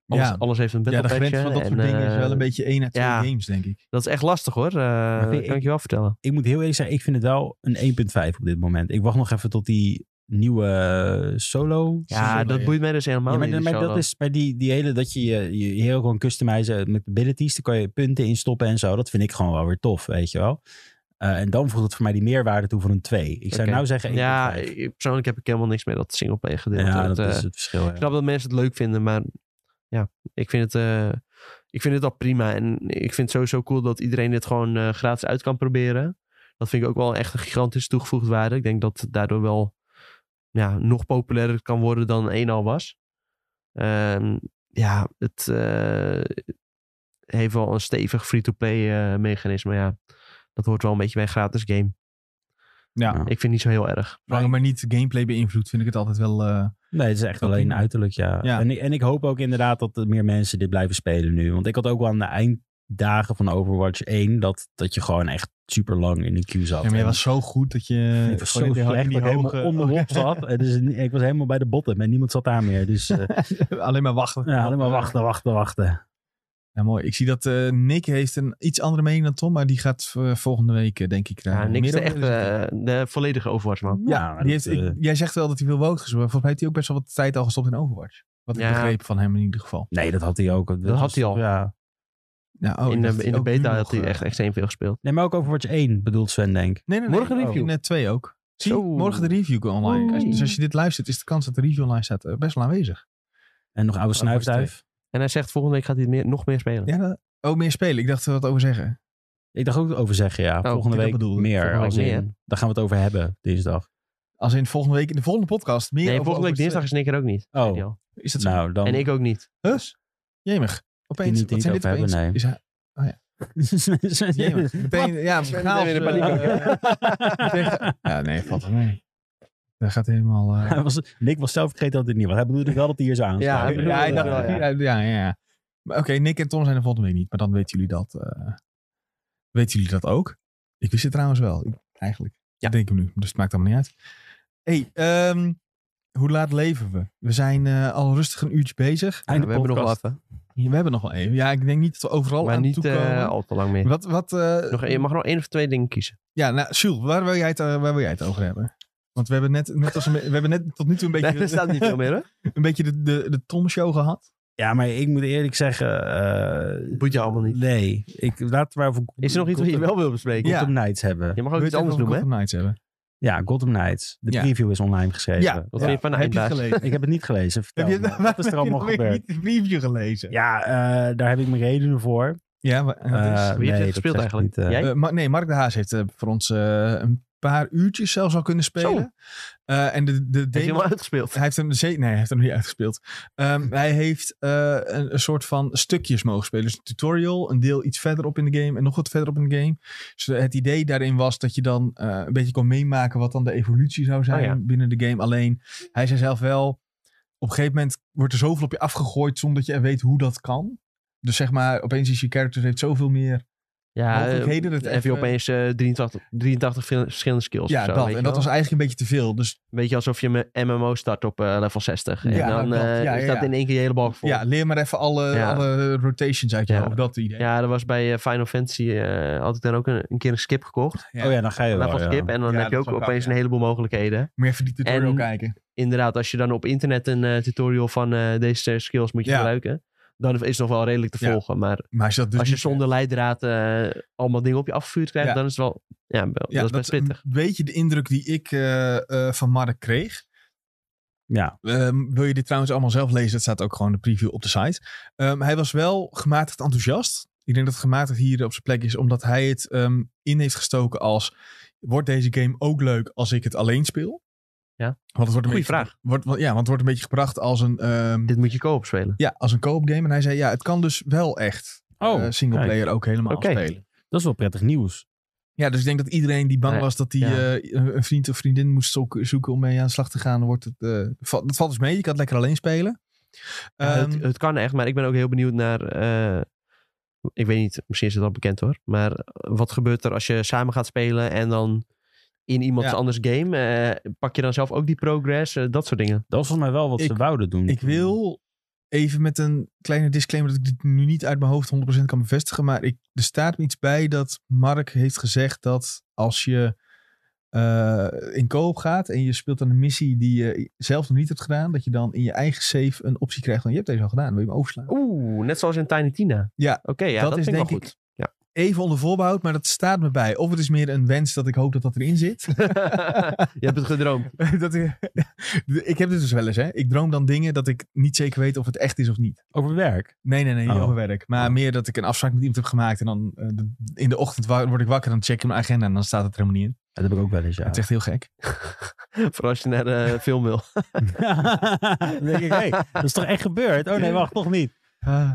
C: alles,
A: Ja.
C: alles heeft een
A: Ja,
C: battle
A: de grens van dat
C: en,
A: soort dingen is
C: eh,
A: wel een beetje 1 à 2
C: ja.
A: games, denk ik.
C: Dat is echt lastig hoor. Eh,
B: vind
C: dat kan
B: ik-
C: ik je wel vertellen.
B: ik moet heel eerlijk zijn, ik vind het wel een 1.5 op dit moment. Ik wacht nog even tot die nieuwe eh, solo.
A: zo,
C: Ja, dat
A: ja.
C: boeit mij dus helemaal
B: Ja, maar,
C: niet.
B: maar
C: die
B: dat
C: solo.
B: is bij die, die hele, dat je je, je hero kan customizen met abilities. Daar kan je punten in stoppen en zo. Dat vind ik gewoon wel weer tof, weet je wel. Eh, en dan voegt het voor mij die meerwaarde toe van een 2. Ik zou
C: Oké.
B: nou zeggen 1.5.
C: Ja, ik- persoonlijk heb ik helemaal niks meer dat singleplayer gedeelte.
B: Ja,
C: Dat,
B: dat
C: eh,
B: is het verschil.
C: Ik
B: Ja.
C: snap dat mensen het leuk vinden, maar ja, ik vind het, eh, ik vind het al prima. En ik vind het sowieso cool dat iedereen dit gewoon eh, gratis uit kan proberen. Dat vind ik ook wel echt een gigantische toegevoegde waarde. Ik denk dat het daardoor wel ja, nog populairder kan worden dan één al was. Ehm, ja, het eh, heeft wel een stevig free-to-play eh, mechanisme. Ja, dat hoort wel een beetje bij een gratis game.
A: Ja.
B: Ja.
A: Zolang
C: Ik vind het niet zo heel erg.
A: het maar niet gameplay beïnvloedt, vind ik het altijd wel... eh,
B: Nee, het is echt
A: Ook
B: alleen
A: prima.
B: uiterlijk, ja.
A: Ja.
B: En, ik, en ik hoop ook inderdaad dat er meer mensen dit blijven spelen nu. Want ik had ook wel aan de einddagen van Overwatch 1... dat, dat je gewoon echt super lang in de queue zat.
A: ja, maar je
B: En-
A: was zo goed dat
C: Eh,
A: je...
B: Ik was zo
A: gewoon in die- in
B: slecht
A: die
B: dat ik helemaal
A: hoge-
B: onderop zat. En dus ik was helemaal bij de bottom en niemand zat daar meer. Dus eh
A: Alleen maar wachten.
B: ja, alleen maar wachten, wachten, wachten.
A: Ja, mooi. Ik zie dat eh, Nick heeft een iets andere mening dan Tom, maar die gaat eh, volgende week, eh, denk ik, daar
C: Ja,
A: meer
C: niks de
A: over
C: echte,
A: zeggen.
C: eh, de volledige Overwatch, man.
A: Ja,
B: maar
A: die
B: dat,
A: heeft, ik-
B: eh,
A: jij zegt wel dat hij wil wogen, maar volgens mij heeft hij ook best wel wat tijd al gestopt in Overwatch. Wat
C: Ja.
A: ik begreep van hem in ieder geval.
B: nee, dat had hij ook. Dat,
C: had
B: was-
C: hij al.
B: Ja.
A: Ja, oh, ik
C: in
A: dacht
C: de,
A: dat
C: in de
A: ook nu
C: beta had
A: nog,
C: hij
A: eh,
C: echt extreem veel gespeeld.
B: Nee, maar ook Overwatch 1 bedoelt Sven, denk ik.
A: Nee, nee, nee.
C: Morgen review.
A: In eh, twee ook. Zie,
C: Zo.
A: morgen de review online.
C: Oei.
A: Dus als je dit luistert, is de kans dat de review online staat eh, best wel aanwezig.
B: En nog oude
A: Overwatch
B: snuifduif.
C: En hij zegt volgende week gaat hij meer, nog meer spelen.
A: Ja, dat- oh, meer spelen. Ik dacht er wat over zeggen.
B: Ik dacht ook over zeggen,
C: Oh,
B: ja. volgende
A: ik dat
B: week
A: bedoelde.
B: meer.
C: Volgende
B: als
C: week meer.
B: in, daar gaan we het over hebben, dinsdag.
A: Als in volgende week, in de volgende podcast, meer
C: nee,
A: over
C: volgende week dinsdag
A: Overwatch
C: is Nick er ook niet.
B: Oh,
C: Weet je wel.
A: twee. Is dat zo?
B: nou dan.
C: En ik ook niet.
A: Huh? Jemig. Opeens,
B: niet
A: wat zijn dit
B: over hebben,
A: opeens?
B: nee.
A: Is hij- Jemig. Meteen, ja, chaos,
C: meteen in de paniek
A: eh,
C: ook,
A: meteen- Ja, nee, valt er mee. Dat gaat helemaal... eh,
B: Hij was, Nick was zelf vergeten dat dit niet was. Hij bedoelde wel dat hij hier zou
C: Ja,
B: aanstaan.
C: hij bedoelde
A: ja, hij dacht,
C: wel,
A: ja. Ja, ja, ja. Maar oké, Nick en Tom zijn er volgende week niet. Maar dan weten jullie dat. eh, weten jullie dat ook? Ik wist het trouwens wel. Ik- eigenlijk. Ja. Denk ik nu. Dus het maakt allemaal niet uit. hey, ehm, hoe laat leven we? We zijn eh, al rustig een uurtje bezig.
B: Einde
C: we hebben nog wel
B: podcast.
C: even.
A: Ja, We hebben nog wel even. Ja, ik denk niet dat we overal
C: maar
A: aan
C: niet
A: toe komen.
C: eh, al te lang meer.
A: wat, wat, eh,
C: Nog, je mag nog één of twee dingen kiezen.
A: ja, nou, Jules, waar wil, jij het, eh, waar wil jij het over hebben? Want we hebben net, net, als een, we hebben net tot nu toe een beetje,
C: Nee, er staat niet veel meer, hè?
A: een beetje de, de, de Tom-show gehad.
B: Ja, maar ik moet eerlijk zeggen. eh,
C: Boeit je allemaal niet.
B: nee. Ik, laten we maar over.
C: Is er nog iets wat je wel wil bespreken?
A: Ja.
B: Gotham Knights hebben.
C: Je mag ook
A: Wil
C: iets
A: je het
C: anders
A: even over
C: doen, hè?
A: Gotham Knights hebben?
B: Ja, Gotham Knights. De
A: Ja.
B: preview is online geschreven.
A: Ja.
B: Wat
C: Wat
B: vind
C: vind je van
A: heb je het
C: Eindbaas?
A: gelezen?
B: je- Ik heb het niet gelezen. Vertel
A: Heb je
B: me. Wat is er allemaal
A: nog weer niet
B: gebeurd?
A: de preview gelezen?
B: Ja, eh, daar heb ik mijn redenen voor.
A: Ja, wa- dat is-
B: Eh,
C: Wie heeft
B: nee,
C: het
B: dat
C: gespeeld
B: zeg ik
C: eigenlijk?
B: niet, eh.
C: Jij?
A: Eh, Ma- nee, Mark de Haas heeft eh, voor ons eh, een paar uurtjes zelfs al kunnen spelen. Eh, en de, de
C: Heeft
A: demo...
C: helemaal uitgespeeld.
A: Hij heeft hem zeker. Nee, hij heeft hem nog niet uitgespeeld. Ehm, hij heeft eh, een, een soort van stukjes mogen spelen. Dus een tutorial, een deel iets verderop in de game en nog wat verderop in de game. Dus eh, het idee daarin was dat je dan eh, een beetje kon meemaken wat dan de evolutie zou zijn
C: Oh ja.
A: binnen de game. Alleen, hij zei zelf wel, op een gegeven moment wordt er zoveel op je afgegooid zonder dat je weet hoe dat kan. Dus zeg maar, opeens is je character heeft zoveel meer
C: Ja, eh,
A: mogelijkheden. dat
C: dan
A: het
C: heb je
A: even-
C: opeens eh, 83, 83 veel- verschillende skills.
A: Ja,
C: of zo,
A: dat.
C: weet
A: En
C: je
A: dat
C: wel.
A: was eigenlijk een beetje te veel. Dus
C: Een beetje alsof je met MMO start op eh, level 60. En
A: Ja,
C: dan
A: dat.
C: eh,
A: Ja, ja,
C: is dat
A: ja.
C: in één keer je hele balk vol.
A: ja,
C: Ja,
A: leer maar even alle,
C: Ja.
A: alle rotations uit je
C: Ja.
A: hoofd. Dat idee.
C: dat was bij eh, Final Fantasy. eh, had ik daar ook een, een keer een skip gekocht.
A: Ja.
B: Oh ja, dan ga je
C: Een
B: wel.
C: level
B: ja.
C: skip. En dan
A: Ja,
C: heb je
A: dat
C: ook
A: is wel
C: opeens
A: grappig, ja.
C: een heleboel mogelijkheden.
A: Moet je even die tutorial
C: En-
A: kijken.
C: Inderdaad, als je dan op internet een eh, tutorial van eh, deze skills moet je
A: Ja.
C: gebruiken. Dan is het nog wel redelijk te
A: Ja.
C: volgen. Maar
A: Maar als je dat dus
C: als je
A: niet-
C: zonder leidraad eh, allemaal dingen op je afgevuurd krijgt,
A: Ja.
C: dan is het wel. Ja, wel-
A: Ja,
C: dat is best
A: een
C: pittig.
A: beetje de indruk die ik eh, eh, van Mark kreeg.
B: Ja.
A: Ehm, wil je dit trouwens allemaal zelf lezen? Dat staat ook gewoon in de preview op de site. Ehm, hij was wel gematigd enthousiast. Ik denk dat het gematigd hier op zijn plek is, omdat hij het ehm, in heeft gestoken als: wordt deze game ook leuk als ik het alleen speel?
C: Ja.
A: Want het wordt een
C: Goeie
A: beetje,
C: vraag.
A: Wordt, want- ja, want het wordt een beetje gebracht als een, ehm,
C: Dit moet je co-op spelen.
A: ja, als een co-op game. En hij zei: ja, het kan dus wel echt
B: Oh,
A: eh, singleplayer ook helemaal
C: Oké.
A: spelen.
B: Dat is wel prettig nieuws.
A: Ja, dus ik denk dat iedereen die bang
C: Nee,
A: was dat hij
C: ja.
A: eh, een een vriend of vriendin moest zoeken, zoeken om mee aan de slag te gaan, dan wordt het, eh, va- dat valt dus mee. Je kan het lekker alleen spelen.
C: Ja,
A: Ehm,
C: het, het kan echt, maar ik ben ook heel benieuwd naar. eh, ik weet niet, misschien is het al bekend hoor. Maar wat gebeurt er als je samen gaat spelen en dan in iemands
A: Ja.
C: anders game? eh, pak je dan zelf ook die progress? eh, dat soort dingen.
B: Dat was volgens mij wel wat
A: Ik-
B: ze wouden doen.
A: ik wil even met een kleine disclaimer dat ik dit nu niet uit mijn hoofd 100% kan bevestigen, maar ik, er staat me iets bij dat Mark heeft gezegd dat als je eh, in koop gaat en je speelt dan een missie die je zelf nog niet hebt gedaan, dat je dan in je eigen save een optie krijgt van je hebt deze al gedaan, wil je hem overslaan?
C: Oeh, net zoals in Tiny Tina.
A: Ja,
C: Oké, ja, dat,
A: dat, is
C: vind
A: denk
C: ik wel
A: ik
C: goed. Ja.
A: even onder voorbehoud, maar dat staat me bij. Of het is meer een wens dat ik hoop dat dat erin zit.
C: je hebt het gedroomd.
A: dat ik, ik heb dit dus wel eens, hè. Ik droom dan dingen dat ik niet zeker weet of het echt is of niet.
B: Over werk.
A: Nee, nee, nee, niet
B: Oh.
A: over werk. Maar
B: Oh.
A: meer dat ik een afspraak met iemand heb gemaakt en dan eh, de- in de ochtend wa- word ik wakker en check ik mijn agenda en dan staat het er helemaal niet in.
B: Dat heb ik ook wel eens, ja.
A: Het is echt heel gek.
C: Voor als je naar de film wil.
B: Dan denk ik, hé, dat is toch echt gebeurd? Oh nee, wacht, nog niet.
C: Ah.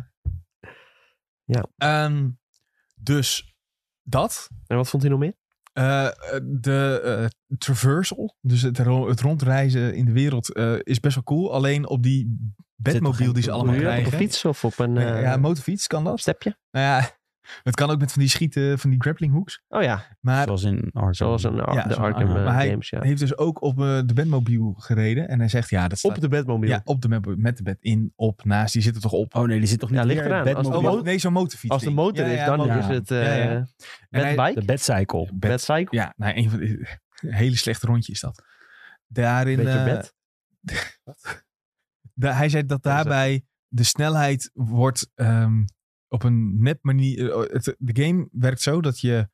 C: Ja.
A: Ah. Ehm, dus dat.
C: En wat vond hij nog meer?
A: Eh, eh, de eh, traversal, dus het, ro- het rondreizen in de wereld, eh, is best wel cool. Alleen op die bedmobiel
B: geen
A: die ze allemaal
B: controle
C: Op
A: krijgen.
C: een fiets of op een
A: Nee,
C: eh
A: ja, motorfiets kan dat.
C: stepje?
A: Nou ja, het kan ook met van die schieten, van die grappling hooks.
C: Oh ja,
A: Maar
B: Zoals in Arkham.
C: zoals een,
A: Ja,
C: de Arkham
B: zo'n Arkham.
C: eh,
A: Maar hij-
C: games. Ja.
A: hij heeft dus ook op eh, de bedmobiel gereden. En hij zegt, ja, dat staat...
C: Op de bedmobiel.
A: ja, op de met, met de bed in, op, naast. Die zit er toch op?
B: Oh nee, die zit toch niet
C: Ja, ligt
B: meer in
C: eraan. Als-
B: bedmobiel?
A: Oh, mo- nee, zo'n motorfiets.
C: Als de
A: ding.
C: motor
A: Ja,
C: is,
A: ja,
C: dan
A: motor-
B: motor.
C: is het
A: Ja, ja.
C: eh
A: En hij-
C: bedbike.
B: De bedcycle.
A: Bed-
C: Bedcycle.
A: ja, nou, een van de... Hele slecht rondje is dat. Daarin...
C: Beetje
A: eh,
C: bed.
A: Da- hij zei dat
C: Dat is het.
A: daarbij de snelheid wordt ehm, op een nep manier. eh, het- de game werkt zo dat je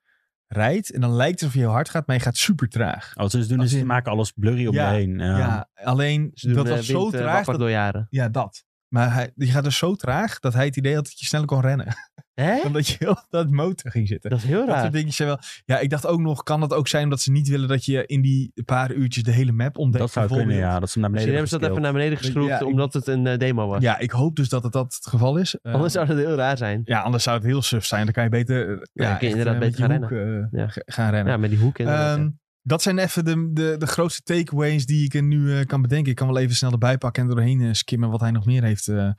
A: rijdt en dan lijkt het alsof je heel hard gaat, maar je gaat super traag.
B: Oh, wat ze dus doen
A: Als
B: is, ze
A: in-
B: maken alles blurry om
A: Ja,
B: je heen. Ja.
A: Ja, alleen
C: Ze doen,
A: dat
C: eh,
A: was zo
C: wind, eh,
A: traag.
C: wakker
A: Dat,
C: door jaren.
A: ja, dat. Maar hij, je gaat dus zo traag dat hij het idee had dat je sneller kon rennen.
C: Hè?
A: Omdat je op dat motor ging zitten.
C: Dat is heel
A: Dat soort
C: raar.
A: dingetjes zijn wel. Ja, ik dacht ook nog, kan dat ook zijn omdat ze niet willen dat je in die paar uurtjes de hele map ontdekt?
B: Dat zou kunnen,
A: bijvoorbeeld?
B: ja. Dat ze hem naar
C: Misschien
B: beneden
C: hebben ze dat even
B: geskild.
C: naar beneden geschroefd,
A: Ja, ik-
C: omdat het een eh, demo was.
A: Ja, ik hoop dus dat het dat het geval is. Eh,
C: Anders zou dat heel raar zijn.
A: Ja, anders zou het heel suf zijn. Dan kan je beter, eh,
C: Ja,
A: ja,
C: kun je
A: echt,
C: inderdaad
A: eh, met
C: beter
A: je
C: gaan
A: hoek, eh,
C: Ja.
A: g- gaan rennen.
C: Ja, met die hoek eh, inderdaad,
A: Ehm,
C: ja.
A: dat zijn even de, de, de grootste takeaways die ik er nu eh, kan bedenken. Ik kan wel even snel erbij pakken en er doorheen eh, skimmen wat hij nog meer heeft eh,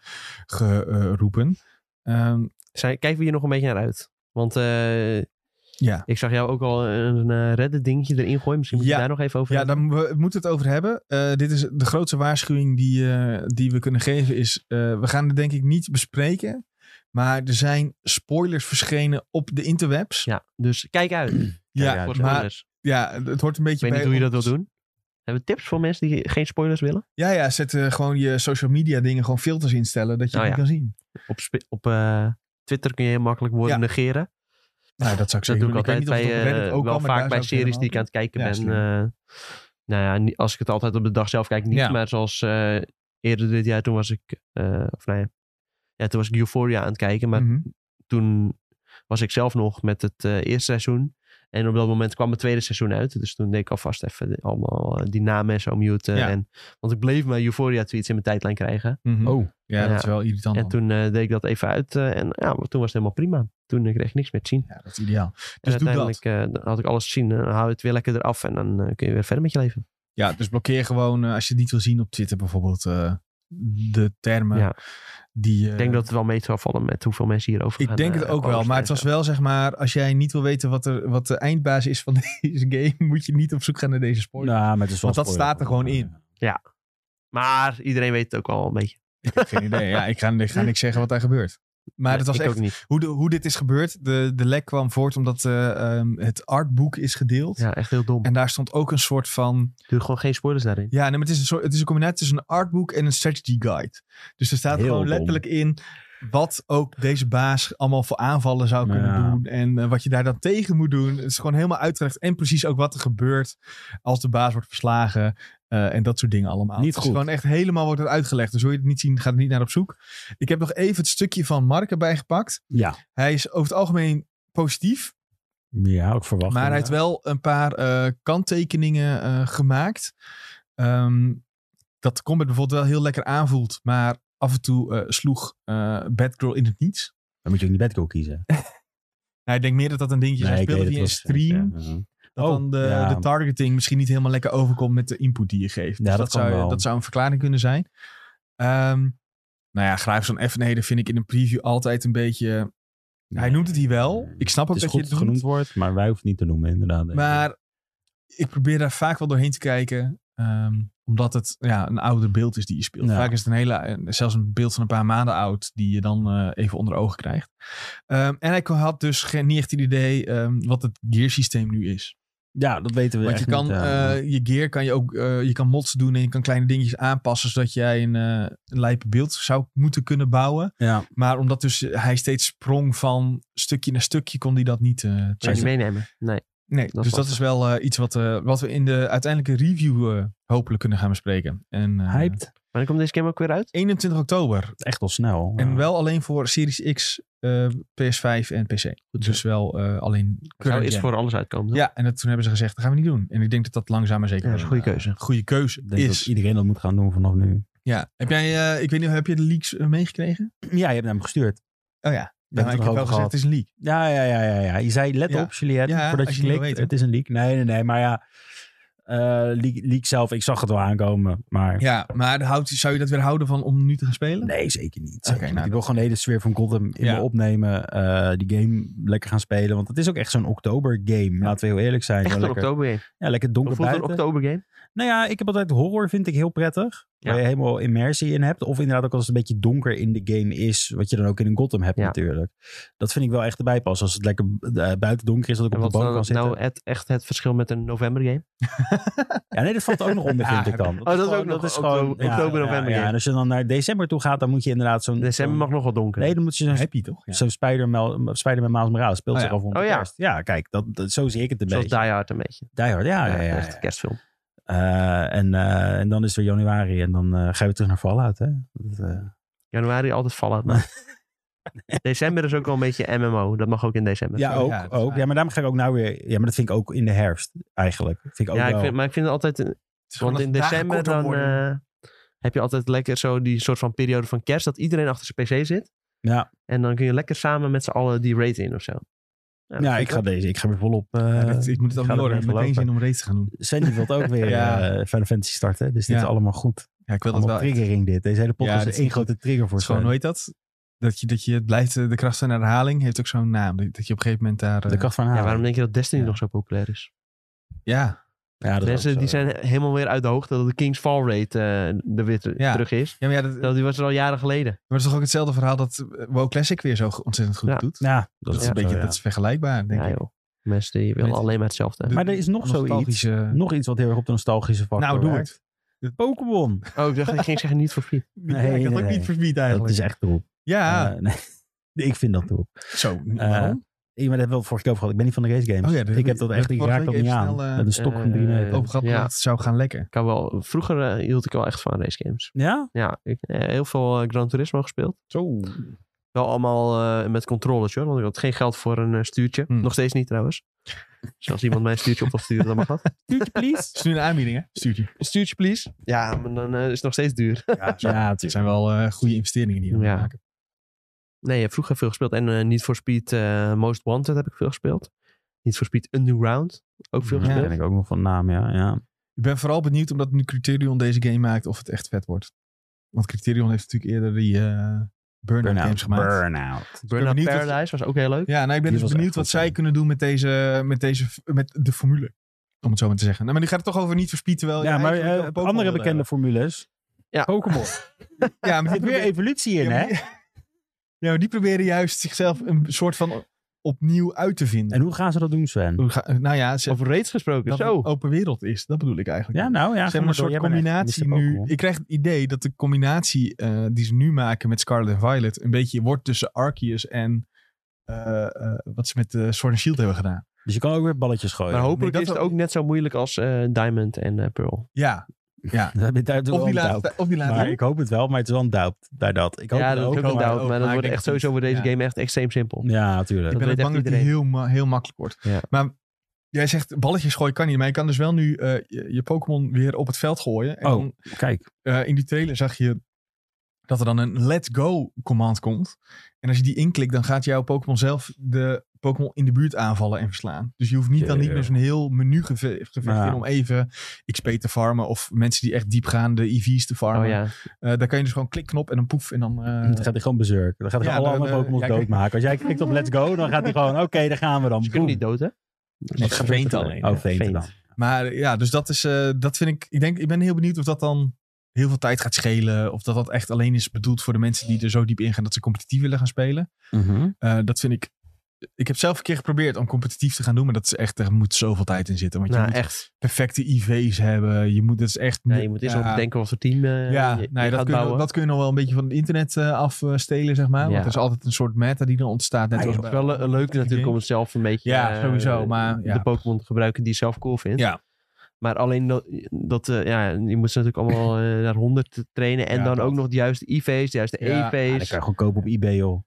A: geroepen. Ehm,
C: Zijn- Kijken we hier nog een beetje naar uit. Want eh,
A: ja.
C: ik zag jou ook al een eh, Reddit dingetje erin gooien. Misschien moet je
A: Ja.
C: daar nog even over
A: Ja,
C: hebben.
A: daar mo- we moeten het over hebben. Eh, dit is de grootste waarschuwing die, eh, die we kunnen geven. Is, eh, we gaan het denk ik niet bespreken. Maar er zijn spoilers verschenen op de interwebs.
C: Ja, dus kijk uit
A: Ja,
B: ja,
C: voor
A: maar
C: spoilers.
A: ja, het hoort een
C: ik
A: beetje bij
C: weet niet hoe je dat
A: ons.
C: wil doen. Hebben we tips voor mensen die geen spoilers willen?
A: Ja, ja, zet eh, gewoon je social media dingen, gewoon filters instellen, dat je
C: Oh
A: het niet kan zien.
C: Op, spe- op eh, Twitter kun je heel makkelijk woorden negeren.
A: Nou, dat zou ik
C: Dat
A: zeker
C: doe ik
A: doen.
C: altijd
A: weet
C: bij,
A: niet of het op
C: eh,
A: Reddit ook
C: wel
A: kan, maar
C: vaak
A: daar
C: bij
A: zou ik
C: series die ik aan het kijken
A: Ja,
C: ben.
A: slim.
C: eh, nou ja, ni- als ik het altijd op de dag zelf kijk, niet.
A: Ja.
C: Maar zoals eh, eerder dit jaar, toen was ik, eh, of nee, ja, toen was ik Euphoria aan het kijken. Maar
A: Mhm.
C: toen was ik zelf nog met het eh, eerste seizoen. En op dat moment kwam het tweede seizoen uit. Dus toen deed ik alvast even de- allemaal eh, die namen en zo muten.
A: Ja.
C: En, want ik bleef mijn Euphoria tweets in mijn tijdlijn krijgen.
A: Mhm.
B: Oh,
A: ja, dat
C: ja.
A: is wel irritant.
C: En
A: dan.
C: toen eh, deed ik dat even uit. eh, en ja, maar toen was het helemaal prima. Toen eh, kreeg ik niks meer te zien.
A: Ja, dat is ideaal.
C: En
A: Dus doe dat.
C: uiteindelijk eh, dan had ik alles gezien. Dan hou het weer lekker eraf en dan eh, kun je weer verder met je leven.
A: Ja, dus blokkeer gewoon eh, als je het niet wil zien op Twitter bijvoorbeeld eh, de termen
C: Ja.
A: die... eh,
C: Ik denk dat het wel mee zou vallen met hoeveel mensen hierover
A: Ik
C: gaan,
A: denk
C: eh,
A: het ook wel,
C: posten
A: maar
C: en
A: het was
C: zo.
A: wel zeg maar, als jij niet wil weten wat, er, wat de eindbaas is van deze game, moet je niet op zoek gaan naar deze spoiler.
B: nou, maar het is wel
A: Want dat
B: spoiler.
A: staat er gewoon in.
C: Maar iedereen weet het ook al een beetje.
A: Ik heb geen idee. Ja, ik, ga, ik ga niks zeggen wat daar gebeurt. Maar
C: Nee,
A: het was
C: ik
A: echt,
C: ook niet.
A: hoe, de- hoe dit is gebeurd, de, de lek kwam voort omdat eh, ehm, het artboek is gedeeld.
C: Ja, echt heel dom.
A: En daar stond ook een soort van
C: Doe gewoon geen spoilers daarin.
A: Ja, nee, maar het is een, soort, het is een combinatie tussen een artboek en een strategy guide. Dus er staat
B: Heel
A: gewoon
B: dom.
A: letterlijk in wat ook deze baas allemaal voor aanvallen zou kunnen
B: Ja.
A: doen. En eh, wat je daar dan tegen moet doen. Het is gewoon helemaal uitgelegd. En precies ook wat er gebeurt als de baas wordt verslagen. eh, en dat soort dingen allemaal.
B: Niet
A: het is
B: goed.
A: gewoon echt helemaal wordt het uitgelegd. Dus wil je het niet zien, ga er niet naar op zoek. Ik heb nog even het stukje van Mark erbij gepakt.
B: Ja,
A: Hij is over het algemeen positief.
B: ja ook verwacht.
A: Maar hij heeft wel een paar eh, kanttekeningen eh, gemaakt. Ehm, dat combat bijvoorbeeld wel heel lekker aanvoelt. Maar af en toe eh, sloeg eh Batgirl in het niets.
B: Dan moet je ook niet Batgirl kiezen.
A: Nou, ik denk meer dat dat een dingetje is. Hij
B: ik
A: speelde
B: weet
A: via een
B: het wel.
A: stream.
B: Ja.
A: Dat
B: Oh,
A: dan de,
B: ja.
A: de targeting misschien niet helemaal lekker overkomt met de input die je geeft.
B: Ja,
A: Dus
B: dat kan
A: zou,
B: wel.
A: dat zou een verklaring kunnen zijn. Ehm nou ja, graaf zo'n effenheden vind ik in een preview altijd een beetje... Hij noemt het hier wel. Ik snap ook
B: het is
A: dat
B: goed
A: je het
B: dat het
A: noemt.
B: genoemd wordt, maar wij hoeven het niet te noemen, inderdaad.
A: Maar ik probeer daar vaak wel doorheen te kijken. ehm, omdat het ja, een ouder beeld is die je speelt.
B: Ja.
A: Vaak is het een hele, een- zelfs een beeld van een paar maanden oud. die je dan eh, even onder ogen krijgt. Ehm, en ik had dus geen, niet echt het idee ehm, wat het gear systeem nu is.
B: ja, dat weten we
A: Want je
B: echt
A: kan
B: niet, ja.
A: eh, je gear kan je ook. eh, je kan mods doen en je kan kleine dingetjes aanpassen. zodat jij een, eh een lijpe beeld zou moeten kunnen bouwen.
B: ja.
A: Maar omdat dus hij steeds sprong van stukje naar stukje. kon hij dat niet eh,
C: Zou je
A: checken.
C: niet meenemen? Nee.
A: Nee,
C: Dat
A: dus
C: is
A: dat is
C: lastig.
A: wel eh, iets wat, eh, wat we in de uiteindelijke review eh, hopelijk kunnen gaan bespreken. En, eh,
B: Hyped.
C: Maar dan komt deze game ook weer uit?
A: 21 oktober.
B: Echt al snel.
A: En
B: Ja.
A: wel alleen voor Series X, eh, PS5 en PC. dus wel eh, alleen
C: Zou
A: current
C: eerst
A: gen.
C: voor alles uitkomen? toch?
A: Ja, en dat, toen hebben ze gezegd, dat gaan we niet doen. En ik denk dat dat langzaam maar zeker
C: Ja, dat is een
A: wel eh,
C: goede keuze.
A: goede keuze
B: Ik denk
A: is.
B: dat iedereen dat moet gaan doen vanaf nu.
A: Ja, heb jij, eh, ik weet niet, heb je de leaks eh, meegekregen?
B: Ja, je hebt hem gestuurd.
A: Oh ja,
B: We hebben
A: maar
B: het er
A: ik heb
B: over
A: wel gezegd,
B: gehad.
A: het is een leak.
B: Ja, ja, ja, ja, ja. Je zei, let
A: Ja.
B: op, Juliette,
A: Ja,
B: voordat
A: als
B: je
A: je niet wil
B: klikt.
A: weten.
B: het is een leak. Nee, nee, nee. Maar ja, eh, leak, leak zelf, ik zag het wel aankomen. Maar
A: Ja, maar houdt, zou je dat weer houden van om nu te gaan spelen?
B: nee, zeker niet.
A: Oké,
B: Zeker niet.
A: nou,
B: ik wil gewoon de hele sfeer van Gotham in
A: Ja.
B: me opnemen. eh, die game lekker gaan spelen. Want het is ook echt zo'n oktober game. Laten we heel eerlijk zijn.
C: Echt
B: Wel
C: een
B: lekker,
C: oktobergame.
B: ja, lekker
C: Hoe
B: donker
C: voelt een
B: buiten.
C: oktobergame?
B: Nou ja, ik heb altijd horror vind ik heel prettig. Waar
C: Ja.
B: je helemaal immersie in hebt. Of inderdaad ook als het een beetje donker in de game is. Wat je dan ook in een Gotham hebt
C: Ja.
B: natuurlijk. Dat vind ik wel echt erbij pas. Als het lekker eh, buiten donker is dat ik
C: En
B: op
C: wat
B: de bank kan
C: nou,
B: zitten.
C: nou het, echt het verschil met een novembergame?
B: Ja, nee, dat valt ook nog onder, vind
A: Ja.
B: ik dan.
C: Oh, dat is ook nog oktober- oktober,
B: ja,
C: november,
B: Ja,
C: ja.
B: en als je dan naar december toe gaat, dan moet je inderdaad zo'n...
C: December
B: zo'n-
C: mag nog wel donker.
B: Nee, dan moet je zo'n
A: Happy toch? Ja.
B: zo'n Spider-Man Spider Miles Morales speelt
A: Oh,
B: zich
A: ja.
B: af onder
C: Oh, ja.
B: kerst. Ja, kijk, dat, dat- zo zie ik het een
C: Zoals
B: beetje.
C: Die Hard een beetje.
B: Die Hard,
A: Ah,
B: ja, ja, ja.
C: Echt een kerstfilm.
B: Eh, en, eh, en dan is het weer januari en dan eh, ga je weer terug naar Fallout, hè. Dat, eh,
C: Januari altijd Fallout. maar- december is ook wel een beetje MMO. Dat mag ook in december.
B: ja,
A: zo,
B: ook.
A: ja, dat is
B: ook.
A: waar.
B: ja, maar daarom ga ik ook nou weer... Ja, maar dat vind ik ook in de herfst, eigenlijk. Vind ik ook
C: Ja, ik
B: wel-
C: vind, maar ik vind het altijd...
A: Het is gewoon
C: Want in
A: dat de dagen
C: december
A: korter
C: dan
A: worden.
C: eh, heb je altijd lekker zo die soort van periode van kerst. Dat iedereen achter zijn pc zit.
B: Ja.
C: En dan kun je lekker samen met z'n allen die raid in of zo. dat
B: ja,
C: vind
B: ik ga deze. Ik ga weer volop... eh
A: Ja, dit- ik moet het
B: ik ga
A: allemaal
B: er
A: horen. Ik
B: weer
A: heb meteen
B: verlopen.
A: zin om race te gaan doen.
B: Sven die wil ook weer
A: Ja.
B: eh Final Fantasy starten. Dus dit
A: Ja.
B: is allemaal goed.
A: Ja, ik wil dat
B: Allemaal
A: wel. echt.
B: triggering dit. Deze hele podcast
A: Ja, dit
B: is
A: is
B: één
A: niet-
B: grote trigger voor
A: Het is gewoon,
B: Sven.
A: hoe heet dat? Dat je, dat je het blijft, eh, de kracht van herhaling heeft ook zo'n naam. Dat dat je op een gegeven moment daar... eh,
B: De kracht van haar.
C: Ja, waarom denk je dat Destiny
B: Ja.
C: nog zo populair is?
A: ja.
B: Ja, dat is
C: Mensen
B: ook
C: die
B: zo.
C: zijn helemaal weer uit de hoogte dat de King's Fall Raid eh, er weer ter-
A: Ja.
C: terug is.
A: ja, maar ja, dat, maar
C: Terwijl die was er al jaren geleden.
A: dat is toch ook hetzelfde verhaal dat eh, WoW Classic weer zo ge- ontzettend goed
C: Ja.
A: doet?
B: Ja, dat,
A: Dat, is
B: is
A: een beetje,
B: zo, ja.
A: dat is vergelijkbaar, denk
C: ja,
A: ik.
C: joh. Mensen die willen
A: Met-
C: alleen maar hetzelfde.
A: De-
B: Maar er is nog zoiets.
A: nostalgische-
B: Nog iets wat heel erg op de nostalgische factor
A: Nou, doe
B: werkt.
A: het.
B: Pokémon.
C: Oh, ik dacht dat ik ging zeggen niet voor free.
A: Nee,
B: Nee,
A: ik had
B: nee,
A: ook
B: nee.
A: niet verbied
B: Dat
A: eigenlijk.
B: Eh, is echt troep.
A: Ja,
B: Eh, nee. Ik vind dat troep.
A: zo. nou,
B: eh,
A: Ah. waarom?
B: Ik maar dat hebben we wel vorige keer over gehad. Ik ben niet van de race games.
A: Oh ja, dat heb
B: ik heb
A: ik-
B: dat
A: dat
B: echt, ik
A: vorige
B: raak
A: week
B: dat niet
A: even
B: aan.
A: snel, eh,
B: Met een stok van drie
C: eh,
B: meter.
A: Over gehad
C: Ja.
A: dat het zou gaan lekken.
C: Ik kan wel, vroeger eh, hield ik wel echt van race games.
B: Ja?
C: Ja, ik eh, heel veel eh, Gran Turismo gespeeld.
B: Zo.
C: Wel allemaal eh, met controllers, hoor. Want ik had geen geld voor een eh, stuurtje.
A: Hmm.
C: Nog steeds niet, trouwens. Dus als iemand mij een stuurtje op wil sturen, dan mag dat.
B: Duurtje, please. Ah,
A: Het is nu een aanbieding, hè? Stuurt je.
C: Een stuurtje, please. Ja, maar dan eh, is het nog steeds duur.
B: Ja, ja,
A: Het
B: natuurlijk.
A: zijn wel eh, goede investeringen die je
C: Ja.
A: moet maken.
C: Nee, ik heb vroeger veel gespeeld. En eh Need for Speed eh, Most Wanted heb ik veel gespeeld. Need for Speed Underground ook veel
A: Ja.
B: Ja,
C: gespeeld.
B: ken ik ook nog van naam, ja. ja.
A: Ik ben vooral benieuwd omdat nu Criterion deze game maakt of het echt vet wordt. Want Criterion heeft natuurlijk eerder die eh Burnout, games
B: Burnout.
A: gemaakt.
B: Burnout.
C: Burnout
A: benieuwd of-
C: Paradise was ook heel leuk.
A: Ja, nou ik ben
B: Die
A: dus
B: was
A: benieuwd
B: echt
A: wat
B: goed,
A: zij
B: ja.
A: kunnen doen met deze, met deze, met de formule. Om het zo maar te zeggen. Nou, maar nu gaat het toch over niet verspied terwijl je
B: Ja, maar
A: eigenlijk
B: eh,
A: wel Pokémon
B: andere
A: wil
B: bekende
A: hebben.
B: formules.
C: Ja.
B: Pokémon. Er
A: Ja, maar die
B: zit weer
A: proberen,
B: evolutie in,
A: ja, maar
B: hè?
A: die- ja, maar die proberen juist zichzelf een soort van opnieuw uit te vinden.
B: En hoe gaan ze dat doen, Sven?
A: Hoe ga- nou ja, ze,
C: Over raids gesproken,
A: dat oh, het
C: zo.
A: een open wereld is. Dat bedoel ik eigenlijk.
B: Ja, nou ja.
A: Ze hebben een soort combinatie nu. Ik krijg het idee dat de combinatie eh, die ze nu maken met Scarlet en Violet een beetje wordt tussen Arceus en eh, eh, wat ze met de Sword and Shield hebben gedaan.
B: Dus je kan ook weer balletjes gooien.
C: Maar hopelijk
A: dat
C: is het
A: wel-
C: ook net zo moeilijk als eh, Diamond en eh, Pearl.
A: Ja, ja.
B: Dat heb ik daar
A: Of
B: wel
A: die
B: een
A: laatste. Of die
B: doubt.
A: laatste.
B: Maar ik hoop het wel, maar het is wel een doubt bij dat. Ik hoop
C: ja,
B: het
C: dat
B: ook.
C: is ook een
A: maar-
C: doubt.
A: ook,
C: Maar
A: maar
C: dat
A: ik
C: wordt
A: denk het
C: echt sowieso voor deze
A: ja.
C: game echt extreem simpel.
B: Ja, natuurlijk.
A: Ik ben ook
C: weet echt
A: bang dat die
C: iedereen.
A: heel, ma- heel makkelijk wordt.
C: Ja.
A: Maar jij zegt balletjes gooien kan niet. Maar je kan dus wel nu eh, je, je Pokémon weer op het veld gooien. En
B: Oh.
A: dan,
B: Kijk,
A: eh, in die trailer zag je dat er dan een let go command komt. En als je die inklikt, dan gaat jouw Pokémon zelf de Pokémon in de buurt aanvallen en verslaan. Dus je hoeft niet dan niet meer zo'n heel menu geve- gevecht
B: Ja.
A: in om even XP te farmen. Of mensen die echt diep gaan de EV's te farmen.
C: Oh ja.
A: Eh, daar kan je dus gewoon klikknop en dan poef en dan... eh,
B: dan gaat hij gewoon bezurk. Dan gaat hij
A: Ja,
B: alle
A: dan,
B: andere
A: eh,
B: Pokémon
A: ja, kijk.
B: doodmaken. Als jij klikt op let's go, dan gaat hij gewoon, oké, daar gaan we dan.
C: Ze kunnen
B: Boem.
C: niet dood, hè?
A: nee, geveend alleen.
B: Oh, veent
C: Veent.
B: dan.
A: Maar ja, dus dat is, eh, dat vind ik, ik denk, ik ben heel benieuwd of dat dan heel veel tijd gaat schelen. Of dat dat echt alleen is bedoeld voor de mensen die er zo diep in gaan dat ze competitief willen gaan spelen.
B: Mhm.
A: Eh, dat vind ik, ik heb zelf een keer geprobeerd om competitief te gaan doen, maar dat is echt, er moet zoveel tijd in zitten. Want je
C: Nou,
A: moet
C: echt.
A: perfecte IV's hebben, je moet, dat is echt...
C: Ja, je moet eerst
A: ja.
C: wel bedenken wat voor team eh,
A: Ja,
C: je,
A: nee,
C: je
A: dat,
C: gaat
A: kun je,
C: bouwen.
A: dat kun je nog wel een beetje van het internet eh, afstelen, zeg maar.
C: Ja.
A: Want er is altijd een soort meta die dan ontstaat. Net
B: Ah,
A: als
B: joh.
C: Het
A: bij-
C: is wel le- leuk natuurlijk om het zelf een beetje...
A: Ja,
C: eh,
A: sowieso, maar ja.
C: De Pokémon te gebruiken die je zelf cool vindt.
A: Ja.
C: Maar alleen dat... dat eh, ja, je moet ze natuurlijk allemaal eh, naar 100 trainen. En
A: Ja,
C: dan
A: dat.
C: ook nog de juiste IV's, de juiste
A: Ja.
B: Ja,
C: EV's.
B: dat kan je gewoon kopen op eBay, joh.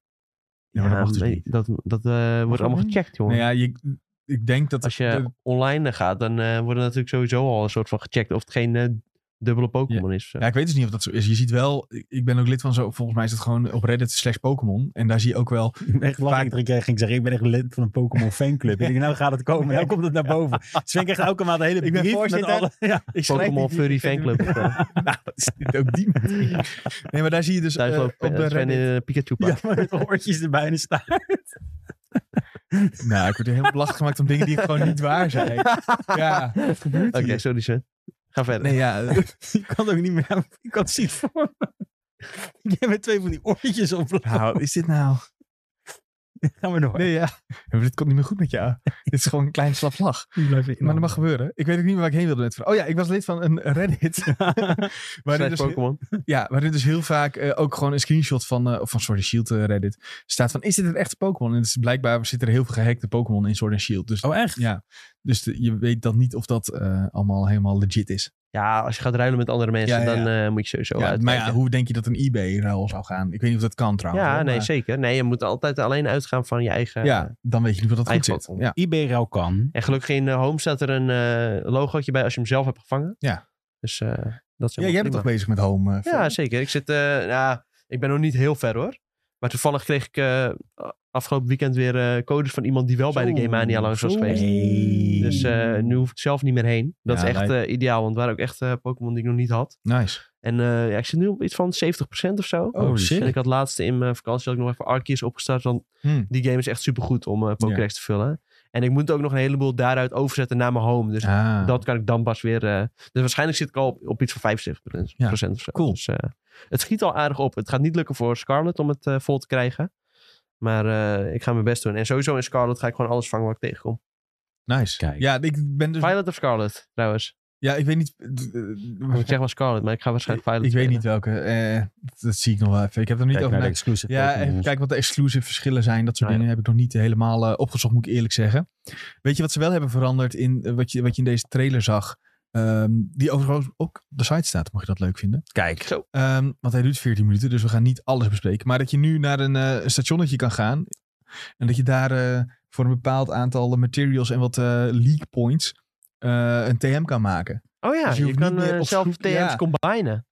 A: Ja, maar dat mag dus
C: nee,
A: niet.
C: dat, dat, eh, wordt
A: dat
C: allemaal
A: niet?
C: gecheckt, jongen.
A: Nou ja, je, ik denk dat...
C: Als je
A: de-
C: online gaat, dan eh wordt er natuurlijk sowieso al een soort van gecheckt of het geen eh, dubbele Pokémon is. eh.
A: Ja, ik weet dus niet of dat zo is. Je ziet wel, ik- ik ben ook lid van zo, volgens mij is het gewoon op Reddit slash Pokémon. En daar zie je ook wel,
B: Ik ben echt
A: Vaak-
B: lachen. Ik kreeg ging zeggen, ik ben echt lid van een Pokémon fanclub. Ik denk, nou gaat het komen. Nou komt het naar boven. Dus vind ik echt elke maand een hele
A: Ik ben
B: brief met
A: voorzitter.
B: alle... Ja.
A: ik schrijf
C: Pokémon
A: die-
C: Furry Fanclub. of, eh,
A: nou, dat is niet ook die. Nee, maar daar zie je dus
C: Thuis
A: eh,
C: loopt
A: op
C: eh,
A: de
C: Sven in
A: Reddit.
C: een Pikachu pak.
B: Ja, maar met oortjes erbij en een staart.
A: Nou, ik word er helemaal belachelijk gemaakt om dingen die gewoon niet waar zijn. Ja, wat gebeurt
C: Oké,
A: hier?
C: sorry Sven. Ga verder.
A: Nee, ja. eh,
B: Je kan het ook niet meer... Je kan het zien voor me. Ik heb met twee van die oortjes op.
A: Nou, is dit nou?
B: Gaan we door.
A: Nee, ja. Maar Dit komt niet meer goed met jou. Dit is gewoon een klein slap lach. Maar dat mag gebeuren. Ik weet ook niet meer waar ik heen wilde met Oh ja, ik was lid van een Reddit. waarin
C: Slash
A: dus-
C: Pokémon.
A: Ja, waarin dus heel vaak eh, ook gewoon een screenshot van, eh, of van Sword and Shield eh, Reddit staat van, is dit een echte Pokémon? En dus blijkbaar zitten er heel veel gehackte Pokémon in Sword and Shield. Dus,
B: Oh, echt?
A: ja, dus de- je weet dan niet of dat eh, allemaal helemaal legit is.
C: Ja, als je gaat ruilen met andere mensen,
A: Ja, ja, ja.
C: dan eh, moet je sowieso
A: ja,
C: uit.
A: maar ja, hoe denk je dat een eBay-ruil zou gaan? Ik weet niet of dat kan trouwens. hoor,
C: nee,
A: maar-
C: zeker. Nee, je moet altijd alleen uitgaan van je eigen...
A: Ja, dan weet je niet of dat goed
C: Eigen
A: zit.
C: Pokémon.
A: Ja.
B: IBRL kan.
C: En gelukkig in eh, Home staat er een eh logootje bij als je hem zelf hebt gevangen.
A: Ja.
C: Dus eh, dat is
A: ja, jij
C: helemaal
A: bent toch
C: prima.
A: bezig met home? eh,
C: Ja,
A: Phil?
C: zeker. Ik zit... eh, ja, ik ben nog niet heel ver hoor. Maar toevallig kreeg ik eh, afgelopen weekend weer eh, codes van iemand die wel bij de Game Mania langs was
A: zo.
C: geweest.
B: Hey.
C: Dus eh, nu hoef ik zelf niet meer heen. Dat
A: Ja,
C: is echt eh, ideaal, want er waren ook echt eh, Pokémon die ik nog niet had.
A: Nice.
C: En eh, ja, ik zit nu op iets van 70% of zo.
A: Oh, shit.
C: En ik had laatst in mijn vakantie ook nog even Arceus opgestart. Want
A: Hmm.
C: die game is echt supergoed om eh Pokédex te vullen. En ik moet ook nog een heleboel daaruit overzetten naar mijn home. Dus
A: Ah,
C: dat kan ik dan pas weer... eh, dus waarschijnlijk zit ik al op, op iets van 75%
A: Ja,
C: of zo.
A: cool.
C: Dus, eh, het schiet al aardig op. Het gaat niet lukken voor Scarlet om het eh, vol te krijgen. Maar eh, ik ga mijn best doen. En sowieso in Scarlet ga ik gewoon alles vangen wat ik tegenkom.
A: nice.
B: Kijk.
A: Ja, ik ben dus...
C: Violet of Scarlet, trouwens?
A: Ja, ik weet niet.
C: Ik zeg maar Scarlet, maar ik ga waarschijnlijk Violet
A: Ik weet niet
C: spelen.
A: welke. eh, dat zie ik nog wel even. Ik heb er niet
B: Kijk
A: over
B: naar de
A: nagedacht.
B: exclusive
A: Ja,
B: Pokémon's.
A: even kijken wat de exclusive verschillen zijn. Dat soort
C: Nou ja.
A: dingen heb ik nog niet helemaal eh, opgezocht, moet ik eerlijk zeggen. Weet je wat ze wel hebben veranderd in eh, wat, je, wat je in deze trailer zag? Ehm, die overigens ook op de site staat, mocht je dat leuk vinden.
B: Kijk.
C: Zo.
A: Ehm, want hij duurt 14 minuten, dus we gaan niet alles bespreken. Maar dat je nu naar een eh, een stationnetje kan gaan. En dat je daar eh, voor een bepaald aantal materials en wat eh leak points eh, een TM kan maken.
C: Oh ja,
A: Dus je
C: je,
A: hoeft niet
C: kan
A: meer
C: eh,
A: op
C: zelf
A: zoek-
C: TM's
A: ja.
C: combinen.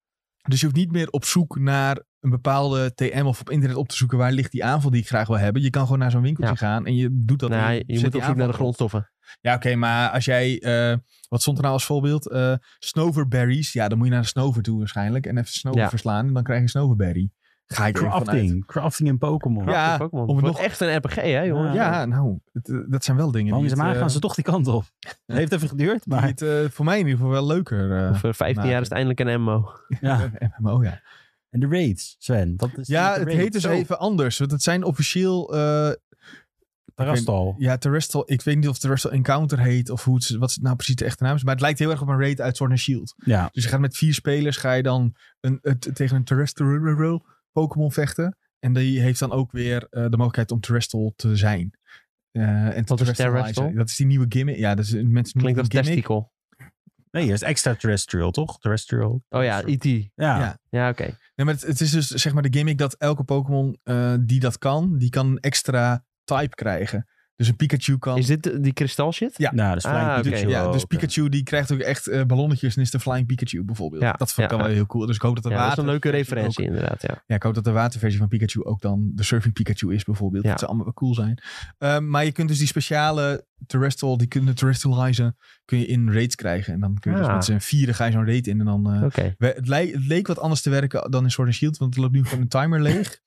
A: Dus je hoeft niet meer op zoek naar een bepaalde TM of op internet op te zoeken waar ligt die aanval die ik graag wil hebben. Je kan gewoon naar zo'n winkeltje
C: Ja.
A: gaan en je doet dat. en
C: Nou, je
A: zet
C: moet
A: die
C: op zoek naar de
A: aanval erop.
C: grondstoffen.
A: Ja, oké, maar als jij, eh, wat stond er nou als voorbeeld? Eh snoverberries. Ja, dan moet je naar de snover toe waarschijnlijk en even snover
C: Ja.
A: verslaan en dan krijg je snoverberry. Ga ik er vanuit.
B: Crafting. Crafting in Pokémon.
A: Ja,
C: Prachtig Pokémon.
A: om het
C: Wordt
A: nog-
C: echt een RPG, hè, jongen?
A: Ja, nou, het, eh, dat zijn wel dingen die het,
B: Langzaamaan
A: eh,
B: gaan ze toch die kant op. Heeft even geduurd,
A: die
B: maar...
A: het eh, voor mij in ieder geval wel leuker. eh
C: Over 15 jaar is het eindelijk een MMO.
B: Ja.
A: MMO, ja.
B: En de raids, Sven. Wat is
A: Ja, het
B: de raids? Oh,
A: heet dus
B: Zo,
A: even anders. Want het zijn officieel eh,
B: Terrastal.
A: Ja, Terrestrial. Ik weet niet of Terrestrial Encounter heet of hoe het, wat het nou precies de echte naam is. Maar het lijkt heel erg op een raid uit Sword and Shield.
B: Ja.
A: Dus je gaat met vier spelers ga je dan een, het- tegen een terrestrial Pokémon vechten. En die heeft dan ook weer eh, de mogelijkheid om terrestrial te zijn. Eh, en te
C: Wat is
A: terrestrializen.
C: terrestrial?
A: Dat is die nieuwe gimmick. Ja, dat is mensen
C: Klinkt
A: noemen
C: als
A: het een gimmick.
C: testicle.
B: Nee, eerst extraterrestrial, toch? Terrestrial.
C: Oh ja, IT.
B: Ja.
A: Ja.
C: Ja, oké.
A: Nee, maar het, het is dus zeg maar de gimmick dat elke Pokémon eh, die dat kan, die kan een extra type krijgen. Dus een Pikachu kan...
C: Is dit de- die kristal shit?
A: Ja.
B: Nou, dus
C: Ah,
B: Flying
C: oké.
B: Pikachu.
A: Ja,
B: ook.
A: dus Pikachu die krijgt ook echt eh, ballonnetjes en is de Flying Pikachu bijvoorbeeld.
C: Ja,
A: dat vond ik
C: ja.
A: dan wel heel cool. Dus ik hoop dat de
C: Ja, dat is
A: water...
C: een leuke
A: versie
C: referentie inderdaad, ja.
A: ook- ja, ik hoop dat de waterversie van Pikachu ook dan de Surfing Pikachu is bijvoorbeeld.
C: Ja.
A: Dat zou allemaal wel cool zijn. Ehm, maar je kunt dus die speciale terrestrial, die kunnen terrestrializen, kun je in raids krijgen. En dan kun je dus
C: Ah.
A: met z'n vieren ga je zo'n raid in en dan... eh,
C: Oké.
A: we- het, lij- het leek wat anders te werken dan in Sword and Shield, want het loopt nu gewoon een timer leeg.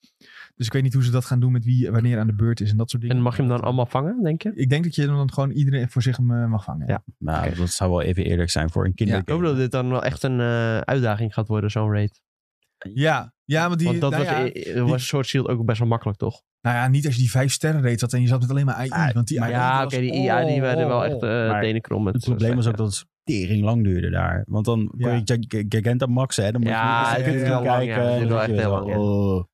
A: Dus ik weet niet hoe ze dat gaan doen met wie wanneer aan de beurt is en dat soort dingen.
C: En mag je hem dan allemaal vangen, denk je?
A: Ik denk dat je dan gewoon iedereen voor zich eh, mag vangen.
C: Ja.
B: Nou,
C: Oké.
B: dat zou wel even eerlijk zijn voor een
C: Ik hoop
B: kindergame.
C: dat dit dan wel echt een eh, uitdaging gaat worden, zo'n raid.
A: Ja, ja, want die...
C: Want dat
A: nou
C: was,
A: ja,
C: eh, eh, was Sword Shield ook best wel makkelijk, toch?
A: Nou ja, niet als je die vijf sterren reed had en je zat met alleen maar AI.
B: Ah,
A: want die
B: maar
A: AI
C: ja,
A: was-
C: oké, die IA die werden wel echt eh
B: Maar
C: tenen krom. met
B: Het
C: zo'n
B: probleem was ook
C: slechte-
B: dat het tering lang duurde daar. Want dan kon
A: Ja.
B: je Gig- Gig- Gigantamax, hè. Dan moest
C: Ja,
B: je
A: het
B: eerst
A: duurde
B: even
A: wel
C: lang, ja.
B: kijken.
C: Het
B: en
C: duurde
B: dan
C: wel
B: zit
C: echt
B: je
C: heel
B: weer
C: lang,
B: zo, oh.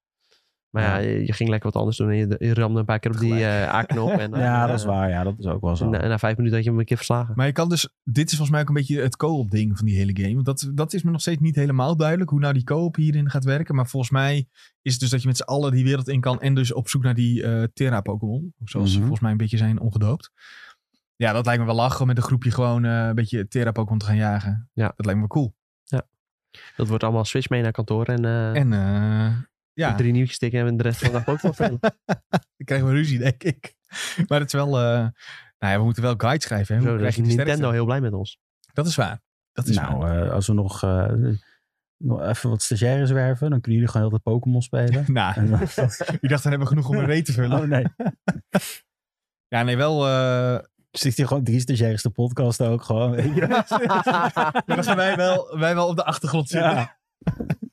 C: Maar ja,
B: Ja.
C: je, je ging lekker wat anders doen en je, je ramde een paar keer op die eh, A-knop. En, dan,
B: Ja,
C: eh,
B: dat is waar. Ja, dat is ook wel zo.
C: en Na, na vijf minuten had je hem een keer verslagen.
A: Maar je kan dus, dit is volgens mij ook een beetje het co-op ding van die hele game. Want dat, dat is me nog steeds niet helemaal duidelijk hoe nou die co-op hierin gaat werken. Maar volgens mij is het dus dat je met z'n allen die wereld in kan en dus op zoek naar die eh Terra-Pokémon. Zoals ze
B: Mhm.
A: volgens mij een beetje zijn ongedoopt. Ja, dat lijkt me wel lachen om met een groepje gewoon eh, een beetje Terra-Pokémon te gaan jagen.
C: Ja.
A: Dat lijkt me wel cool.
C: Dat wordt allemaal Switch mee naar kantoor en, eh,
A: En eh, ja,
C: drie nieuwtjes stikken en de rest van de dag Pokémon spelen.
A: dan krijgen we ruzie denk ik. Maar het is wel, eh, nou ja, we moeten wel guides schrijven. Hè? Hoe
C: Zo, daar
A: krijg
C: is
A: je die sterkte?
C: Nintendo heel blij met ons.
A: Dat is waar. Dat is waar.
B: nou, eh, als we nog, eh, nog even wat stagiaires werven, dan kunnen jullie gewoon heel de Pokémon spelen.
A: Nou,
B: eh, En dan-
A: u dacht dan hebben we genoeg om een reet te vullen.
B: oh nee.
A: Ja, nee, wel. eh,
B: Zit hier gewoon drie stagiaires te podcasten ook gewoon.
A: maar dan gaan wij wel, wij wel op de achtergrond zitten. Ja.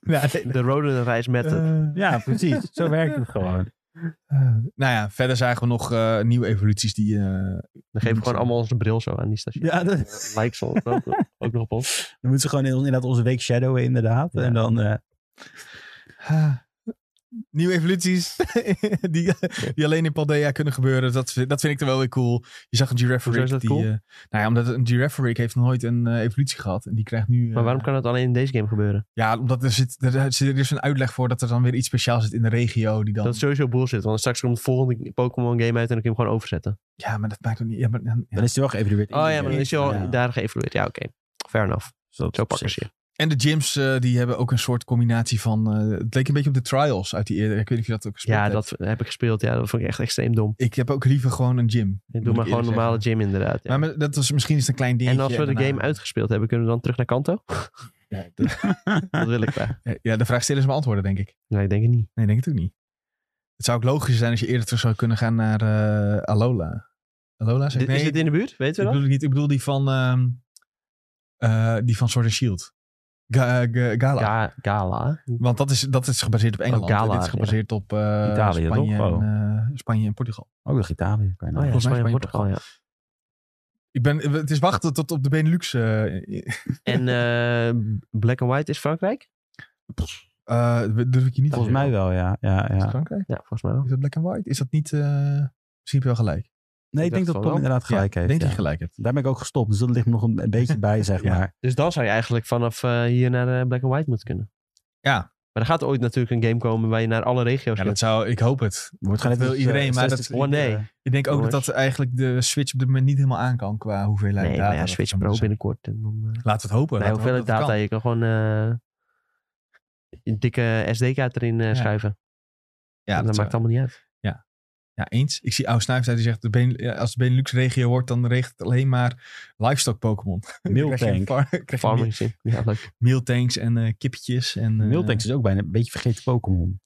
B: Ja,
A: nee,
C: De Rodenreis met het.
A: eh,
B: ja, precies. Zo werkt het gewoon.
A: eh, nou ja, verder zagen we nog eh, nieuwe evoluties die. eh,
C: Dan geven we gewoon allemaal onze bril zo aan die station.
B: Ja, dat,
C: Lijkt zo ook, ook nog op ons.
B: dan moeten ze gewoon in- inderdaad onze week shadowen inderdaad.
C: Ja.
B: En dan, eh,
A: ah, nieuwe evoluties die, die alleen in Paldea kunnen gebeuren. Dat, vind- dat vind ik er wel weer cool. Je zag een giraffe
C: Hoezo is dat
A: die.
C: cool?
A: eh, nou ja, omdat een giraffe rig heeft nog nooit een eh, evolutie gehad. En die krijgt nu.
C: Maar
A: eh,
C: waarom kan dat alleen in deze game gebeuren?
A: Ja, omdat er zit. Er, er zit- er is een uitleg voor dat er dan weer iets speciaals zit in de regio. Die dan,
C: Dat is sowieso bullshit, want straks komt de volgende Pokémon game uit en dan kun je hem gewoon overzetten.
A: Ja, maar dat maakt ook niet. Ja, maar, ja.
B: dan is hij wel geëvalueerd. in
C: Oh
B: die
C: ja, maar dan
B: week.
C: is hij al
B: Ja.
C: daar geëvalueerd. Ja, oké. Fair enough.
B: Dus dat
C: Zo
B: op
C: pakken
B: zich-
C: ze je.
A: En de gyms, eh, die hebben ook een soort combinatie van... eh, het leek een beetje op de trials uit die eerder. Ik weet niet of je dat ook gespeeld
C: Ja,
A: hebt.
C: dat heb ik gespeeld. Ja, dat vond ik echt extreem dom.
A: Ik heb ook liever gewoon een gym.
C: Ik
A: moet
C: doe maar
A: ik
C: gewoon een
A: eerlijk
C: normale
A: zeggen.
C: gym inderdaad. ja.
A: Maar met- dat was misschien eens een klein dingetje.
C: en als we de
A: daarna-
C: game uitgespeeld hebben, kunnen we dan terug naar Kanto?
A: Ja, dat-
C: Dat wil ik wel.
A: ja, de vraag stellen is beantwoorden, denk ik.
C: Nee, ik denk het niet.
A: Nee, denk ik ook niet. Het zou ook logischer zijn als je eerder terug zou kunnen gaan naar eh, Alola. Alola? Zeg,
C: Dit-
A: ik- nee,
C: is dit in de buurt? Weten
A: ik
C: we dat?
A: bedoel, niet, ik bedoel die van... ehm, eh, die van Sword and Shield. Ga- eh, ga- Gala.
C: Ga- Gala. Oh
A: Want dat is, dat is gebaseerd op Engeland.
C: Gala,
A: en dit is gebaseerd op eh,
B: Oh, Italië,
A: Spanje,
B: toch?
A: en, eh, Spanje en Portugal.
B: Ook nog Italië. kan je
C: Oh
B: nou-
C: ja,
A: Volgens mij
C: Spanje en
A: Spanje en
C: Portugal, ja.
A: Ik ben, het is wachten tot op de Benelux. eh,
C: En eh, Black and White is Frankrijk?
A: eh, durf ik je niet te
B: Volgens mij wel, ja. ja,
A: zeggen. Is dat
B: ja.
A: Frankrijk?
C: Ja, volgens mij wel.
A: Is dat Black and White? Is dat niet... eh misschien heb je wel gelijk.
B: Nee,
C: dacht
B: ik denk dat
C: van
B: Tom
C: wel.
B: inderdaad
A: Ja,
B: gelijk
A: ik
B: heeft.
A: denk
B: ja.
A: dat je gelijk hebt.
B: Daar ben ik ook gestopt, dus dat ligt me nog een, een beetje bij, zeg
A: Ja.
B: maar.
C: Dus dan zou je eigenlijk vanaf eh, hier naar eh, Black and White moeten kunnen.
A: Ja.
C: Maar er gaat ooit natuurlijk een game komen waar je naar alle regio's
A: Ja,
C: kunt.
A: dat zou... Ik hoop het.
B: Wordt
A: Dat
B: gewoon net
A: wil
B: als,
A: iedereen,
B: eh,
A: maar
B: Assassin's
A: dat-
B: Creed,
C: Oh, nee.
B: eh,
A: Ik denk ook dat
C: Jongens.
A: dat eigenlijk de Switch op dit moment niet helemaal aan kan qua hoeveelheid
C: Nee,
A: data.
C: maar ja,
A: dat
C: Switch
A: zou
C: Pro
A: moeten zijn.
C: binnenkort. En dan, eh,
A: Laten we het hopen.
C: nee,
A: Laten we
C: hoeveel
A: hopen dat het
C: data,
A: kan.
C: je kan gewoon eh, een dikke SD-kaart erin eh,
A: Ja,
C: schuiven.
A: Ja,
C: dat,
A: dat zou-
C: maakt allemaal niet uit.
A: Ja, eens. Ik zie Oude Snuif die zegt, de Ben- ja, als de Benelux-regio wordt, dan regent het alleen maar livestock Pokémon. Dan krijg je
B: Miltank.
A: far- krijg je
C: Farming zin. Ja, leuk.
A: mealtanks en eh, kippetjes. En, eh,
B: Miltank is ook bijna een beetje vergeten Pokémon.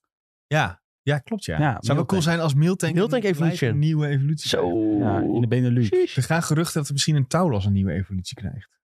A: Ja, ja klopt ja.
B: Ja,
A: Zou wel
B: Miltank.
A: cool zijn als Miltank,
C: Miltank
A: een
C: Evolution.
A: gelijk een nieuwe evolutie krijgt.
C: Zo.
B: Ja, in de Benelux.
A: Er gaan geruchten dat er misschien een Tauros een nieuwe evolutie krijgt.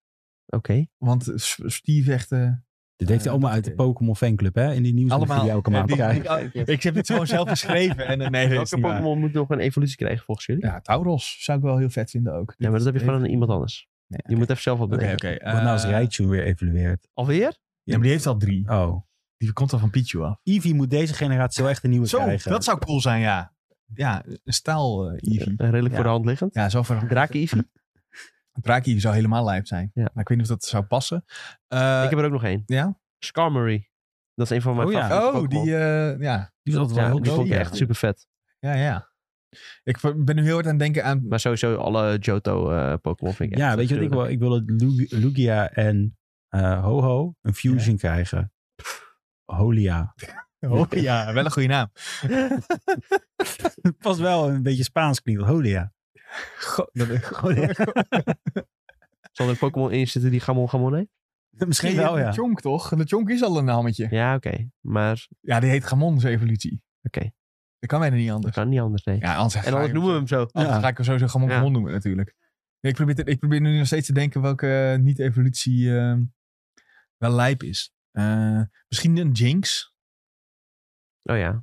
C: Oké.
A: Want eh, S- Steve echt... eh,
B: Dit heeft
A: Ja,
B: allemaal
A: dat
B: uit de
A: idee.
B: Pokémon fanclub, hè? In die nieuws die je elke
A: eh,
B: maand
A: die-
B: krijgt.
A: die- ik heb dit gewoon zelf geschreven. En, eh, nee, dat is
C: Welke
A: niet waar.
C: Pokémon moet nog een evolutie krijgen volgens jullie? Ja,
A: Ja, Tauros zou ik wel heel vet vinden ook.
C: maar dat heb je van een- iemand anders.
A: Nee,
C: Je moet even zelf wat
A: Oké,
C: bedenken.
A: oké. eh,
B: Wat nou als Raichu weer evolueert?
C: Alweer?
A: Ja, maar die heeft al drie.
B: Oh.
A: Die komt al van Pichu af.
B: Eevee moet deze generatie wel echt een nieuwe
A: Zo,
B: krijgen.
A: dat zou cool zijn, ja. Ja, een staal eh Eevee.
C: Eh, redelijk
B: Ja.
C: voor de hand liggend.
A: Ja, zo ver.
C: Draken Eevee.
A: Draak Eevee zou helemaal lijp zijn.
C: Ja.
A: Maar ik weet niet of dat zou passen. Eh,
C: ik heb er ook nog één.
A: Ja?
C: Skarmory. Dat is een van mijn
B: Oh ja.
C: favoriete
A: Oh,
C: Pokémon.
A: die... eh, ja.
B: Die was altijd wel
C: Ja,
B: heel
C: die
A: dood,
C: vond ik
A: ja.
C: echt super vet.
A: ja, ja. Ik v- ben nu heel hard aan het denken aan...
C: Maar sowieso alle Johto eh, Pokémon vind ik echt
B: Ja, weet je wat ik wil? Ik wil dat Lu- Lugia en eh Ho-Ho een fusion krijgen. Holia.
A: Oh, ja, wel een goede naam.
B: Pas wel een beetje Spaans klinkt, Holia.
A: Go- dat-
C: Zal er Pokémon in zitten die Gamon Gamon heet?
B: Misschien
A: Nee,
B: wel,
A: je hebt
B: ja.
A: de Chonk, toch? De Chonk is al een nammetje.
C: Ja, oké. Maar
A: Ja, die heet Gamon's evolutie.
C: Oké.
A: Dat kan bijna niet
C: dat
A: anders.
C: kan niet anders, nee.
A: Ja, anders
C: en anders noemen we hem zo.
A: Anders
B: Ja.
A: ga ik hem sowieso Gamon
C: Ja.
A: Gamon noemen natuurlijk. Nee, Ik probeer, te- ik probeer nu nog steeds te denken welke eh, niet-evolutie eh, wel lijp is. Eh, misschien een Jinx.
C: Oh ja.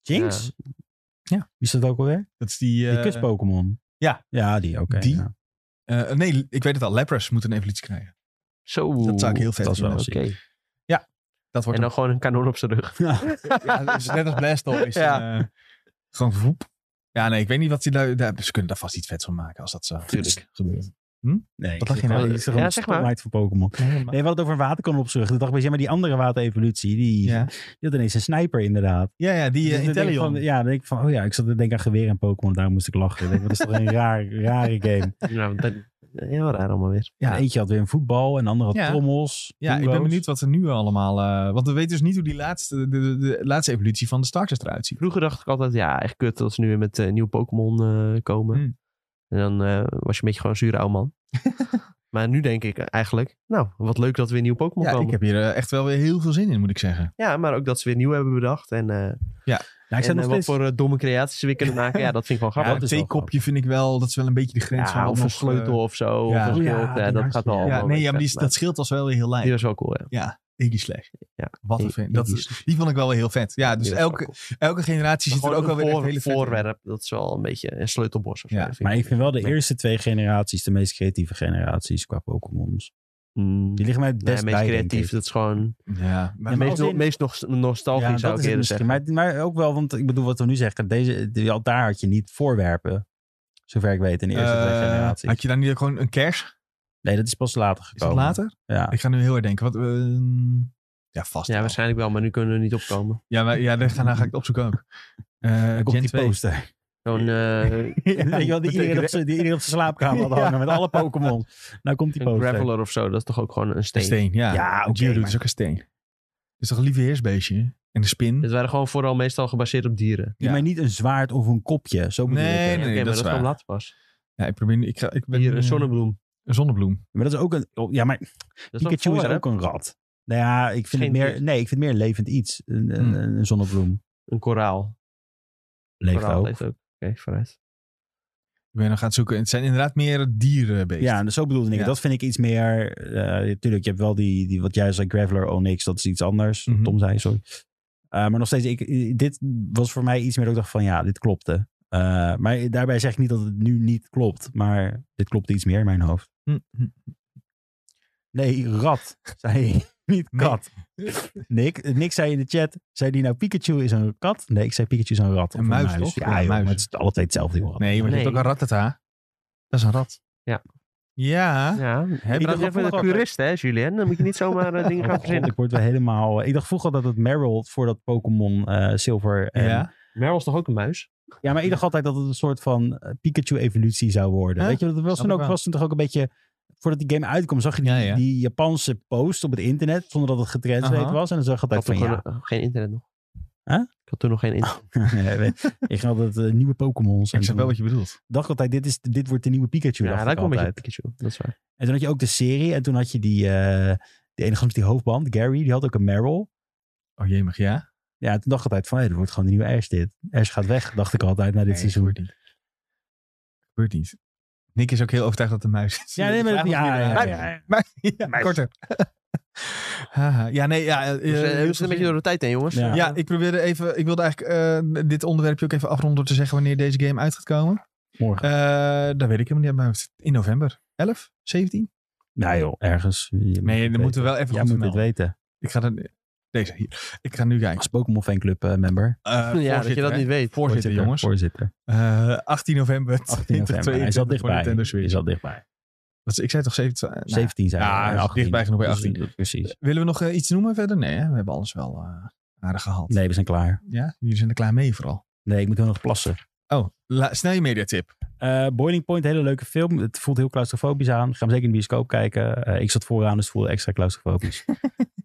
B: Jinx?
C: Ja.
A: Ja.
B: Wie is dat ook alweer?
A: Dat is die...
B: Die
A: eh,
B: kus-Pokémon.
A: ja.
B: Ja, die, oké.
A: Die?
B: ja.
A: eh, nee, ik weet het al. Lepros moet een evolutie krijgen.
C: Zo.
A: Dat zou ik heel vet
B: dat is
A: vinden.
B: wel
A: als-
B: eens-
C: Oké.
A: Dat wordt
C: En dan gewoon een kanon op zijn rug.
B: Ja.
A: een- ja, dat is net als Blastoise.
C: Ja.
A: Eh, gewoon voep. Ja, nee, ik weet niet wat die lui... daar- Ze kunnen daar vast iets vets van maken als dat zo
C: Tuurlijk.
A: gebeurt.
B: Nee,
A: Wat lag je nou?
B: dat is gewoon
C: Ja,
B: de
C: zeg maar.
B: stomheid van Pokémon. Nee, we hadden het over een waterkanon op z'n rug. Toen dacht ik, ja, maar die andere waterevolutie, die,
A: Ja.
B: die had ineens een sniper inderdaad.
A: Ja, ja, die
B: Dus
A: eh,
B: dan denk ik
A: Inteleon.
B: van- Ja, dan denk ik van, oh ja, ik zat te denken aan geweer en Pokémon. Daar moest ik lachen. Ik denk, dat is toch een raar, rare game.
C: Nou, dat, heel raar allemaal weer.
A: Ja.
B: En Eentje had weer een voetbal en de andere had
A: Ja.
B: trommels.
A: Ja, ik ben
B: bingo's.
A: benieuwd wat er nu allemaal... eh, want we weten dus niet hoe die laatste, de, de, de laatste evolutie van de Starters eruit ziet.
C: Vroeger dacht ik altijd, ja, echt kut dat ze nu weer met eh, nieuwe Pokémon eh, komen.
A: Hmm.
C: En dan eh, was je een beetje gewoon een zure oude man. maar nu denk ik eigenlijk, nou, wat leuk dat er weer nieuwe Pokémon
A: Ja,
C: komen.
A: ik heb hier eh, echt wel weer heel veel zin in, moet ik zeggen.
C: Ja, maar ook dat ze weer nieuw hebben bedacht. En, eh,
B: Ja, Nou, ik
C: en eh,
B: zat nog
C: wat
B: steeds...
C: voor eh, domme creaties ze weer kunnen maken. Ja, dat vind ik wel
A: Ja,
C: grappig.
B: dat
A: een
B: is wel
A: theekopje vind ik wel, dat is wel een beetje de grens
C: Ja,
A: van...
C: of
A: nog,
C: een
A: eh,
C: sleutel of zo.
A: ja.
C: Of een
B: Oh ja,
C: schild. Ja,
B: die
C: dat
B: was-
C: gaat wel.
B: ja,
C: allemaal
A: ja, nee,
C: weer
A: ja, maar die,
C: vet,
A: dat scheelt als wel weer heel
C: maar Die
A: lijn.
C: was wel cool, ja.
A: Ja, Iggy Slash.
C: Ja,
A: Wat een
C: I-
A: vent. Dat
C: Iggy
A: is- Die vond ik wel weer heel vet. Ja, dus
C: Die was wel
A: elke,
C: cool.
A: elke generatie zit er
C: Gewoon
A: ook wel
C: een
A: weer echt
C: voor-
A: hele vette-
C: voorwerp. Dat is wel een beetje een sleutelbos of zo.
A: Ja,
C: vind
B: Maar ik vind wel de
C: Nee.
B: eerste twee generaties de meest creatieve generaties qua Pokémons.
C: Mm,
B: Die liggen mij het
C: nee,
B: best
C: meest
B: bij, denk
C: creatief.
B: ik.
C: Dat is gewoon...
A: Ja, maar
B: Ja,
C: Het
B: maar
C: meest,
B: als
C: no-
B: in-
C: meest nog, nostalgisch
B: Ja,
C: zou
B: dat
C: ik
B: is het
C: eerder
B: misschien.
C: zeggen.
B: Maar, maar ook wel, want ik bedoel wat we nu zeggen. Deze, die- al daar had je niet voorwerpen. Zover ik weet in de eerste twee
A: eh,
B: generaties.
A: had je daar niet gewoon een kers? Is
B: Nee, dat is pas later
A: dat
B: gekomen.
A: later?
B: Ja.
A: Ik ga nu heel erg denken. Wat, eh, ja, vast.
C: Ja,
A: wel.
C: waarschijnlijk wel, maar nu kunnen we er niet opkomen.
A: Ja, maar, ja daar, ga, daar ga ik het opzoeken ook. Eh
B: Op
A: Gen
B: die
A: 2.
B: poster.
C: Zo'n eh
B: Weet je wel, die iedereen op zijn- die iedereen op zijn slaapkamer had hangen met alle Pokémon. Nou komt die
C: een
B: poster.
C: graveler of zo, dat is toch ook gewoon een
A: Een
C: steen.
A: steen, ja.
B: Ja,
A: Een
B: oké,
A: Geodude
B: maar-
A: is ook een steen. Het is toch een lieve heersbeestje? hè? En de spin?
C: Dit waren gewoon vooral meestal gebaseerd op dieren. Eh,
B: Die
A: Ja.
B: maar niet een zwaard of een kopje. Zo bedoel
A: Nee,
B: ik het.
A: nee.
C: Oké, maar
A: dat is
C: dat kwam
A: waar.
C: later pas.
A: Ja, ik probeer nu... Ik ga, ik ben,
C: Hier, een
A: eh,
C: zonnebloem.
A: Een zonnebloem.
B: Maar dat is ook een... oh, Ja, maar
C: Dat is wel
B: Pikachu is
C: voor, hè?
B: ook een rat. Nou ja, ik vind,
C: Geen
B: het meer,
C: dier.
B: nee, ik vind het meer een levend iets. Een, een,
A: Hmm.
B: een zonnebloem.
C: Een koraal.
B: Leeft
C: koraal
B: ook.
C: leeft ook. Oké, vooruit.
A: Ik ben nog gaan zoeken. Het zijn inderdaad meer dierenbeesten.
B: Ja, en zo bedoelde ik.
A: Ja.
B: het. Dat vind ik iets meer... Natuurlijk, je hebt wel die, die... Wat jij zei, Graveler, Onyx. Dat is iets anders.
A: Mhm.
B: Tom zei, sorry. Eh, maar nog steeds, ik, dit was voor mij iets meer dat ik dacht van... Ja, dit klopte. Eh, maar daarbij zeg ik niet dat het nu niet klopt. Maar dit klopt iets meer in mijn hoofd.
A: Hm, hm.
B: Nee, rat, zei je. Niet
A: Nee.
B: kat. Nick, Nick zei in de chat, zei die nou Pikachu is een kat? Nee, ik zei Pikachu is een rat.
A: Een
B: Of
A: muis, toch?
B: Ja,
A: Ja, een
B: joh,
A: muis.
B: maar het is alle twee hetzelfde. Joh.
A: Nee, maar je hebt
C: Nee.
A: ook een ratata. Dat is een rat.
C: Ja.
A: Ja.
B: Ah.
C: Ja,
A: Heb
C: je
A: je
B: dacht
C: bent
B: dat
A: dat
C: even
B: vroeger
C: een
B: ook-
C: purist, hè, Julien? Dan moet je niet zomaar eh, dingen gaan
B: Oh, God,
C: verzinnen.
B: ik word wel helemaal... eh, Ik dacht vroeger dat het Meryl voor dat Pokémon eh, Silver... en-
A: ja.
C: Meryl is toch ook een muis?
B: ja, maar ik dacht altijd dat het een soort van eh, Pikachu-evolutie zou worden.
A: Ja,
B: Weet je, dat was
A: snap
B: toen,
A: ik
B: ook,
A: wel.
B: was toen toch ook een beetje... Voordat die game uitkwam, zag je die,
A: Ja, ja.
B: die Japanse post op het internet. Zonder dat het getranslate
A: Aha.
B: was. En dan zag je
C: Ik had
B: altijd
C: toen
B: van Oh, ja...
C: gewoon, eh, geen internet nog.
B: Huh?
C: Ik had toen nog geen internet.
B: ik had altijd eh, nieuwe Pokémons.
A: Ik snap
B: en toen
A: wel wat je bedoelt.
B: dacht altijd, dit, is, dit wordt de nieuwe Pikachu.
C: ja,
B: dacht
C: dat
B: ik
C: lijkt wel een beetje
B: altijd.
C: op Pikachu. Dat is waar.
B: En toen had je ook de serie. En toen had je die, eh die ene gast met die hoofdband, Gary, die had ook een Meryl.
A: Oh jee, mag ja?
B: Ja, toen dacht ik altijd van, hé, dat wordt gewoon de nieuwe Ash dit. Ash gaat weg, dacht ik altijd na dit
A: Nee,
B: seizoen.
A: gebeurt niet. Gebeurt niet. Nick is ook heel overtuigd dat het een muis is.
B: Ja, nee, maar dat-
A: Vraag eh,
B: ja,
A: of je-
B: ja,
A: Maar-
B: ja, ja.
A: maar- ja,
B: Muis.
A: korter. Haha, ja, nee, ja. eh,
C: Dus, eh,
A: eh,
C: we zitten een beetje door de tijd heen, jongens.
B: Ja.
A: Ja, ik probeerde even. Ik wilde eigenlijk eh, dit onderwerpje ook even afronden door te zeggen wanneer deze game uit gaat komen.
B: Morgen.
A: Eh dat weet ik helemaal niet uit mijn hoofd. In november. 11? 17?
B: nou joh, ergens. Je moet
A: Nee,
B: het
A: dan moeten
B: weten.
A: we wel even
B: Jij
A: goed
B: moet het
A: vermelden.
B: weten.
A: Ik ga dan, deze hier. Ik ga nu kijken.
B: Als Pokémon fanclub eh, member.
A: Eh,
C: ja, dat je
A: voorzitter,
C: dat
A: hè?
C: niet weet.
A: Voorzitter, jongens.
B: Voorzitter.
A: Eh, 18 november
B: 18 november.
A: 2022
B: Hij zat
A: voor
B: dichtbij.
A: Nintendo
B: Hij
A: Switch.
B: zat dichtbij.
A: Wat- ik zei toch 17? Nou,
B: 17 zijn
A: ja,
B: we,
A: is
B: 18.
A: dichtbij genoeg bij
B: Dus,
A: 18.
B: eh, Precies.
A: Willen we nog eh, iets noemen verder? Nee, hè? we hebben alles wel eh, aardig gehad.
B: Nee, we zijn klaar.
A: Ja? Jullie zijn er klaar mee vooral.
B: Nee, ik moet wel nog plassen.
A: Oh, la- snel je mediatip.
B: Eh, Boiling Point, hele leuke film. Het voelt heel claustrofobisch aan. Ga hem zeker in de bioscoop kijken. Eh, ik zat vooraan, dus het voelde extra claustrofobisch.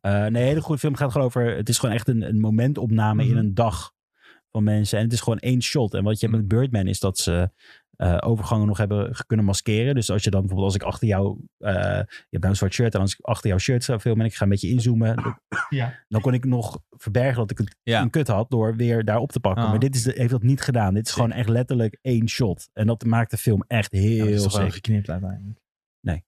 B: Eh, nee, hele goede film. Gaat gewoon over. Het is gewoon echt een, een momentopname
A: Mhm.
B: in een dag van mensen. En het is gewoon één shot. En wat je hebt met Birdman is dat ze eh, overgangen nog hebben ge- kunnen maskeren. Dus als je dan bijvoorbeeld, als ik achter jou. eh, je hebt nou een zwart shirt. En als ik achter jouw shirt zou filmen en ik ga een beetje inzoomen. dan-
A: Ja.
B: Dan kon ik nog verbergen dat ik het
A: Ja.
B: een kut had door weer daar op te pakken.
A: Ah.
B: Maar dit is de- heeft dat niet gedaan. Dit is gewoon echt letterlijk één shot. En dat maakt de film echt
A: Ja, maar het
B: heel
A: is toch wel
B: sick.
A: geknipt uiteindelijk?
B: Nee.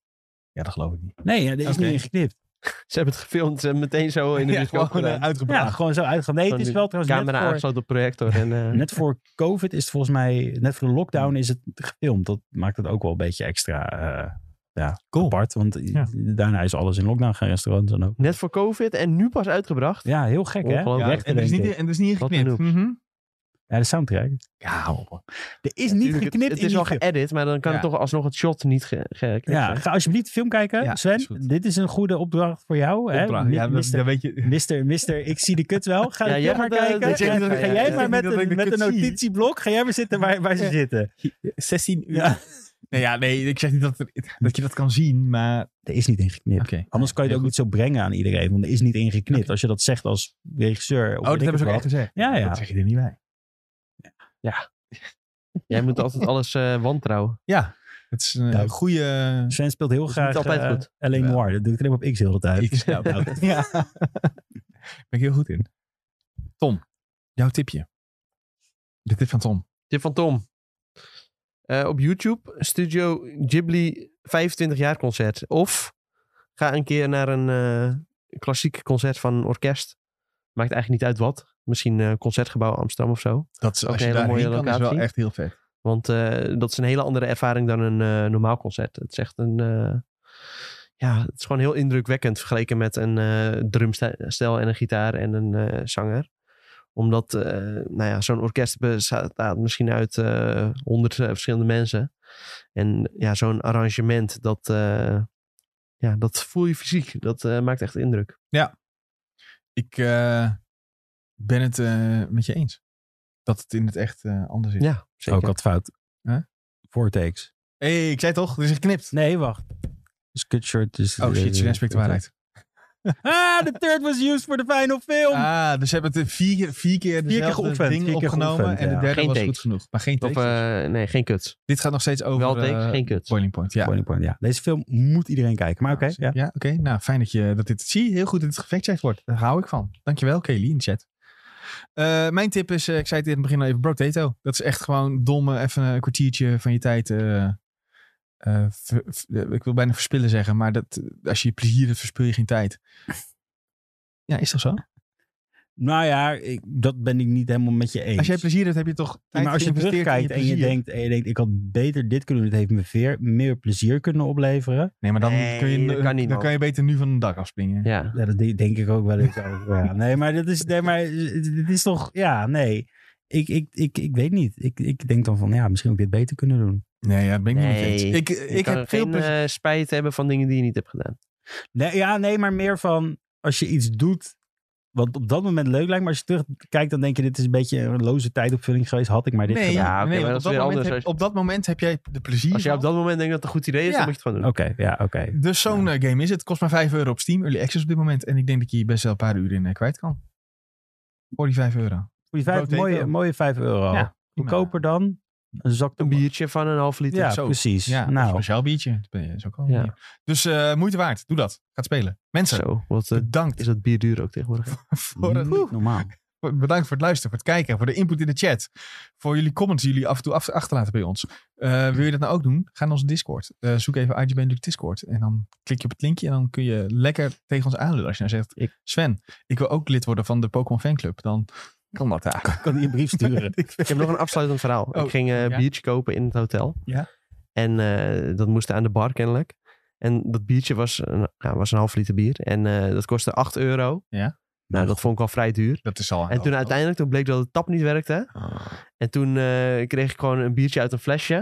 A: Ja, dat geloof ik niet.
B: Nee, ja, dit is
A: Oké.
B: niet ingeknipt.
C: Ze hebben het gefilmd ze hebben meteen zo in de
A: Ja,
C: bioscoop
A: gewoon
C: gedaan.
A: eh, uitgebracht.
B: Ja, gewoon zo uitgaan. Nee, het is wel trouwens
C: Camera
B: net voor,
C: aangesloten op projector. En, eh,
B: net voor COVID is het volgens mij, net voor de lockdown is het gefilmd. Dat maakt het ook wel een beetje extra eh, ja,
A: Cool.
B: apart. Want
A: Ja.
B: daarna is alles in lockdown, geen restaurants en ook.
C: net voor COVID en nu pas uitgebracht.
B: Ja, heel gek hè?
C: Ongelooflijk.
A: Ja,
B: Rechter,
A: en, er is
B: denk
A: niet,
B: ik.
A: en er is niet
C: Wat
A: geknipt.
C: een
A: Mhm.
B: Ja, de soundtrack.
A: Ja, hou op.
B: Er is niet
C: Tuurlijk, het-
B: geknipt
C: Het
B: in
C: is
B: die
C: wel
B: film.
C: geëdit, maar dan kan
A: Ja.
C: het toch alsnog het shot niet ge- geknipt
B: Ja,
C: zijn.
B: ga alsjeblieft de film kijken,
A: Ja,
B: Sven.
A: is goed.
B: Dit is een goede opdracht voor jou. hè?
A: Opdracht. Ja, dat,
B: Mister-
A: dat weet je.
B: Mister, mister, ik zie de kut wel. Ga
C: Ja,
B: jij
C: jij
B: maar
C: gaat, eh,
B: kijken.
C: dat zeg ik
B: Ja,
C: niet dat
B: ga
C: ik- ja,
B: jij
C: ja.
B: maar
A: Ik
B: met,
A: denk dat ik
B: een,
A: de
B: met een
A: kut zie.
B: notitieblok. Ga jij maar zitten waar, waar ze
A: Ja.
B: zitten.
A: 16 uur.
B: Ja.
A: Nee, ja, nee, ik zeg niet dat, er- dat je dat kan zien, maar...
B: Er is niet ingeknipt.
A: Oké.
B: Anders kan je het ook
A: Heel
B: niet zo brengen aan iedereen. Want er is niet ingeknipt. Als je dat zegt als regisseur.
A: Oh, dat hebben ze ook echt gezegd.
B: Ja, ja.
A: Dat zeg je er niet bij.
C: Jij moet altijd alles eh, wantrouwen.
A: Ja, het is een eh,
B: Nou.
A: goede...
B: Sven speelt heel
C: is
B: graag
C: niet altijd
B: eh,
C: goed.
B: L.A.
A: Jawel.
B: Noir. Dat doe ik alleen maar op X heel de tijd.
A: Ik snap dat. ja. ben ik heel goed in. Tom, jouw tipje. De tip van Tom.
C: Tip van Tom. Eh, op YouTube, Studio Ghibli 25 jaar concert. Of ga een keer naar een eh, klassiek concert van een orkest. Maakt eigenlijk niet uit wat. Misschien eh, Concertgebouw Amsterdam of zo.
A: Dat is,
C: Ook
A: als
C: een
A: je
C: hele
A: daar
C: mooie
A: heen kan, is wel
C: locatie.
A: echt heel vet.
C: Want eh, dat is een hele andere ervaring dan een eh, normaal concert. Het is echt een. eh, ja, het is gewoon heel indrukwekkend vergeleken met een eh drumstel en een gitaar en een eh, zanger. Omdat, eh, nou ja, zo'n orkest bestaat misschien uit eh, honderd verschillende mensen. En ja, zo'n arrangement, dat, eh, ja, dat voel je fysiek. Dat eh, maakt echt indruk.
A: Ik eh, ben het eh, met je eens. Dat het in het echt eh, anders is.
C: Ja, zeker.
B: Ook wat fout.
A: Huh?
B: Four takes.
A: hey, ik zei toch? Er is geknipt.
B: Nee, wacht. Dus cut short is...
A: Oh shit, Julien spreekt de waarheid.
B: Ah, the third was used for the final film.
A: Ah, dus ze hebben het vier, keer- vier keer dezelfde
B: geoefend,
A: ding
B: vier keer
A: opgenomen.
B: geoefend,
A: en de
B: ja.
A: derde
C: Geen
A: was
C: takes.
A: goed genoeg. Maar geen
C: Of,
A: takes.
C: eh, nee, geen kut.
A: Dit gaat nog steeds over
C: Wel takes,
A: eh,
C: geen kut.
A: Boiling Point. Ja,
B: Boiling Point, ja. Deze film moet iedereen kijken. Maar Ah, oké, ja.
A: ja oké. Nou, fijn dat, je, dat dit... Zie je, heel goed dat dit gefactcheckt wordt. Daar hou ik van. Dankjewel, Kelly in de chat. Eh, mijn tip is, eh, ik zei het in het begin al even, Brotato. Dat is echt gewoon domme, even een kwartiertje van je tijd... eh, eh, ver- ver- ik wil bijna verspillen zeggen, eh, maar dat, als je je plezier hebt, verspil je geen tijd. Ja, is toch zo?
B: Nou ja, ik, dat ben ik niet helemaal met je eens.
A: Als jij plezier hebt, heb je toch
B: Ja,
A: tijd
B: maar als je
A: geïnvesteerd in
B: terugkijkt en je,
A: plezier?
B: denkt, en je denkt, ik had beter dit kunnen doen, het heeft me veer, meer plezier kunnen opleveren.
A: Nee, maar dan,
C: Nee,
A: kun, je,
C: dat kan niet,
A: dan
C: man.
A: kan je beter nu van een dak afspringen.
C: Ja.
B: Ja, dat de- denk ik ook wel eens over. Ja, nee, maar dit is, nee, maar dit is toch, ja, nee. Ik, ik, ik, ik weet niet. Ik, ik denk dan van, ja, misschien had ik dit beter kunnen doen.
A: Nee, ja, dat ben ik niet
C: Nee,
A: met je eens. Ik,
C: Je
A: ik
C: kan
A: heb veel
C: geen
A: plezier.
C: eh, spijt hebben van dingen die je niet hebt gedaan.
B: Nee, ja, nee, maar meer van als je iets doet wat op dat moment leuk lijkt, maar als je terugkijkt, dan denk je, dit is een beetje een loze tijdopvulling geweest. Had ik maar dit
A: Nee,
C: eh,
B: gedaan.
C: Ja, oké,
A: nee
C: maar
A: want
C: dat is
A: op, dat
C: weer
A: moment
C: anders
A: heb,
C: als je-
A: op dat moment heb jij de plezier.
C: Als jij op dat moment denkt dat het een goed idee is,
A: Ja.
C: dan moet je het gewoon doen.
B: Oké, ja, oké.
A: Dus zo'n eh, game is het. Kost maar 5 euro op Steam. Early Access op dit moment. En ik denk dat je hier best wel een paar uur in eh, kwijt kan. Voor die 5 euro.
B: Voor die vijf,
A: Potato.
B: mooie, mooie 5 euro.
A: Ja,
B: Goedkoper dan een zak
C: Een
B: tabak.
C: biertje van een half liter.
B: Ja,
A: zo.
B: precies.
A: Ja, nou. een
B: nou,
A: speciaal biertje. Dat is ook al.
C: Ja.
A: een- Dus eh, moeite waard. Doe dat. Gaat spelen. Mensen,
C: Zo, wat eh,
A: bedankt.
C: is dat bier duur ook tegenwoordig?
A: voor het,
B: niet normaal.
A: bedankt voor het luisteren, voor het kijken, voor de input in de chat. Voor jullie comments die jullie af en toe af- achterlaten bij ons. Eh, wil je dat nou ook doen? Ga naar onze Discord. Eh, zoek even IGB Duke Discord. En dan klik je op het linkje en dan kun je lekker tegen ons aanlullen. Als je nou zegt,
C: Ik-
A: Sven, ik wil ook lid worden van de Pokémon Fanclub. Dan kan dat daar.
B: Ik kan die een brief sturen.
C: Ik heb nog een afsluitend verhaal.
A: Oh,
C: ik ging eh
A: ja.
C: biertje kopen in het hotel.
A: Ja.
C: En eh, dat moest aan de bar kennelijk. En dat biertje was een, ja, was een half liter bier. En eh, dat kostte 8 euro.
A: Ja. Oh,
C: Nou, dat vond ik al vrij duur.
A: Dat is al Oh. aan
C: En
A: de
C: toen
A: overkant.
C: uiteindelijk toen bleek dat de tap niet werkte. En toen eh, kreeg ik gewoon een biertje uit een flesje.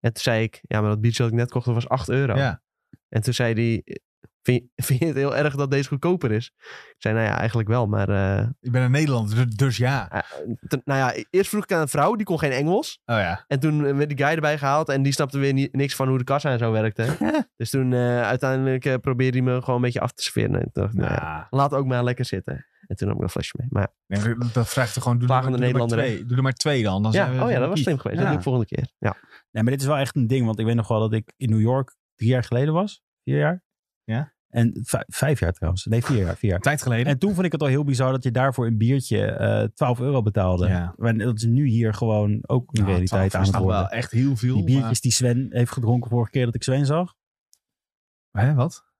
C: En toen zei ik, ja, maar dat biertje dat ik net kocht, dat was 8 euro.
A: Ja.
C: En toen zei hij, vind, je- vind je het heel erg dat deze goedkoper is? Ik zei, nou ja, eigenlijk wel, maar... eh,
A: Ik ben een Nederlander, dus- dus ja.
C: eh, toen- nou ja, eerst vroeg ik aan een vrouw, die kon geen Engels.
A: Oh ja.
C: En toen eh, werd die guy erbij gehaald en die snapte weer ni- niks van hoe de kassa en zo werkte. dus toen eh, uiteindelijk eh, probeerde hij me gewoon een beetje af te sferen. En toen dacht ik, nou ja,
A: Nou,
C: laat ook maar lekker zitten. En toen nam ik een flesje mee. Maar
A: nee, dat- dat vraagt er gewoon. Doe, er maar-
C: Plagende
A: doe er maar
C: Nederlander, hè?
A: twee. Doe er maar twee dan. dan
C: ja,
A: zijn we
C: oh ja, dat was
A: competitief.
C: slim geweest.
B: Ja.
C: Dat doe ik volgende keer. Ja.
B: Nee, maar dit is wel echt een ding. Want ik weet nog wel dat ik in New York drie jaar geleden was. Vier jaar.
A: Ja.
B: En vij- vijf jaar trouwens. Nee, vier jaar. Vier
A: Een
B: jaar.
A: tijd geleden.
B: En toen vond ik het al heel bizar dat je daarvoor een biertje eh 12 euro betaalde.
A: Ja.
B: Maar dat is nu hier gewoon ook een
A: Nou,
B: realiteit
A: 12
B: aan
A: is
B: het
A: nog
B: worden.
A: wel echt heel veel.
B: Die biertjes die Sven heeft gedronken vorige keer dat ik Sven zag.
A: maar- Hè, wat?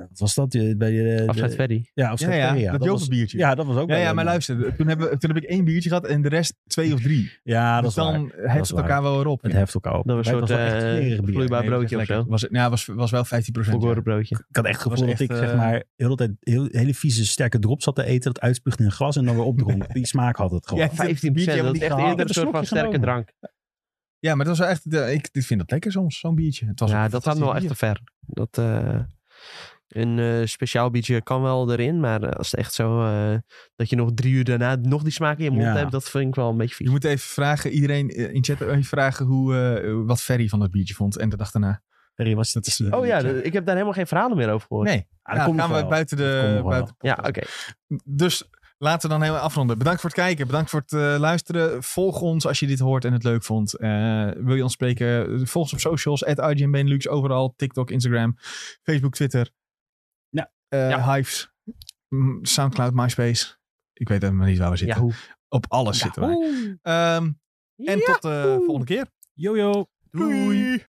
B: Wat was dat? Eh, Bij de, de-
C: Afscheid Ferry.
B: ja, afscheid
A: Ja, ja,
B: Ferry,
A: dat
B: was,
A: Jopenbiertje.
B: Ja, dat was ook
A: Ja,
B: wel
A: ja,
B: leuk,
A: maar
B: man.
A: luisteren. Toen, hebben, we- toen heb ik één biertje gehad en de rest twee of drie.
B: Ja, Ah, dat
A: dus
B: is waar.
A: dan heft
B: is
A: het elkaar wel weer op.
B: Het heft elkaar op.
C: Dat was
B: Maar
C: een
B: het
C: soort
B: wel echt
C: eh,
B: smerig bier.
C: vloeibaar
A: Nee, dat
C: broodje
A: was
C: of
A: echt
C: zo.
A: lekker. Was, het- ja, was, was wel 15 procent.
C: Volkoren broodje.
B: Ik had echt het gevoel
A: was
B: dat ik
A: echt,
B: zeg
A: eh,
B: maar heel de tijd heel, hele vieze sterke drop zat te eten. Dat uitspuugde in een glas en dan weer opdronk. Die smaak had het gewoon.
A: Ja,
B: Ja,
C: 15%,
A: biertje hebben
C: dat
A: we
C: is
A: niet
C: echt
A: gehaald.
C: eerder een
B: Ik heb
C: soort
B: een
C: van sterke
B: slokje genomen.
C: drank.
A: Ja, maar dat was wel echt... de- ik dit vind dat lekker soms, zo'n biertje. Het was
C: ja,
A: een
C: dat gaat wel echt te
A: fantastisch
C: ver. Dat, eh, een eh, speciaal biertje kan wel erin, maar eh, als het echt zo eh, dat je nog drie uur daarna nog die smaak in je mond
B: Ja.
C: hebt, dat vind ik wel een beetje
A: bier.
C: vies.
A: Je moet even vragen, iedereen eh, in chat even vragen hoe, eh, wat Ferry van dat biertje vond. En de dag daarna.
B: was
A: Dat
B: het.
A: is-
B: ja,
C: Oh ja, de- ik heb daar helemaal geen verhalen meer over gehoord.
A: Nee,
B: dat
A: ja,
B: komt nog
A: gaan we
B: wel.
A: buiten
B: Dat komt
A: de...
B: nog wel.
A: Buiten de
C: Ja, oké.
A: podcast. Dus laten we dan helemaal afronden. Bedankt voor het kijken. Bedankt voor het eh, luisteren. Volg ons als je dit hoort en het leuk vond. Eh, wil je ons spreken? Volg ons op socials. At Benelux overal. TikTok, Instagram, Facebook, Twitter.
B: Ja.
A: Eh,
C: Ja.
A: Hives. mm, Soundcloud, MySpace. Ik weet helemaal niet waar we zitten.
C: Yahoo.
A: Op alles zitten wij. Ehm, en tot de volgende eh, keer.
B: Jojo.
A: Doei.